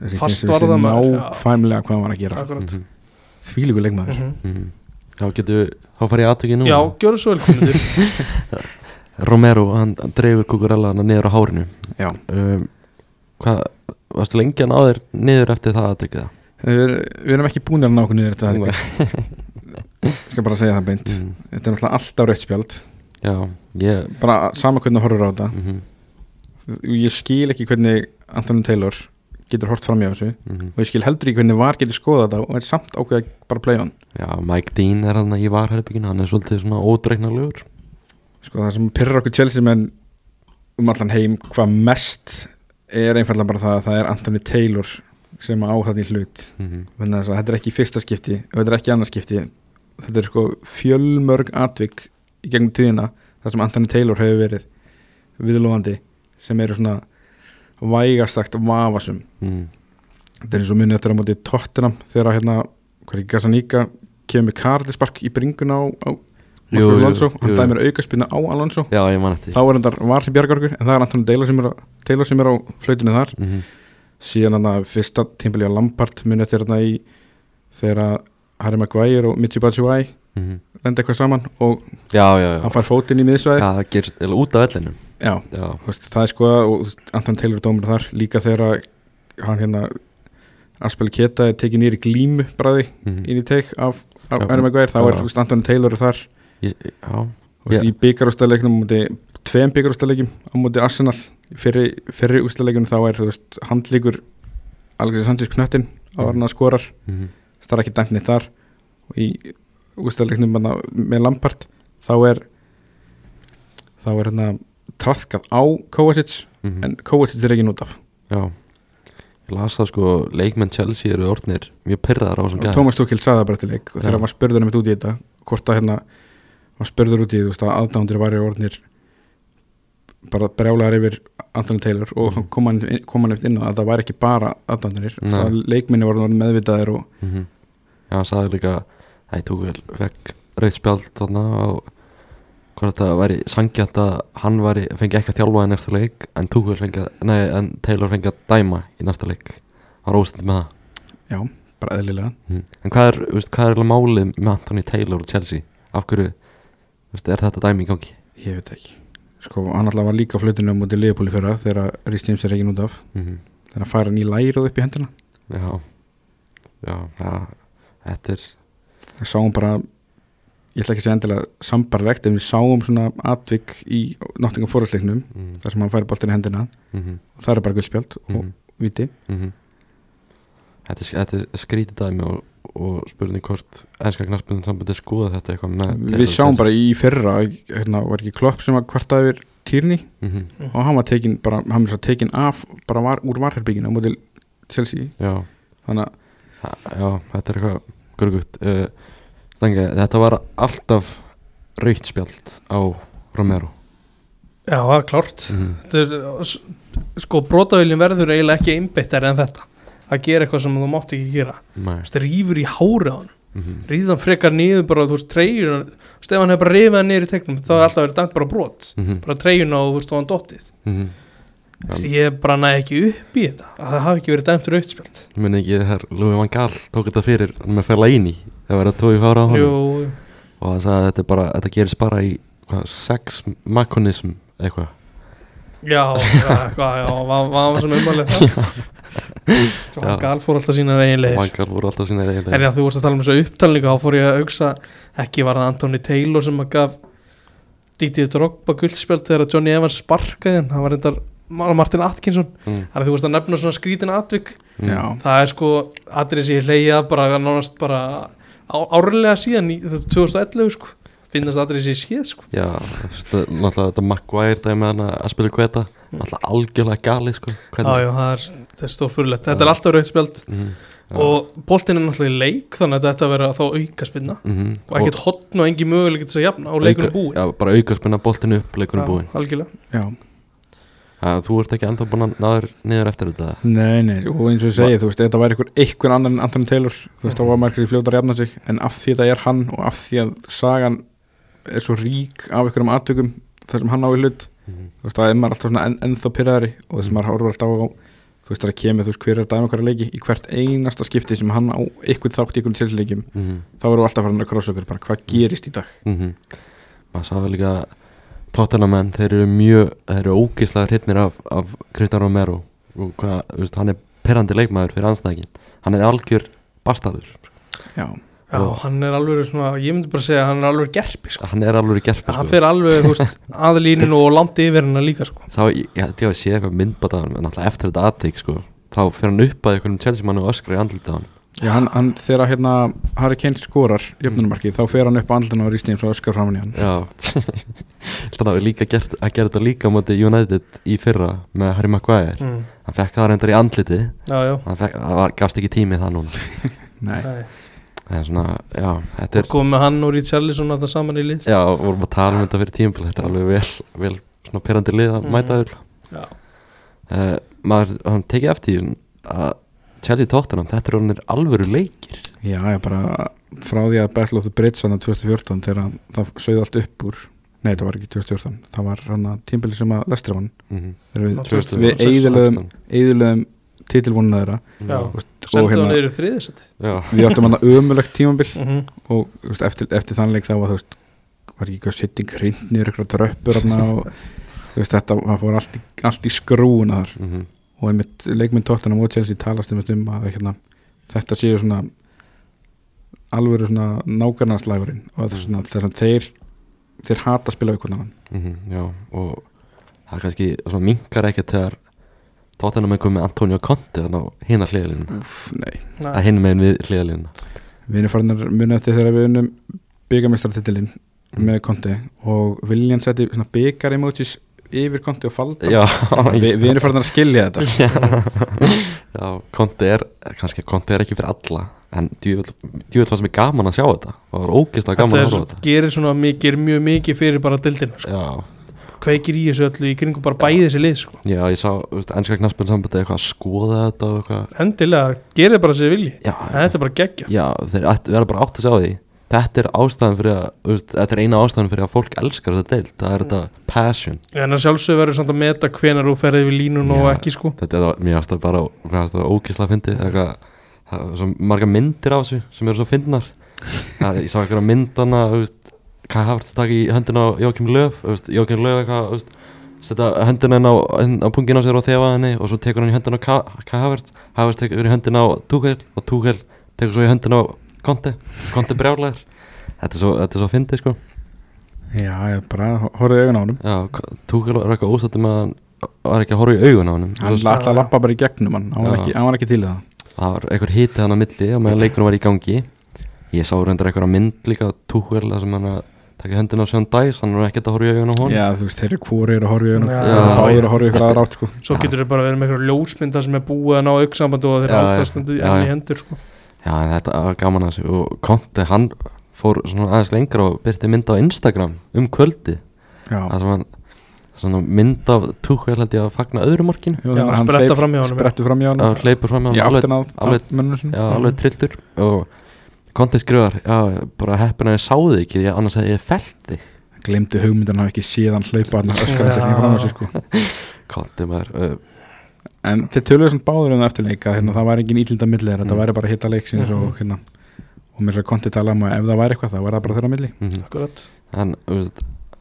[SPEAKER 3] Rhys
[SPEAKER 2] Fast
[SPEAKER 3] James
[SPEAKER 2] var
[SPEAKER 3] vissi
[SPEAKER 2] það maður, já.
[SPEAKER 3] nákvæmlega hvað hann var að gera
[SPEAKER 1] mm
[SPEAKER 2] Akkurat
[SPEAKER 3] þvílíku leikmaður
[SPEAKER 2] Mhm.
[SPEAKER 1] þá getum við þá farið í atvikið núna
[SPEAKER 2] Já, gjöru svo vel komindur
[SPEAKER 1] Romero, hann hann dregur Kukurella hann niður á hárinu
[SPEAKER 3] Já.
[SPEAKER 1] um, hvað, varstu lengi að ná þér niður eftir það atvikið það
[SPEAKER 3] við, við erum ekki búin að ná okkur niður þetta
[SPEAKER 1] Nei.
[SPEAKER 3] ég skal bara segja það beint
[SPEAKER 1] mm,
[SPEAKER 3] þetta er náttúrulega alltaf rautt spjald
[SPEAKER 1] já, ég
[SPEAKER 3] bara sama hvernig þú horfir á þetta
[SPEAKER 1] mm -hmm,
[SPEAKER 3] ég skil ekki hvernig Anthony Taylor getur hort fram í þessu
[SPEAKER 1] mm,
[SPEAKER 3] og ég skil heldur ekki hvernig var getur skoðað þetta og er samt ákveða bara að playa hann
[SPEAKER 1] já, Mike Dean er hann í varherbygginu hann er svolítið svona ódreiknarlegur
[SPEAKER 3] sko það sem pyrrar okkur Chelsea menn um allan heim hvað mest er einfallega bara það að það er Anthony Taylor sem á þannig hlut
[SPEAKER 1] mm -hmm,
[SPEAKER 3] Vegna þess að þetta er ekki fyrsta skipti og þetta er ekki annað skipti þetta er sko fjölmörg atvik í gegnum tíðina þar sem Anthony Taylor hefur verið viðlóðandi sem eru svona vægastakt vafasum
[SPEAKER 1] mm,
[SPEAKER 3] þetta er eins og munið eftir á móti Tottenham þegar að hérna, hvað er ekki Gazaníka kemur með karlispark í bringuna á, á
[SPEAKER 1] Jú,
[SPEAKER 3] Marcos
[SPEAKER 1] jú,
[SPEAKER 3] Alonso, hann
[SPEAKER 1] jú.
[SPEAKER 3] dæmir aukaspinna á Alonso
[SPEAKER 1] Já, ég man eftir
[SPEAKER 3] þá er hann var sem bjargar okkur en það er Antoni Deila sem er, á- Taylor sem er á flautinu þar
[SPEAKER 1] mm
[SPEAKER 3] síðan hann að fyrsta tímpili á Lampart muni eftir hann í þegar að Harry Maguire og Michi Batshuayi lenda eitthvað saman og
[SPEAKER 1] mhm. Já, já, já
[SPEAKER 3] hann fær fótinn í miðsvæði
[SPEAKER 1] Já, það gerist eða út af ellinu
[SPEAKER 3] já,
[SPEAKER 1] Já,
[SPEAKER 3] þú veist, það er sko og Anton Taylor er dómur þar líka þegar að hann hérna Aspel Keta er tekið nýri glímu bræði
[SPEAKER 1] mhm.
[SPEAKER 3] inn í teik af, af
[SPEAKER 1] Já.
[SPEAKER 3] Harry Maguire, þá
[SPEAKER 1] Já.
[SPEAKER 3] er þú veist, Anton Taylor er þar
[SPEAKER 1] Ég- já,
[SPEAKER 3] Þú veist,
[SPEAKER 1] Já.
[SPEAKER 3] í byggarústaleiknum á móti, tveim byggarústaleikjum á móti Arsenal fyrir, fyrir ústaleikjum þá er þú veist, handlíkur Alexis Sanchez knöttin á hann að skorar
[SPEAKER 1] mhm.
[SPEAKER 3] það er ekki dæmni þar og í ústaleiknum með Lampard þá er þá er hérna trafkað á Kovacic
[SPEAKER 1] Mhm.
[SPEAKER 3] en Kovacic er ekki nút af
[SPEAKER 1] já Ég las það sko, leikmenn Chelsea eru orðnir mjög pyrraðar á þessum
[SPEAKER 3] og
[SPEAKER 1] gæðum
[SPEAKER 3] Thomas Tuchel sagði það bara til leik og þegar
[SPEAKER 1] Já.
[SPEAKER 3] hann var spurður einmitt út í þetta hvort að hérna var spurður út í þú veist að aðdándir væri orðnir bara brjálegar yfir Anthony Taylor og
[SPEAKER 1] Mhm.
[SPEAKER 3] kom hann, kom hann eftir inn á að það væri ekki bara aðdándir
[SPEAKER 1] Nei.
[SPEAKER 3] leikminni voru orðnir meðvitaðir og
[SPEAKER 1] mm Já, hann sagði líka að ég tók vel vekk rauðspjald þarna og hvort þetta væri sangjant að hann væri, fengi ekki að þjálfa í næsta leik en Tuchel fengi að, nei, en Taylor fengi að dæma í næsta leik hann róstund með það
[SPEAKER 3] já, bara eðlilega
[SPEAKER 1] mm. en hvað er, þú veist, hvað er eiginlega málið með Anthony Taylor og Chelsea af hverju, þú veist, er þetta dæmi í gangi
[SPEAKER 3] ég veit ekki sko hann alltaf var líka á flutinu á móti liðbúli fyrra þegar að Rhys James er ekki nút af
[SPEAKER 1] mm
[SPEAKER 3] þannig að fara hann í lærið upp í hendina
[SPEAKER 1] já já, já, þetta er
[SPEAKER 3] það sáum bara ég ætla ekki að segja endilega sambarlegt en við sáum svona atvik í náttingum fórhaldsleiknum
[SPEAKER 1] mm
[SPEAKER 3] þar sem hann færi boltin í hendina
[SPEAKER 1] -hmm.
[SPEAKER 3] og það er bara guldspjald
[SPEAKER 1] Mhm.
[SPEAKER 3] og viti
[SPEAKER 1] -hmm. þetta, er- þetta er skrítið dæmi og, og spurning hvort ennska knarsbyrðin sambandi skoða þetta eitthvað með
[SPEAKER 3] við sjáum bara í fyrra hérna, var ekki klopp sem var kvartað yfir týrni
[SPEAKER 1] mm -hmm.
[SPEAKER 3] og hann var tekin, bara, hann var tekin af bara var, úr varherbygginu á mótil Chelsea
[SPEAKER 1] já,
[SPEAKER 3] þannig að
[SPEAKER 1] Ha- já, þetta er eitthvað grugut uh, stengi, þetta var alltaf raukt spjald á Romero
[SPEAKER 2] Já, það er klárt
[SPEAKER 1] mm
[SPEAKER 2] Þetta er, uh, s- Sko, brotavílin verður eiginlega ekki einbyttar en þetta að gera eitthvað sem þú mátt ekki gera
[SPEAKER 1] -hmm.
[SPEAKER 2] Þetta rýfur í hárið á hann
[SPEAKER 1] -hmm.
[SPEAKER 2] rýða hann frekar niður bara, þú veist, treyjun hann ef hann hefur bara rýfið hann niður í tegnum þá er alltaf verið dæmt bara brot
[SPEAKER 1] Mm
[SPEAKER 2] bara treyjun á, þú veist, og hann dottið
[SPEAKER 1] -hmm.
[SPEAKER 2] Þessi, ég bara næði ekki upp í þetta að það hafi ekki verið dæmt rautspjöld
[SPEAKER 1] muni ekki þegar Lúi Van Gaal tók þetta fyrir með Fellaini það var að tói fára á hann
[SPEAKER 2] Jú,
[SPEAKER 1] og það sagði að þetta, er bara, þetta gerist bara í hvað, sex makonism eitthvað
[SPEAKER 2] já, já, hvað, já, hvað var sem umalega það Svo hann
[SPEAKER 1] Já.
[SPEAKER 2] gal fór alltaf sína reynlegir
[SPEAKER 1] Vangal voru alltaf sína eiginlega
[SPEAKER 2] en já, þú vorst að tala um þessu upptalningu þá fór ég að hugsa, ekki var það Anthony Taylor sem að gaf dítið Drogba guldspjöld þegar að Johnny Evans sparkaði hann, hann var reyndar Martin Atkinson,
[SPEAKER 1] mm.
[SPEAKER 2] þannig að þú vorst að nefna svona skrítin atvik
[SPEAKER 1] Mm.
[SPEAKER 3] já,
[SPEAKER 2] það er sko atrið sem ég hleyja bara nánast bara á, árlega síðan í þú veist, 2011 sko finnast atrið sem ég séð sko
[SPEAKER 1] Já, þú veist, það- náttúrulega þetta Maguire dæmi hann að spila kveta náttúrulega algjörlega gali sko
[SPEAKER 2] Mm. já, já, það er, það er stórfurlegt, þetta er alltaf raukt spjald
[SPEAKER 1] Mhm, já.
[SPEAKER 2] og boltin er náttúrulega í leik þannig að þetta verður að þá auka spilna
[SPEAKER 1] Mhm,
[SPEAKER 2] og ekkert hotn og engi möguleik til þess að jafna og leikunum
[SPEAKER 1] auka-
[SPEAKER 2] búin
[SPEAKER 1] Já, bara auka spenna boltinu upp, leikunum búin
[SPEAKER 2] Já, algjörlega,
[SPEAKER 3] já,
[SPEAKER 1] ja, Þú ert ekki ennþá búin að náður niður eftir þetta
[SPEAKER 3] nei, nei og eins og ég segi, þú veist, ef þetta væri einhver einhver annar en Anthony Taylor, þú veist, þá var margrið fljótar að jafna sig, en af því þetta er hann og af því að sagan er svo rík af einhverjum atvikum þar sem hann á í hlut
[SPEAKER 2] Mhm.
[SPEAKER 3] þú veist, það er maður alltaf svona en, ennþá pyrraðari og þess að maður horfur alltaf á þú veist, það kemur, þú veist, hver er dæmi okkar leiki í hvert einasta skipti sem hann á ykkur þátt í ykkur tilsleikjum,
[SPEAKER 1] Mhm,
[SPEAKER 3] þá eru alltaf farin að krossa okkur bara hvað gerist í dag
[SPEAKER 1] mhm. Maður sá það líka Tottenhamenn, þeir eru mjög þeir eru ógislega hrypnir af, af Kristján Romero og hvað, þú veist, hann er perrandi leikmaður fyrir anstæðingin hann er algjör bastarður
[SPEAKER 3] já,
[SPEAKER 2] já,
[SPEAKER 1] Og-
[SPEAKER 2] hann er alveg svona, ég myndi bara segja að hann er alveg gerpi sko,
[SPEAKER 1] hann er alveg gerpi
[SPEAKER 2] hann fer alveg, þú veist, aðlíninu og landi yfir hennar líka sko
[SPEAKER 1] þá, ég ég held ég að sé eitthvað myndbætt af hann en náttúrulega eftir þetta aðtík sko þá fer hann upp að einhverjum Chelsea mann og öskra í andlita á hann
[SPEAKER 3] já hann, hann, þegar hérna Harry Kane skorar jöfnumarkið, þá fer hann upp á andlun og rýst eins og öskar framan í hann
[SPEAKER 1] já þannig að við líka gert, að gera þetta líka á móti United í fyrra með Harry Maguire
[SPEAKER 2] mm.
[SPEAKER 1] hann fekk það reyndar í andliti
[SPEAKER 2] já, já,
[SPEAKER 1] hann fekk, það var, gafst ekki tími í það núna
[SPEAKER 3] nei,
[SPEAKER 2] það er
[SPEAKER 1] það er svona, já, þetta er
[SPEAKER 2] komið hann og Richarlison alltaf saman í lið
[SPEAKER 1] já, vorum að tala um þetta fyrir tími þetta er alveg vel, vel svona perandi lið að Eh,
[SPEAKER 2] Mhm.
[SPEAKER 1] mæta þér
[SPEAKER 2] Já.
[SPEAKER 1] uh, maður, hann tekið eftir því að Chelsea Tottenham, þetta eru orðinir alvöru leikir
[SPEAKER 3] Já, ég bara frá því að Battle of the Bridge hann 2014 þegar hann- það sögði allt upp úr Nei, það var ekki 2014 Það var hann að tímbili sem að lestra hann
[SPEAKER 1] mm
[SPEAKER 3] Við
[SPEAKER 2] 2016.
[SPEAKER 3] við eyðilögum eyðilögum titilvonuna þeirra
[SPEAKER 2] Já.
[SPEAKER 1] Já,
[SPEAKER 3] og
[SPEAKER 2] Sendu hann
[SPEAKER 3] hérna,
[SPEAKER 2] yfir þriðisætti
[SPEAKER 1] já,
[SPEAKER 3] við áttum hann að ömulegt tímambil
[SPEAKER 2] mm -hmm.
[SPEAKER 3] og þú veist, eftir, eftir þannleik þá var þú veist var ekki að setja hreint niður ykkur dröppur hann og þú veist, þetta það fór allt í, allt í skrúuna þar
[SPEAKER 1] mhm,
[SPEAKER 3] og einmitt leikmynd tóttan á mótjálsi talast einmitt um að hérna, þetta séu svona alvöru svona nákvæmnarslægurinn og það er svona þess að þeir þeir hata að spila aukvöna hann
[SPEAKER 1] mhm, já og það er kannski, svona minkar ekkert þegar Tottenham er komið með Antonio Conte þannig á hina hliðalínum
[SPEAKER 3] nei,
[SPEAKER 1] að hinn megin við hliðalínuna
[SPEAKER 3] við erum farinir muni eftir þegar við unum byggamestartitilinn með konti og Viljan setti svona byggar emojis yfir konti og falda
[SPEAKER 1] Já,
[SPEAKER 3] Vi, við erum farinir að skilja þetta
[SPEAKER 1] Já, já Conte er kannski, Conte er ekki fyrir alla en djúvel það sem er gaman að sjá þetta og er ógeðslega hérna gaman
[SPEAKER 2] Þetta
[SPEAKER 1] að horfa
[SPEAKER 2] er,
[SPEAKER 1] á
[SPEAKER 2] svo-
[SPEAKER 1] þetta
[SPEAKER 2] gerir svona mikið, mjög mikið fyrir bara dildina sko.
[SPEAKER 1] Já,
[SPEAKER 2] Kveikir í þessu öllu í kringum bara bæði þessi lið sko.
[SPEAKER 1] já, ég sá, þú veist, ennska knaspun sambandi eitthvað að skoða þetta og eitthvað
[SPEAKER 2] Endilega, gerir bara sér vilji
[SPEAKER 1] Já,
[SPEAKER 2] Þetta er bara geggja
[SPEAKER 1] já þeir ættu- verða bara átt að sjá því Þetta er ástæðan fyrir að, þú veist, þetta er eina ástæðan fyrir að fólk elskar þetta deild Það er þetta passion
[SPEAKER 2] En að sjálfsög verður samt að meta hvenar þú ferði við línun og
[SPEAKER 1] Já.
[SPEAKER 2] ekki sko
[SPEAKER 1] Þetta er það, mér finnst það bara, mér finnst það ókísla að fyndi eitthvað, það er svo marga myndir af þessu sem eru svo fyndnar Það er- Ég sá eitthvað myndana, þú veist, hvað hafðist þetta í höndina á Jókim Löf, þú veist, Jókim Löf eitthvað, þú veist, setja höndina inn á, inn á pungin á sér og þefa henni og svo tekur hann í höndina á Kai Havertz, Havertz tekur í höndina á Tuchel og Tuchel tekur svo í höndina á Conte, Conte brjálæður Þetta er svo, þetta er svo fyndið sko
[SPEAKER 3] já, ég bara horfði augun á honum
[SPEAKER 1] Já, Tuchel er eitthvað ósættum að hann var ekki að horfa í augun á honum
[SPEAKER 3] hann
[SPEAKER 1] Svo-
[SPEAKER 3] ætlaði að lappa bara í gegnum hann hann var
[SPEAKER 1] Já.
[SPEAKER 3] ekki, hann var ekki til í það
[SPEAKER 1] það var einhver hitið hann á milli og meðan leikunum var í gangi ég sá reyndar einhverja mynd líka túkvel sem hann að taka höndina á Sean Dice hann er ekkert að horfa í augun á hon
[SPEAKER 3] já, þú veist, þeir eru hvori eru að horfa í augun
[SPEAKER 2] Já.
[SPEAKER 3] báður að horfa í ykkur aðra átt sko
[SPEAKER 2] Svo
[SPEAKER 1] Já.
[SPEAKER 2] getur þau bara verið með eitthvað ljósmynda sem er búið að ná auksamband og þeir
[SPEAKER 1] Já, já.
[SPEAKER 2] alltaf stendur
[SPEAKER 1] Já,
[SPEAKER 2] enn
[SPEAKER 1] já.
[SPEAKER 2] í hendur sko
[SPEAKER 1] já en þetta var gaman að þessu og Conte hann fór svona aðeins lengra og byrti mynd á Instagram um kvöldi
[SPEAKER 3] já,
[SPEAKER 1] það sem hann svona mynd af túkvel held ég að fagna öðru markinu
[SPEAKER 3] Jú,
[SPEAKER 2] Já,
[SPEAKER 3] hann
[SPEAKER 2] spretta
[SPEAKER 3] hleyp-
[SPEAKER 2] framhjá honum, já.
[SPEAKER 3] sprettu fram hjá hann
[SPEAKER 1] og hleypur fram
[SPEAKER 3] í
[SPEAKER 1] hjá hann alveg,
[SPEAKER 3] áttin að,
[SPEAKER 1] alveg-
[SPEAKER 3] að mönnum sinni
[SPEAKER 1] já, alveg trilltur og Conte skrifar já, bara heppin að ég sá þig ekki ég, annars hefði ég felt þig
[SPEAKER 3] glemdi hugmyndan að hafa ekki síðan hlaupa hann öskar
[SPEAKER 2] Já.
[SPEAKER 3] eftir því fram á sig sko
[SPEAKER 1] Conte maður uh,
[SPEAKER 3] en þið töluðu svona báður um það eftirleik að hérna, það væri engin ítlunda millir þetta
[SPEAKER 1] Mm.
[SPEAKER 3] væri bara hitta leiksins og hérna og mér svo konti tala um að ef það væri eitthvað þá væri það bara þeirra milli
[SPEAKER 1] mm -hmm.
[SPEAKER 2] Akkurat
[SPEAKER 1] En þú veist,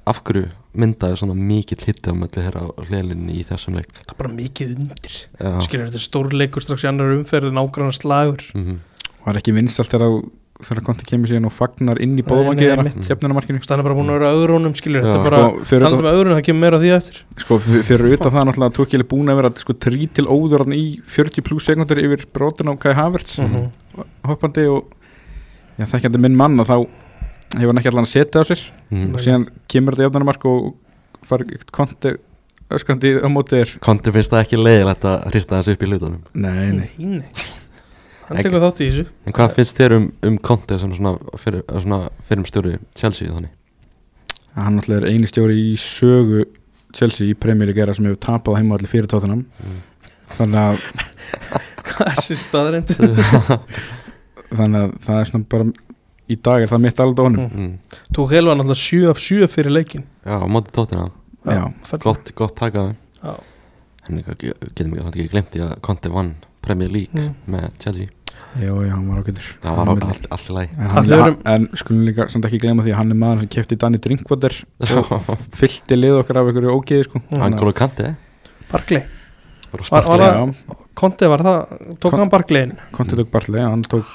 [SPEAKER 1] af hverju myndaði svona mikið hitti á möllu þeirra á hlilinni í þessum leik?
[SPEAKER 2] Það er bara mikið undir
[SPEAKER 1] Já,
[SPEAKER 2] Skilur þetta er stórleikur strax í annar umferð nágrannar slagur
[SPEAKER 1] mm -hmm.
[SPEAKER 3] var ekki vinsalt þegar þeirra konti kemur síðan og fagnar inn í hérna, bóðvangi
[SPEAKER 2] Nei, nei,
[SPEAKER 3] þeirra
[SPEAKER 1] einmitt.
[SPEAKER 3] jöfnunamarkinu
[SPEAKER 2] Það er bara búin að vera auðrónum skilur
[SPEAKER 1] Já.
[SPEAKER 2] Þetta er bara
[SPEAKER 3] sko, fyrir
[SPEAKER 2] Talum
[SPEAKER 3] utan-
[SPEAKER 2] við auðrónum, það kemur meira að því eftir
[SPEAKER 3] sko, f- fyrir utan það náttúrulega tókil er búin að vera sko, trítil óður hann í 40 pluss sekundur yfir brotin á Kai Havertz
[SPEAKER 2] Mhm.
[SPEAKER 3] hoppandi og já, þekkjandi minn mann að þá hefur hann ekki allan að setja á sér
[SPEAKER 1] Mm
[SPEAKER 3] og síðan kemur þetta jöfnunamark og far konti öskrandi á móti þér
[SPEAKER 1] Konti finnst það ekki leiðilegt að hrista þessu upp í hlutunum
[SPEAKER 3] nei, nei,
[SPEAKER 2] Nei, nei. Hann
[SPEAKER 1] Ekki.
[SPEAKER 2] tekur þátt í þessu
[SPEAKER 1] En hvað finnst þér um, um Konti sem svona, fyrir, svona fyrirum stjóri Chelsea þannig?
[SPEAKER 3] að hann náttúrulega er eini stjóri í sögu Chelsea í Premier League era sem hefur tapað heima allir fyrir tóttunum
[SPEAKER 1] Mm.
[SPEAKER 3] þannig, að,
[SPEAKER 2] Hvað er sér staðreind?
[SPEAKER 3] þannig að það er svona bara í dag er það mitt alveg honum
[SPEAKER 2] Mm.
[SPEAKER 1] Mm.
[SPEAKER 2] Tók helva náttúrulega 7 af 7 fyrir leikin
[SPEAKER 1] Já, á móti tóttina,
[SPEAKER 3] Já.
[SPEAKER 2] fell-
[SPEAKER 1] gott, gott takað
[SPEAKER 2] Já.
[SPEAKER 1] En líka ge- getum ekki, samt ekki glemt í að Konti vann Premier League
[SPEAKER 2] Mm.
[SPEAKER 1] með Chelsea
[SPEAKER 3] Jú, já, hann var ágættur
[SPEAKER 1] Það var
[SPEAKER 3] Hann
[SPEAKER 1] á-
[SPEAKER 3] milli.
[SPEAKER 1] allt, allt í lagi
[SPEAKER 3] en, hann,
[SPEAKER 2] Að þau eru-
[SPEAKER 3] en skulum líka samt ekki glema því að hann er maður sem kefti Danny Drinkwater og fyllti lið okkar af einhverju ógeði sko.
[SPEAKER 2] Mm.
[SPEAKER 3] Þannig að-
[SPEAKER 1] Angolo Kanti
[SPEAKER 2] Barkley
[SPEAKER 1] Var,
[SPEAKER 2] Var- var-
[SPEAKER 3] Já,
[SPEAKER 2] Konti var það, tók
[SPEAKER 3] Kon-
[SPEAKER 2] hann Barkleyin
[SPEAKER 3] Conte tók Bartley, hann tók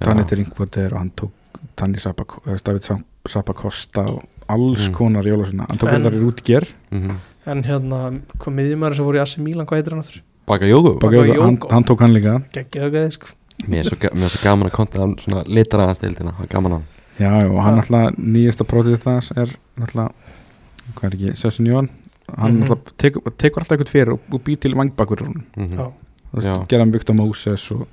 [SPEAKER 3] Danny Drinkwater og hann tók Danny Sapakosta David Sapakosta og alls
[SPEAKER 1] Mm.
[SPEAKER 3] konar jólasuna hann tók
[SPEAKER 2] En-
[SPEAKER 3] en, í Rútger
[SPEAKER 1] Mhm.
[SPEAKER 2] En hérna, hvað miðjumæri sem voru í Assi Mílan, hvað heitir hann aftur?
[SPEAKER 1] Baka Jógu
[SPEAKER 2] Bakayoko.
[SPEAKER 3] hann, hann tók hann líka
[SPEAKER 2] Geggjaðu gæði, sko
[SPEAKER 1] Mér er svo, ga- mér er svo gaman að konta hann svona litar aðeins deildina, það er gaman hann
[SPEAKER 3] Já, já, og hann
[SPEAKER 2] Já.
[SPEAKER 3] alltaf nýjasta prótið þess er alltaf, hvað er ekki, Sessun Jón hann
[SPEAKER 2] Mhm.
[SPEAKER 3] alltaf tekur, tekur alltaf eitthvað fyrir og, og býr til vangbakur hún
[SPEAKER 1] mm -hmm.
[SPEAKER 2] Já.
[SPEAKER 1] Já.
[SPEAKER 3] gera hann byggt á Moses og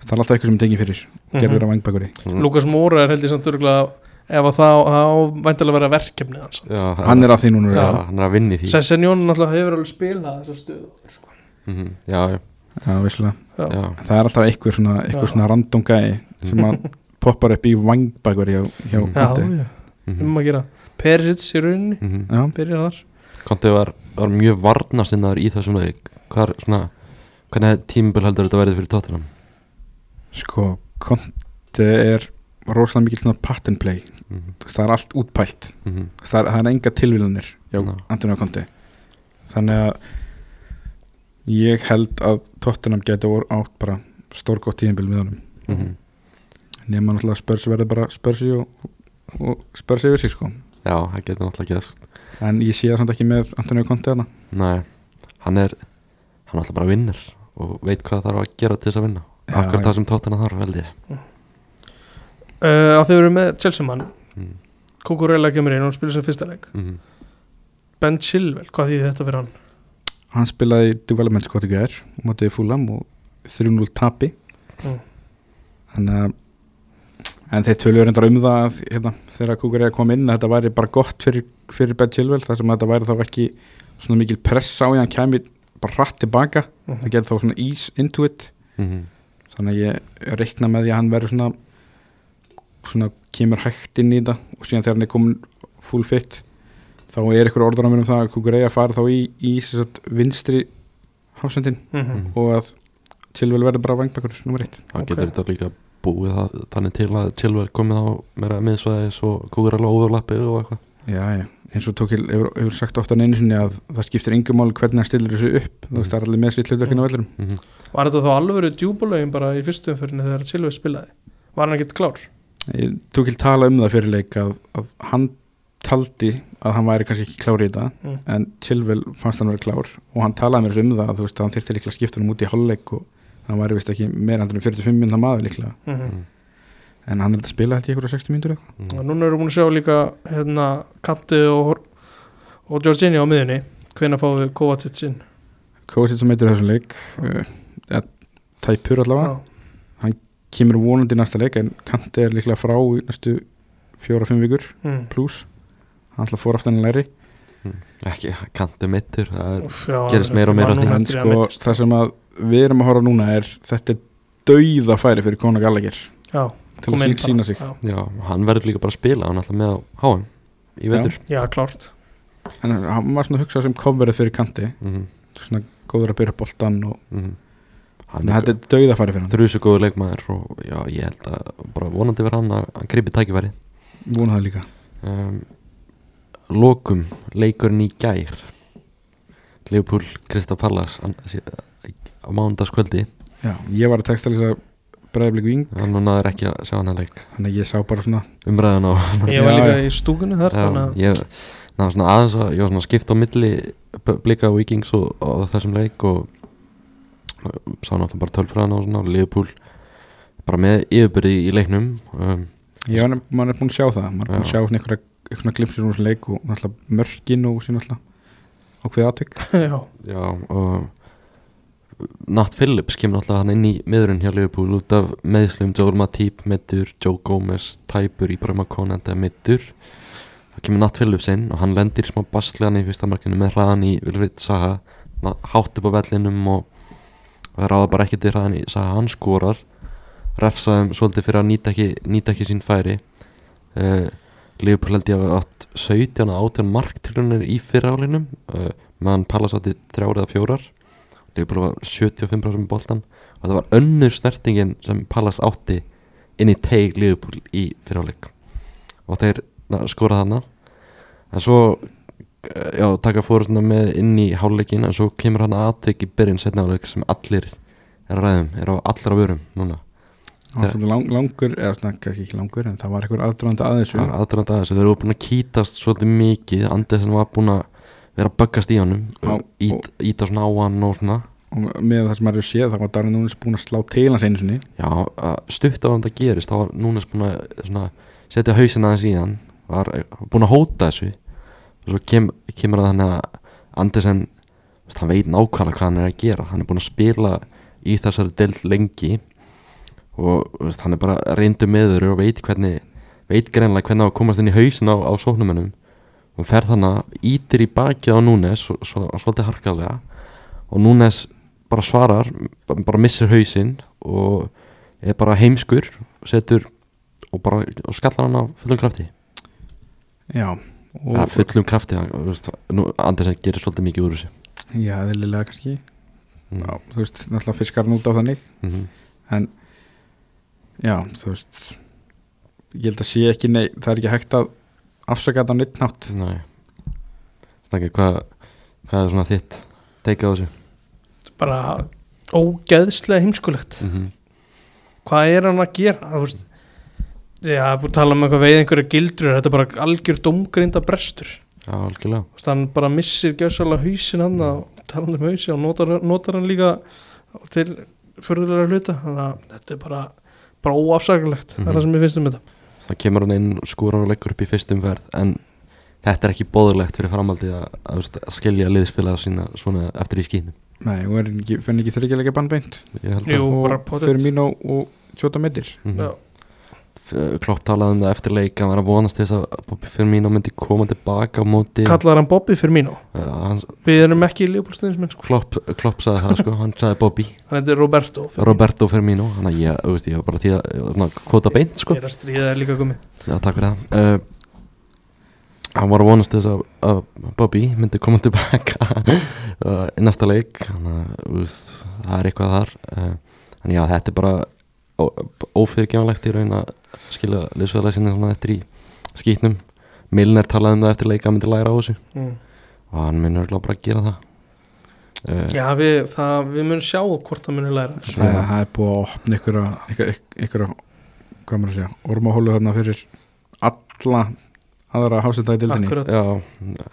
[SPEAKER 3] það er alltaf eitthvað sem tengir fyrir og
[SPEAKER 2] Mhm.
[SPEAKER 3] gerður á vangbakuri
[SPEAKER 2] Lukas Móra er held ég samt örgulega ef að það á væntalega vera verkefni hans
[SPEAKER 1] Já,
[SPEAKER 3] hann er að því núna
[SPEAKER 1] já,
[SPEAKER 3] já.
[SPEAKER 1] hann er að vinna í því
[SPEAKER 2] Sessenjón náttúrulega hefur alveg spilað þessa stöðu sko.
[SPEAKER 1] mm Já, já,
[SPEAKER 3] Já, vissulega
[SPEAKER 2] Já.
[SPEAKER 1] já,
[SPEAKER 3] Það er alltaf einhver svona, einhver
[SPEAKER 2] Já.
[SPEAKER 3] svona random gæi sem að poppar upp í vangbakver hjá, hjá
[SPEAKER 1] Mm.
[SPEAKER 2] Já,
[SPEAKER 3] Conte.
[SPEAKER 2] já,
[SPEAKER 1] mhm,
[SPEAKER 2] um að gera Perisic í rauninni,
[SPEAKER 1] mhm.
[SPEAKER 3] Já.
[SPEAKER 2] byrjar þar
[SPEAKER 1] Konti var, var mjög varnasinnar í þessum leik Hvar, svona, hvernig tímabil heldur þetta verið fyrir Tottenham
[SPEAKER 3] Sko, Conte er rosalega mikil svona pattern play
[SPEAKER 1] Mhm,
[SPEAKER 3] Þú veist, það er allt útpælt
[SPEAKER 1] mhm,
[SPEAKER 3] Þú veist, það er, það er enga tilvílanir hjá
[SPEAKER 1] Já.
[SPEAKER 3] Antonio Conte þannig að ég held að Tottenham geti voru átt bara stórgótt tíðinbíl með honum
[SPEAKER 1] mhm.
[SPEAKER 3] nema náttúrulega spörsi verði bara spörsi og, og spörsi yfir sig sko
[SPEAKER 1] Já, það getur náttúrulega gerst
[SPEAKER 3] en ég sé það samt ekki með Antonio Conte hana
[SPEAKER 1] Nei, hann er hann alltaf bara vinnur og veit hvað þarf að gera til þess að vinna
[SPEAKER 3] Já,
[SPEAKER 1] Akkur
[SPEAKER 3] já.
[SPEAKER 1] það sem Tottenham þarf, held ég
[SPEAKER 2] uh, að þau eru með Chelsea mann
[SPEAKER 1] mm,
[SPEAKER 2] Kukurella kemur inn og hann spilar sér fyrsta leik
[SPEAKER 1] mhm,
[SPEAKER 2] Ben Chilwell, hvað þýði þetta fyrir hann?
[SPEAKER 3] hann spilaði í development skot í gær og mótiði fúlam og 3-0 tapi
[SPEAKER 2] Mm.
[SPEAKER 3] þannig að en þeir tölur reyndar um það að, hérna, þegar Kúkur eða kom inn að þetta væri bara gott fyrir, fyrir Ben Chilwell þar sem þetta væri þá ekki svona mikil press á því að hann kæmi bara hratt tilbaka
[SPEAKER 2] Mhm.
[SPEAKER 3] það gerði þá svona ease into it
[SPEAKER 1] mhm,
[SPEAKER 2] Mm.
[SPEAKER 3] þannig að ég reikna með því að hann verður svona svona kemur hægt inn í þetta og síðan þegar hann er komin full fit þá er ykkur orður á mér um það að Kukurei að fara þá í, í sem sagt, vinstri hafsendin
[SPEAKER 1] mhm.
[SPEAKER 3] og að Chilwell verður bara vangbækur nummer eitt
[SPEAKER 1] Þá
[SPEAKER 2] Ok.
[SPEAKER 1] getur þetta líka búið það, þannig til að Chilwell komið á meira miðsvæðis og kúkur alveg overlappið og eitthvað
[SPEAKER 3] já, já. eins og Tókil hefur, hefur sagt ofta en einu sinni að það skiptir yngum mál hvernig hann stillir þessu upp þú veist það er allir með sér hlutverkinu á vellurum
[SPEAKER 1] mm -hmm.
[SPEAKER 2] Var þetta þá alvöru djúbulögin bara í fyrstu umfyrinni þegar Chilwell spilaði? Var hann ekkert klár?
[SPEAKER 3] Tókil tala um það fyrir leik að, að hann taldi að hann væri kannski ekki klár í þetta
[SPEAKER 2] Mm.
[SPEAKER 3] en Chilwell fannst hann verið klár og hann talaði mér um það að þú veist að hann þyrfti líklega að skipta hann út í hálfleik og hann væri vist ekki meira heldur en 45 minna maður líklega
[SPEAKER 2] Mm -hmm.
[SPEAKER 1] Mhm.
[SPEAKER 3] en hann er að spila held ég ykkur á 60 mínútur eða
[SPEAKER 1] Mm
[SPEAKER 2] Núna erum við búin að sjá líka hérna Katti og, og Jorginho á miðunni Hvenær fáum við Kovacic inn?
[SPEAKER 3] Kósið sem meitur þessum leik uh, ja, tæpur allavega
[SPEAKER 2] Já.
[SPEAKER 3] kemur vonandi í næsta leik en Kanti er líklega frá í næstu 4-5 vikur
[SPEAKER 2] Mm.
[SPEAKER 3] pluss hann ætla að fóra aftan í læri
[SPEAKER 1] Ekki, kantu mittur Það er
[SPEAKER 2] Úff, já,
[SPEAKER 1] gerist
[SPEAKER 2] hann-
[SPEAKER 1] meira og meira
[SPEAKER 2] hann
[SPEAKER 1] af því.
[SPEAKER 2] var nú
[SPEAKER 3] en
[SPEAKER 2] hættur í að
[SPEAKER 3] sko
[SPEAKER 2] meiddist.
[SPEAKER 3] það sem að við erum að horfa á núna er þetta er dauða færi fyrir Kona Gallagir
[SPEAKER 2] Já,
[SPEAKER 3] til
[SPEAKER 2] kom
[SPEAKER 3] að
[SPEAKER 2] inn
[SPEAKER 3] sí-
[SPEAKER 2] bara.
[SPEAKER 3] sína sig
[SPEAKER 2] Já,
[SPEAKER 1] Já, hann verður líka bara að spila, hann er alltaf með á HM í vetur
[SPEAKER 2] já klárt
[SPEAKER 3] en hann var svona að hugsa sem coverið fyrir Kanti
[SPEAKER 1] mm
[SPEAKER 3] svona góður að byrja upp boltan og
[SPEAKER 1] -hmm. Hann
[SPEAKER 3] Nei, þetta er dauða farið fyrir hann
[SPEAKER 1] þrjusu góðu leikmaður og já, ég held að bara vonandi verið hann að hann gripi tækifæri
[SPEAKER 3] vona það líka
[SPEAKER 1] um, Lokum, leikurinn í gær Leopold Krista Pallas á mánudagskvöldi
[SPEAKER 3] já, ég var að texta lýsa breiðablik ving
[SPEAKER 1] hann og náður ekki að sjá hann að leik
[SPEAKER 3] þannig að ég sá bara svona
[SPEAKER 1] umræðan á
[SPEAKER 2] Ég var
[SPEAKER 3] Já,
[SPEAKER 2] líka
[SPEAKER 3] já.
[SPEAKER 2] í stúkunni þar
[SPEAKER 1] já,
[SPEAKER 2] þannig að-
[SPEAKER 1] ég, ná, svona aðeins að, ég var svona skipt á milli B- blika og vikings og, og þessum leik og og sá náttúrulega bara tölfræðan á svona Leopold bara með yfirbyrði í leiknum um,
[SPEAKER 3] ég var nefn- maður er búin að sjá það maður er búin að
[SPEAKER 1] Já.
[SPEAKER 3] sjá svona einhverja einhverja glimpsir úr þessum leik og náttúrulega mörkin og síðan náttúrulega og hvað aðtök
[SPEAKER 2] Já,
[SPEAKER 1] Já, og Nat Phillips kemur alltaf hann inn í miðurinn hjá Liverpool út af meðslum Joel Matip meittur, Joe Gomez tæpur í Brahma Konenda meittur þá kemur Nat Phillips inn og hann lendir smá baslegan í fyrsta markinu með hraðan í Vilfrid Saha Ná- hátt upp á vellinum og það ráða bara ekki til hraðan í Saha hann skorar refsaðum svolítið fyrir að nýta ekki, nýta ekki sín færi uh, Liverpool held ég að átt 17 að 18 marktilunir í fyrra álinum uh, meðan Pallas átti þrjár eða fjórar Leopold var 75% með boltan og það var önnur snertingin sem Pallas átti inn í teig Leopold í fyrirháleik og þeir skoraði hana en svo eh, já, taka fórustuna með inn í háluleikin en svo kemur hann aðteik í byrjun setna háluleik sem allir er að ræðum er á allra vörum núna
[SPEAKER 3] það var svona lang, langur eða svona kannski ekki langur en það var einhver aðdraðandi að þessu
[SPEAKER 1] það var aðdraðan aðeins þeir eru búin að kýtast svolítið mikið Andersen var búin að vera að böggast í honum
[SPEAKER 3] Já,
[SPEAKER 1] ít, íta svona á hann og svona
[SPEAKER 3] og með það sem maður hefur séð þá var Darwin Núnes búin að slá til hans einu sinni
[SPEAKER 1] Já, að stutt á hann það gerist þá var núna búin að svona, setja hausin aðeins í hann var búin að hóta þessu og svo kem, kemur að hann að Andersen, þú veist, hann veit nákvæmlega hvað hann er að gera, hann er búin að spila í þessari deild lengi og þú veist, hann er bara reyndu meður og veit hvernig veit greinlega hvernig á að komast inn í hausin á, á sóknumennum og fer þannig ítir í bakið á Núnes svo, svo, svolítið harkalega og Núnes bara svarar bara missir hausinn og er bara heimskur setur og bara og skallar hann á fullum krafti
[SPEAKER 3] já
[SPEAKER 1] og, ja,
[SPEAKER 3] og,
[SPEAKER 1] fullum krafti hann- þú veist, nú, Andersen gerir svolítið mikið úr þessu
[SPEAKER 3] já, eðlilega kannski
[SPEAKER 1] Mm.
[SPEAKER 3] já, þú veist, náttúrulega fiskar hann út á þannig
[SPEAKER 1] Mhm.
[SPEAKER 3] en já, þú veist ég held að sé ekki, nei, það er ekki hægt að afsaka þetta á neitt nátt
[SPEAKER 1] Nei Stangi, hvað, hvað er svona þitt teika á þessu?
[SPEAKER 2] bara ógeðslega heimskulegt
[SPEAKER 1] Mm -hmm.
[SPEAKER 2] hvað er hann að gera þú veist ég hafði búið að tala um eitthvað veið einhverja gildrur þetta er bara algjör domgrinda brestur
[SPEAKER 1] Já, algjörlega
[SPEAKER 2] Þú veist, hann bara missir gjössalega hausin hann og tala um hausin og notar, notar hann líka til förðulega hluta þannig að þetta er bara bara óafsakalegt, það
[SPEAKER 1] Mhm.
[SPEAKER 2] er það sem ég finnst um þetta
[SPEAKER 1] Það kemur hann inn og skúrar og leggur upp í fyrstum verð En þetta er ekki bóðurlegt fyrir framhaldið að, að, þú veist, að skilja liðsfélaga sína svona eftir í skínu
[SPEAKER 3] nei, hún er ekki, fenni ekki þryggjulega bannbeint
[SPEAKER 1] Ég held
[SPEAKER 2] Jú,
[SPEAKER 1] að
[SPEAKER 2] bara
[SPEAKER 3] og
[SPEAKER 2] potið
[SPEAKER 3] fyrir mín og, og tjóta metir
[SPEAKER 1] Mhm.
[SPEAKER 2] Já.
[SPEAKER 1] F- Klopp talaði um það eftir leik hann var að vonast til þess að Bobby Firmino myndi koma tilbaka á móti
[SPEAKER 2] kallar hann Bobby fyrir mínu
[SPEAKER 1] Uh, hans,
[SPEAKER 2] við erum ekki í Leopoldstuðismenn sko.
[SPEAKER 1] Klopp, Klopp sagði það sko, hann sagði Bobby
[SPEAKER 2] hann heitir Roberto Firmino.
[SPEAKER 1] Roberto Firmino, hann að ég, þú veist, ég var bara því að ég var svona að kvota beint sko
[SPEAKER 2] ég er að stríða þér líka komið
[SPEAKER 1] Já, takk fyrir það uh, Hann var að vonast til þess að, að Bobby myndi koma tilbaka uh, í næsta leik þannig að þú veist, það er eitthvað þar uh, en já, þetta er bara ófyrirgefanlegt í raun að skilja liðsfæðlega sinni svona eftir í skýtnum Milner talaði um það eftir leik að hann myndi læra á þessu
[SPEAKER 2] mm.
[SPEAKER 1] og hann myndi örugglega bara að gera það uh,
[SPEAKER 2] já, við, það, við munum sjá hvort það munum læra þessu.
[SPEAKER 3] það, það er búið að opna ykkur að ykkur, ykkur að, hvað maður að segja ormahólu þarna fyrir alla aðra hásenda í dildinni
[SPEAKER 2] Akkurat.
[SPEAKER 1] Já,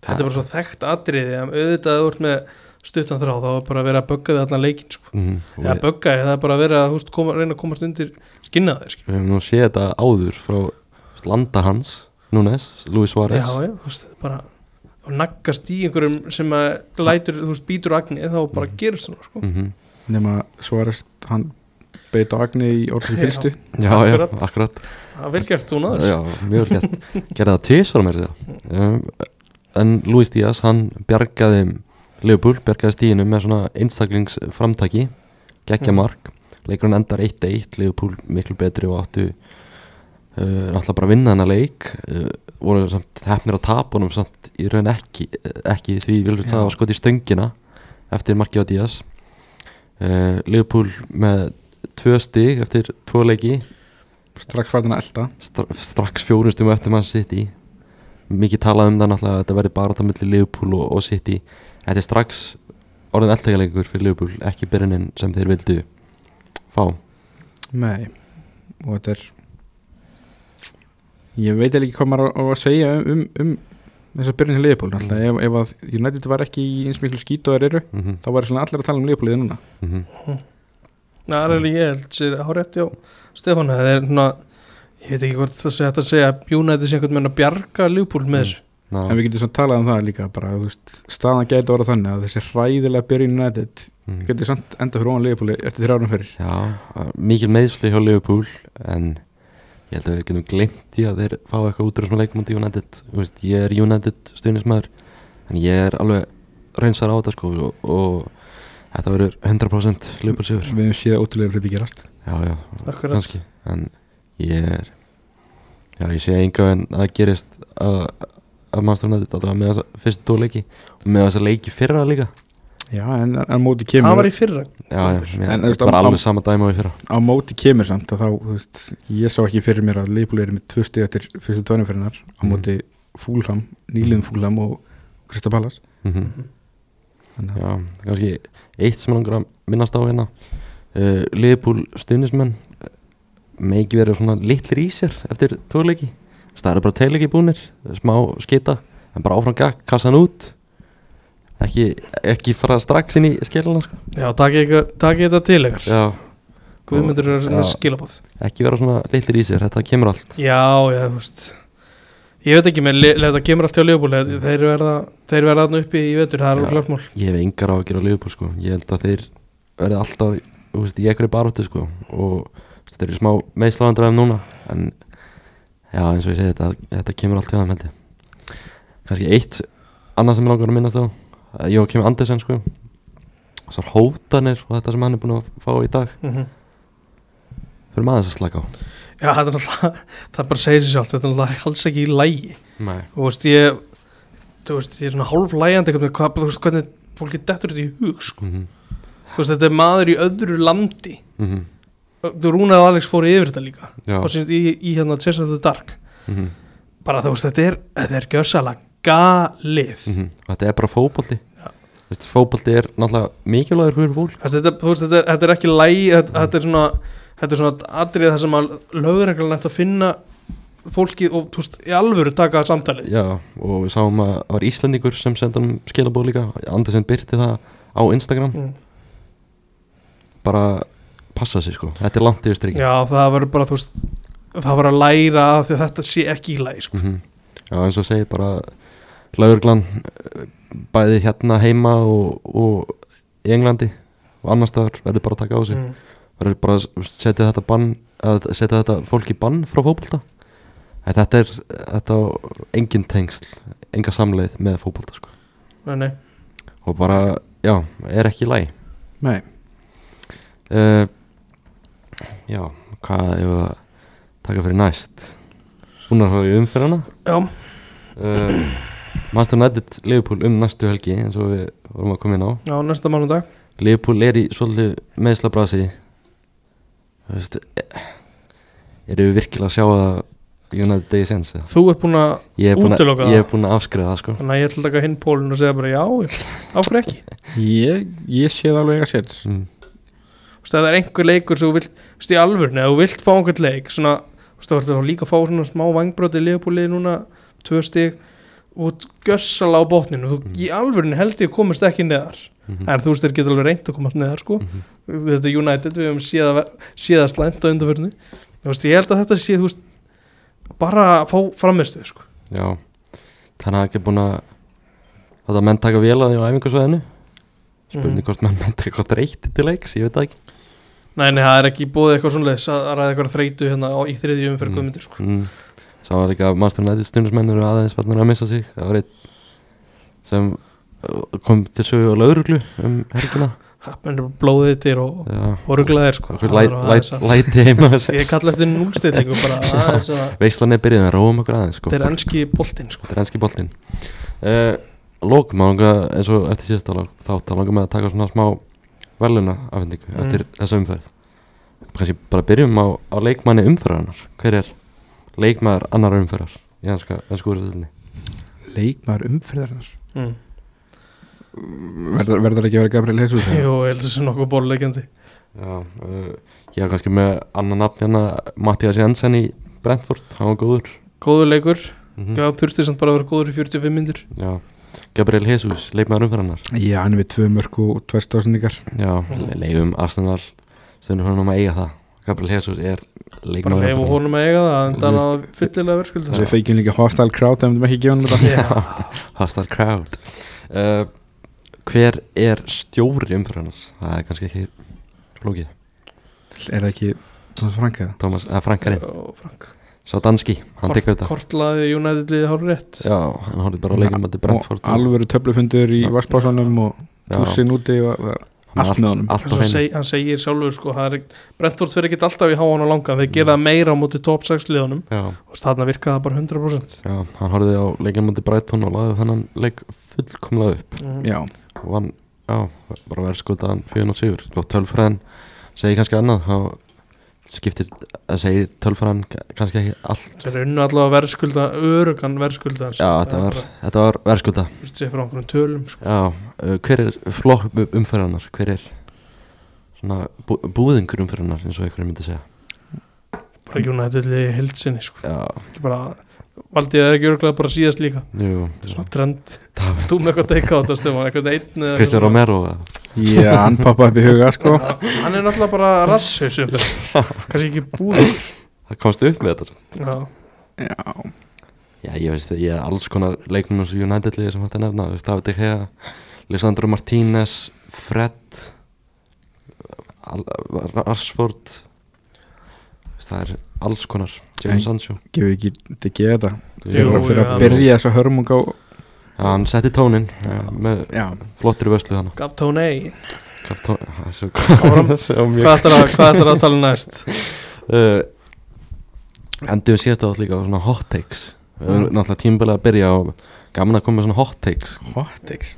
[SPEAKER 2] þetta er bara svo þekkt atriði að auðvitað þú ert með stuttan þrá þá er bara að vera að bögga þig allan leikin sko.
[SPEAKER 1] mm,
[SPEAKER 2] eða
[SPEAKER 1] við,
[SPEAKER 2] bögga þig, það er bara að vera að þú veist, koma, reyna að komast undir skinnaði sko.
[SPEAKER 1] við höfum nú séð þetta áður frá landa hans Núnes, Luis
[SPEAKER 2] já,
[SPEAKER 1] Suárez
[SPEAKER 2] já, þú veist, bara og naggast í einhverjum sem að lætur, þú veist, býtur agnið þá bara gerist það sko.
[SPEAKER 1] Mhm.
[SPEAKER 3] nema Svarest, hann beit á Agni í orðið
[SPEAKER 2] Já.
[SPEAKER 3] fyrstu
[SPEAKER 1] Já,
[SPEAKER 2] Akkurat.
[SPEAKER 1] já, akkurat
[SPEAKER 2] það er vel gert þú náður
[SPEAKER 1] Já, mjög vel gert Gerði það tísvara mér þetta um, En Luis Díaz, hann bjargaði Leopold, bjargaði stíðinu með svona einstaklingsframtaki geggja
[SPEAKER 2] Mm.
[SPEAKER 1] mark, leikurinn endar 1-1 Leopold miklu betri og áttu uh, náttúrulega bara að vinna hennar leik uh, voru samt hefnir á tapunum samt í raun ekki ekki því Vilfrind
[SPEAKER 3] Já.
[SPEAKER 1] sagði að skoti í stöngina eftir markið á Díaz uh, Leopold með tvö stig eftir tvo leiki
[SPEAKER 3] strax farin að elda
[SPEAKER 1] stra strax fjórumstum eftir mann City mikið talað um það náttúrulega að þetta verði bara það millir Liverpool og, og City þetta er strax orðin eldtækjalengur fyrir Liverpool ekki byrjunin sem þeir vildu fá
[SPEAKER 3] Nei, og þetta er ég veit eiginlega ekki hvað maður á á að segja um, um, um þess að byrjun til Leopold alltaf, ef, ef að United var ekki í eins miklu skýt og þeir eru,
[SPEAKER 1] mm -hmm.
[SPEAKER 3] þá var svona allir að tala um Leopoldið núna
[SPEAKER 1] mhm.
[SPEAKER 2] það er alveg ég held sér hárétt já, Stefán það er svona, ég veit ekki hvort það sé hægt að segja að United sé einhvern veginn að bjarga Ljúpúl
[SPEAKER 1] Mm.
[SPEAKER 2] með þessu
[SPEAKER 1] Ná,
[SPEAKER 3] en við getum svona talað um það líka bara, þú veist, staðan gæti að vera þannig að þessi hræðilega byrjun United
[SPEAKER 1] mm.
[SPEAKER 3] getur samt enda fyrir óan Leopoldið eftir þrjárum fyrir
[SPEAKER 1] já, uh, mikil meðsli hjá Liverpool en ég held að við getum glemt því að þeir fá eitthvað út úr þessum leikum undir United Þú veist, ég er United stuðnismæður en ég er alveg reynsar á þetta sko og, og þetta verður 100% Liverpool sigur
[SPEAKER 3] við hefum séð ótrúlega hluti gerast
[SPEAKER 1] já, já,
[SPEAKER 2] Akkurat.
[SPEAKER 1] kannski en ég er já, ég sé enga en að það gerist að, að maður nætti þetta með þessa fyrstu tvo leiki og með þessa leiki fyrra líka
[SPEAKER 3] já, en, en móti
[SPEAKER 2] það
[SPEAKER 3] kemur
[SPEAKER 2] var í fyrra
[SPEAKER 1] já, já, mér,
[SPEAKER 3] En,
[SPEAKER 1] en,
[SPEAKER 3] þú veist,
[SPEAKER 1] bara
[SPEAKER 3] á-
[SPEAKER 1] alveg sama dæma við fyrra
[SPEAKER 3] á móti kemur samt að þá, þú veist, ég sá ekki fyrir mér að Leopold eru með tvö stið eftir fyrstu tvönumferinnar á
[SPEAKER 1] Mhm.
[SPEAKER 3] móti Fúlham, nýliðum Fúlham og Kristapalas
[SPEAKER 1] mm
[SPEAKER 3] þannig að
[SPEAKER 1] já, kannski eitt sem mig langar að minnast á hérna uh, Liverpool stuðnismenn eh, með ekki verið svona litlir í sér eftir tvo leiki Þú veist, það eru bara teilegi búnir, smá skita en bara áfram gakk, kassan út ekki, ekki fara strax inn í skellan sko.
[SPEAKER 2] já, takk ég þetta til ykkar
[SPEAKER 1] já,
[SPEAKER 2] Guðmundur er
[SPEAKER 1] Já.
[SPEAKER 2] að skilabóð
[SPEAKER 1] ekki vera svona litlir í sér, þetta kemur allt
[SPEAKER 2] Já, já, þú veist Ég veit ekki, menn, þetta kemur allt hjá Leopold þeir- Þeir verða, þeir verða þarna uppi í vetur Það er
[SPEAKER 1] Mm. Já.
[SPEAKER 2] alveg klart mál
[SPEAKER 1] ég hef engar á að gera liðbúr sko ég held að þeir verði alltaf þú veist, í einhverju baróttu sko og þú veist, þeir eru smá meðslagandraðum núna en já eins og ég segi þetta þetta kemur allt hjá þeim held ég Eh, kannski eitt annað sem ég langar að minnast á Jókim Andersen sko þessar hótanir og þetta sem hann er búin að fá í dag
[SPEAKER 2] mm
[SPEAKER 1] fyrir maður þess að slaka á
[SPEAKER 2] Já, þetta er náttúrulega, það bara segir sér sjálf þetta er náttúrulega alls ekki í lægi
[SPEAKER 1] Nei.
[SPEAKER 2] og þú veist, ég þú veist, ég er svona hálflægjandi eitthvað, hvað, þú veist, hvernig fólki dettur þetta í hug, sko,
[SPEAKER 1] Mm -hmm.
[SPEAKER 2] þú veist, þetta er maður í öðru landi, þú rúnaði að Alex fóru yfir þetta líka,
[SPEAKER 1] mhm, Já.
[SPEAKER 2] og síðan í, í hérna Chess of the Dark,
[SPEAKER 1] Mm
[SPEAKER 2] bara þú veist, þetta er, þetta er gjössalega galið,
[SPEAKER 1] og mhm. þetta er bara fótbolti
[SPEAKER 2] Já.
[SPEAKER 1] Þú veist, fótbolti er náttúrulega mikilvægur fyrir fólk
[SPEAKER 2] Þessi, þetta, þú veist, þetta, er- þetta er ekki lægi þetta, þetta er svona þetta er svona atrið það sem að lögreglan ætti að finna fólkið og þú veist, í alvöru taka samtalið
[SPEAKER 1] Já, og við sáum að það var Íslandingur sem sendi hann skilabóð líka Andersen byrti það á Instagram
[SPEAKER 2] Mm.
[SPEAKER 1] bara passa sig sko, þetta er langt yfir strikki
[SPEAKER 2] já, það verður bara, þú veist það verður að læra af því að þetta sé ekki í lægi sko.
[SPEAKER 1] mm Já, eins og segir bara laugurglan bæði hérna heima og, og í Englandi og annars staðar verður bara að taka á sig
[SPEAKER 2] mm.
[SPEAKER 1] verður bara að setja þetta bann að setja þetta fólk í bann frá fótbolta en þetta er þetta á engin tengsl, enga samleið með fótbolta sko
[SPEAKER 2] nei, nei.
[SPEAKER 1] og bara, já, er ekki í læg
[SPEAKER 3] Nei,
[SPEAKER 1] uh, Já, hvað ef að taka fyrir næst hún er í umferðana
[SPEAKER 2] já,
[SPEAKER 1] uh, Manchester United Liverpool um næstu helgi eins og við vorum að koma inn á
[SPEAKER 2] já, næsta mánudag
[SPEAKER 1] Liverpool er í svolítið meðslabrasi Þú veist eh, erum við virkilega að sjá að United degi sens eða?
[SPEAKER 2] þú ert búin að,
[SPEAKER 1] ég er búinn að-
[SPEAKER 2] Útiloka það?
[SPEAKER 1] ég er búin að afskriða það sko
[SPEAKER 2] þannig að ég ætla að taka hinn pólun og segja bara já, áfrið ekki
[SPEAKER 3] ég, ég sé það alveg að setja
[SPEAKER 1] mm,
[SPEAKER 2] þú veist, ef það er einhver leikur sem þú vilt, þú veist, í alvörni, ef þú vilt fá einhvern leik svona, þú veist, þá ertu þá líka að fá svona smá vangbróti liðbúlið núna, tvö stig út gössala á botninu
[SPEAKER 1] Mm.
[SPEAKER 2] þú, í alvörni held ég komist ekki neðar
[SPEAKER 1] mhm,
[SPEAKER 2] en þú veist, þeir geta alveg reynd að komast neðar sko,
[SPEAKER 1] mhm.
[SPEAKER 2] þetta er United við hefum séða, séða slæmt á undanförnu þú veist, ég held að þetta sé, þú veist bara að fá framistu sko.
[SPEAKER 1] Já þannig að ekki búin að þetta menn taka vel að því á æfingarsvæðinu spurning
[SPEAKER 2] Mm.
[SPEAKER 1] hvort menn menn taka dreyti til leiks, ég veit það ekki
[SPEAKER 2] nei, nei, það er ekki búið eitthvað svona leis að að ræða eitthvað þreytu hérna á, í þriðju umferð
[SPEAKER 1] Mm.
[SPEAKER 2] guðmyndir sko.
[SPEAKER 1] mm. Sá var líka að Master United stundismenn eru aðeins farnir að missa sig Það var einn sem uh, kom til sögu á lauruglu um helgina
[SPEAKER 2] það mennir bara blóðið til og,
[SPEAKER 1] Já,
[SPEAKER 2] og ruglaðir sko.
[SPEAKER 1] okkur
[SPEAKER 2] Það
[SPEAKER 1] læt,
[SPEAKER 2] þarf aðeins
[SPEAKER 1] læt,
[SPEAKER 2] að-
[SPEAKER 1] læti heima að segja.
[SPEAKER 2] Ég kalla eftir núlstillingu bara aðeins að
[SPEAKER 1] Veislan er byrjuð, en róum okkur aðeins sko.
[SPEAKER 2] Þetta er ennski boltinn sko
[SPEAKER 1] Þetta er ennski boltinn uh, Lókum að langa, eins og eftir síðasta lag, þátt að langa með að taka svona smá veluna afhendingu
[SPEAKER 2] Mm.
[SPEAKER 1] eftir þessa umferð kannski bara byrjum á, á leikmanni umferðarnar hver er leikmaður annar umferðar í ennska, ennsku úrstæðinni
[SPEAKER 3] Leikmaður umfriðarnar
[SPEAKER 2] mm.
[SPEAKER 3] Verður verður ekki að vera Gabriel Jesus
[SPEAKER 2] Jú,
[SPEAKER 3] eða?
[SPEAKER 2] ég held þessi nokkuð borlegjandi
[SPEAKER 1] Já, uh, ég er kannski með annan nafn hérna Mattias Jensen í Brentford, hann var góður
[SPEAKER 2] Góður leikur,
[SPEAKER 1] mm
[SPEAKER 2] já, þurfti samt bara að vera góður í 45 myndir
[SPEAKER 1] Já, Gabriel Jesus, leikmaður umferðarnar
[SPEAKER 3] Já, hann er við tvö mörg og tvær stóðsendingar
[SPEAKER 1] Já, le- leifum Arsenal stundum hann um að eiga það Gabriel Jesus er
[SPEAKER 2] Bara
[SPEAKER 1] leikmaður
[SPEAKER 2] leifu
[SPEAKER 1] umferðarinnar.
[SPEAKER 2] honum að eiga það en þannig að fyllilega sko. verðskulda
[SPEAKER 3] Við feikjum líka hostile crowd ef við ekki gefa hann þetta
[SPEAKER 2] Já,
[SPEAKER 1] Hostile crowd uh, Hver er stjóri umfyrirnars? Það er kannski ekki flókið
[SPEAKER 3] Er það ekki Thomas Frank eða?
[SPEAKER 1] Thomas, að Frankarinn,
[SPEAKER 2] og Frank
[SPEAKER 1] sá Danski, hann tekur þetta
[SPEAKER 2] Kortlaði United liðið hár rétt
[SPEAKER 1] Já, hann horfði bara á leikum að þetta
[SPEAKER 3] Og
[SPEAKER 1] Brentford
[SPEAKER 3] alvöru töflufundur í
[SPEAKER 1] Já.
[SPEAKER 3] Vassbásanum og
[SPEAKER 1] Já,
[SPEAKER 3] túsin úti og og
[SPEAKER 1] hann er
[SPEAKER 3] allt með honum
[SPEAKER 1] Allt á
[SPEAKER 2] Hann,
[SPEAKER 1] henni
[SPEAKER 2] seg, hann segir sjálfur sko það er ekkert- Brentford fyrir ekkert alltaf í háan og langan þeir
[SPEAKER 1] Mm.
[SPEAKER 2] gera það meira á móti top 6 liðunum
[SPEAKER 1] Já,
[SPEAKER 2] og þarna virkaði það bara 100%
[SPEAKER 1] já, hann horfði á leikum að Brighton og laði þennan leik fullkomlega upp
[SPEAKER 2] mm.
[SPEAKER 3] Já,
[SPEAKER 1] og hann, já, bara verið skotaðan 4 og sigur og tölfræðan segir kannski annað þá skiptir, að segir tölfræðan kannski ekki allt
[SPEAKER 2] Þeir unnu allavega verðskulda, örugan verðskulda
[SPEAKER 1] Já, þetta var, þetta var verðskulda
[SPEAKER 2] Sér frá einhvern tölum sko.
[SPEAKER 1] Já, uh, hver er flokk umferðarnar, hver er svona bú, búðingur umferðarnar eins og einhverjum myndi segja
[SPEAKER 2] bara United liði hildsinni sko.
[SPEAKER 1] Já,
[SPEAKER 2] ekki bara valdi ég það ekki örglega bara síðast líka
[SPEAKER 1] jú,
[SPEAKER 2] þetta er svona trend
[SPEAKER 1] það
[SPEAKER 2] þú með eitthvað teika á þetta stöma eitthvað einn eða
[SPEAKER 1] Kristján
[SPEAKER 2] eitthvað.
[SPEAKER 1] Romero eða?
[SPEAKER 3] ég hann poppaði upp í huga sko
[SPEAKER 2] hann er náttúrulega bara rasshaus um þetta kannski ekki búið
[SPEAKER 1] það komst upp með þetta sko.
[SPEAKER 2] já,
[SPEAKER 3] Já,
[SPEAKER 1] Já, ég veist, ég er alls konar leiknum eins og United liði sem hægt að nefna, þú veist, David De Gea Lissandro Martínez, Fred Al- Rashford þú veist, það er alls konar Jadon
[SPEAKER 3] En-
[SPEAKER 1] Sancho
[SPEAKER 3] gefið ekki þetta ekki þetta
[SPEAKER 2] Jú,
[SPEAKER 3] Fyrir fyrir
[SPEAKER 2] já.
[SPEAKER 3] að byrja þessa hörmung á
[SPEAKER 1] Já, hann setti tónin
[SPEAKER 3] Já.
[SPEAKER 1] með
[SPEAKER 3] Já,
[SPEAKER 1] flottri vöslu hana
[SPEAKER 2] gaf tón ein
[SPEAKER 1] Hvað tó- það er svo gaman að um sjá mjög-
[SPEAKER 2] Hvað ætlar að, hvað ætlarðu að tala um næst?
[SPEAKER 1] uh, Endum síðast átt líka á svona hot takes Við erum Náttúrulega tímabilið að byrja á Gaman að koma með svona hot takes
[SPEAKER 3] Hot takes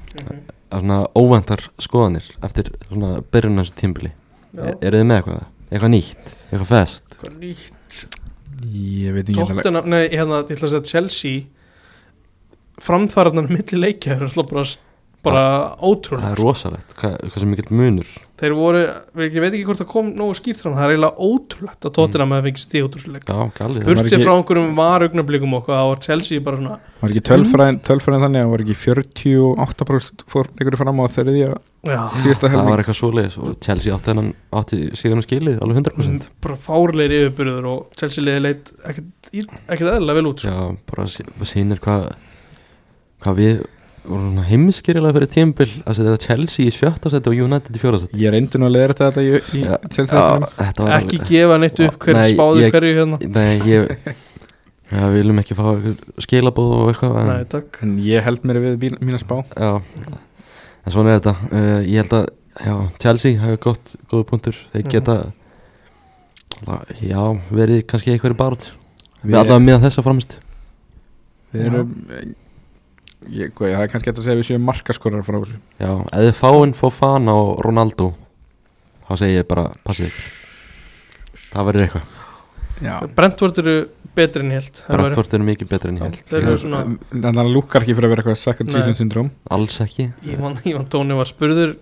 [SPEAKER 1] að Svona óvæntar skoðanir Eftir svona byrjun á þessu tímbili er, Eru þið með eitthvað? Eitthvað nýtt? Eitthvað fest?
[SPEAKER 2] Hvað er nýtt?
[SPEAKER 3] Ég veit ekki alveg
[SPEAKER 2] Tottenham, nei, hérna, ég ætla að segja Chelsea framfæraðnar milli leikja eru alltaf bara, bara
[SPEAKER 1] Það
[SPEAKER 2] ótrúlega
[SPEAKER 1] er rosalegt Hvað, hvað sem mikill munur
[SPEAKER 2] þeir voru, ég veit ekki hvort það kom nógu skýrt fram, það er eiginlega ótrúlegt að
[SPEAKER 1] Mm.
[SPEAKER 2] Tottenham hefði fengið stíð útrúlega
[SPEAKER 1] Já, galið
[SPEAKER 3] Hur-
[SPEAKER 1] Hur?
[SPEAKER 3] var
[SPEAKER 2] Hurt sér
[SPEAKER 3] ekki-
[SPEAKER 2] frá einhverjum varugnablikum okkur þá var Chelsea bara svona
[SPEAKER 3] Var ekki tölfræðin, tölfræðin þannig að var ekki 48% fór ykkur fram á þriðja
[SPEAKER 2] já,
[SPEAKER 3] síðasta
[SPEAKER 1] Ah, Það var
[SPEAKER 3] helming
[SPEAKER 1] eitthvað svoleiðis og Chelsea átti, hennan, átti síðan að skilið alveg 100%
[SPEAKER 2] bara fárleir yfirbyrður og Chelsea liði leitt ekkert í- ekkert eðlilega vel út sko.
[SPEAKER 1] Já, bara sí- sýnir hvað hvað við vorum heimskirilega fyrir tímbil að setja Chelsea í sjötta seti og United í fjóra seti
[SPEAKER 3] Ég reyndi nú að leira þetta í, í
[SPEAKER 1] Já.
[SPEAKER 3] Chelsea
[SPEAKER 1] þetta var
[SPEAKER 2] ekki gefa neitt upp hverju
[SPEAKER 1] Nei,
[SPEAKER 2] spáði
[SPEAKER 1] ég-
[SPEAKER 2] hverju hérna
[SPEAKER 1] Nei, ég Já, við viljum ekki fá einhver skilabóð og eitthvað en,
[SPEAKER 2] nei, takk
[SPEAKER 3] En ég held mér við mín- mína spá
[SPEAKER 1] Já, en svona er þetta uh, Ég held að, já, Chelsea hafa gott, góða punktur Þeir
[SPEAKER 2] Mhm.
[SPEAKER 1] geta alltaf, Já, verið kannski eitthvað í barð Við
[SPEAKER 3] Við-
[SPEAKER 1] allavega með þessa framist
[SPEAKER 3] Við erum ég, hvað, Það er kannski hægt að segja að við séum markaskorar frá þessu
[SPEAKER 1] Já, ef þið fáinn Fofana og Ronaldo Þá segi ég bara, passið ykkur Það verður eitthvað
[SPEAKER 3] Já
[SPEAKER 2] Brentford eru betri en ég held Það væri-
[SPEAKER 1] Brentford eru mikið betri en ég held
[SPEAKER 2] Þeir eru svona
[SPEAKER 3] En það lúkar ekki fyrir að vera eitthvað second
[SPEAKER 2] Nei.
[SPEAKER 3] season syndrome
[SPEAKER 1] Alls ekki
[SPEAKER 2] Ívan, Ívan Tóni var spurður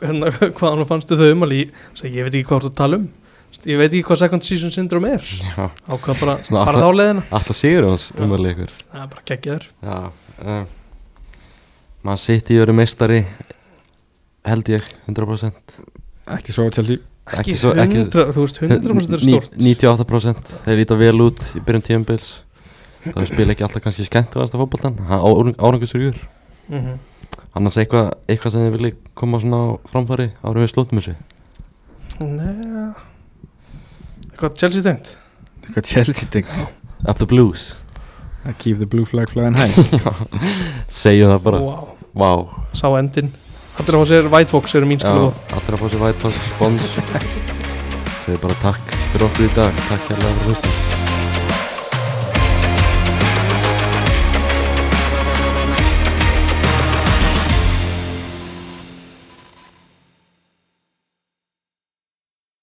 [SPEAKER 2] hérna, hvað hann fannstu þau umali sagði, ég veit ekki hvað þú ert að tala um ég veit ekki hvað second season syndrome er
[SPEAKER 1] Já,
[SPEAKER 2] ákvað bara
[SPEAKER 1] Svona
[SPEAKER 2] fara
[SPEAKER 1] alltaf-
[SPEAKER 2] þá leðina
[SPEAKER 1] alltaf sigur hans umverðið ykkur
[SPEAKER 2] það er bara geggja þér
[SPEAKER 1] Já uh, Man sitt í öru meistari Held ég 100%
[SPEAKER 3] Ekki svo Chelsea
[SPEAKER 1] Ekki
[SPEAKER 2] ekki
[SPEAKER 1] svo- ekki-
[SPEAKER 2] 100, þú veist 100% er
[SPEAKER 1] Ní-
[SPEAKER 2] stort
[SPEAKER 1] 98% Þeir líta vel út í byrjun tíðanbils Það spila ekki alltaf kannski skemmtilegasta fótboltan Árangusurjur
[SPEAKER 2] Mhm.
[SPEAKER 1] Annars eitthvað, eitthvað sem þið vilji koma svona á framfæri Árum við slótum þessu
[SPEAKER 2] Nei. eitthvað Chelsea tengt
[SPEAKER 3] Eitthvað Chelsea dengt
[SPEAKER 1] Up the blues
[SPEAKER 3] Keep the blue flag flying high
[SPEAKER 1] Segjum það bara
[SPEAKER 2] wow.
[SPEAKER 1] Vá
[SPEAKER 2] sá endin allir á sér white box eru mín
[SPEAKER 1] Já,
[SPEAKER 2] skilabóð
[SPEAKER 1] Allir að fá sér vætfald Spons Þegar bara takk fyrir okkur í dag Takk hérlega fyrir hlustum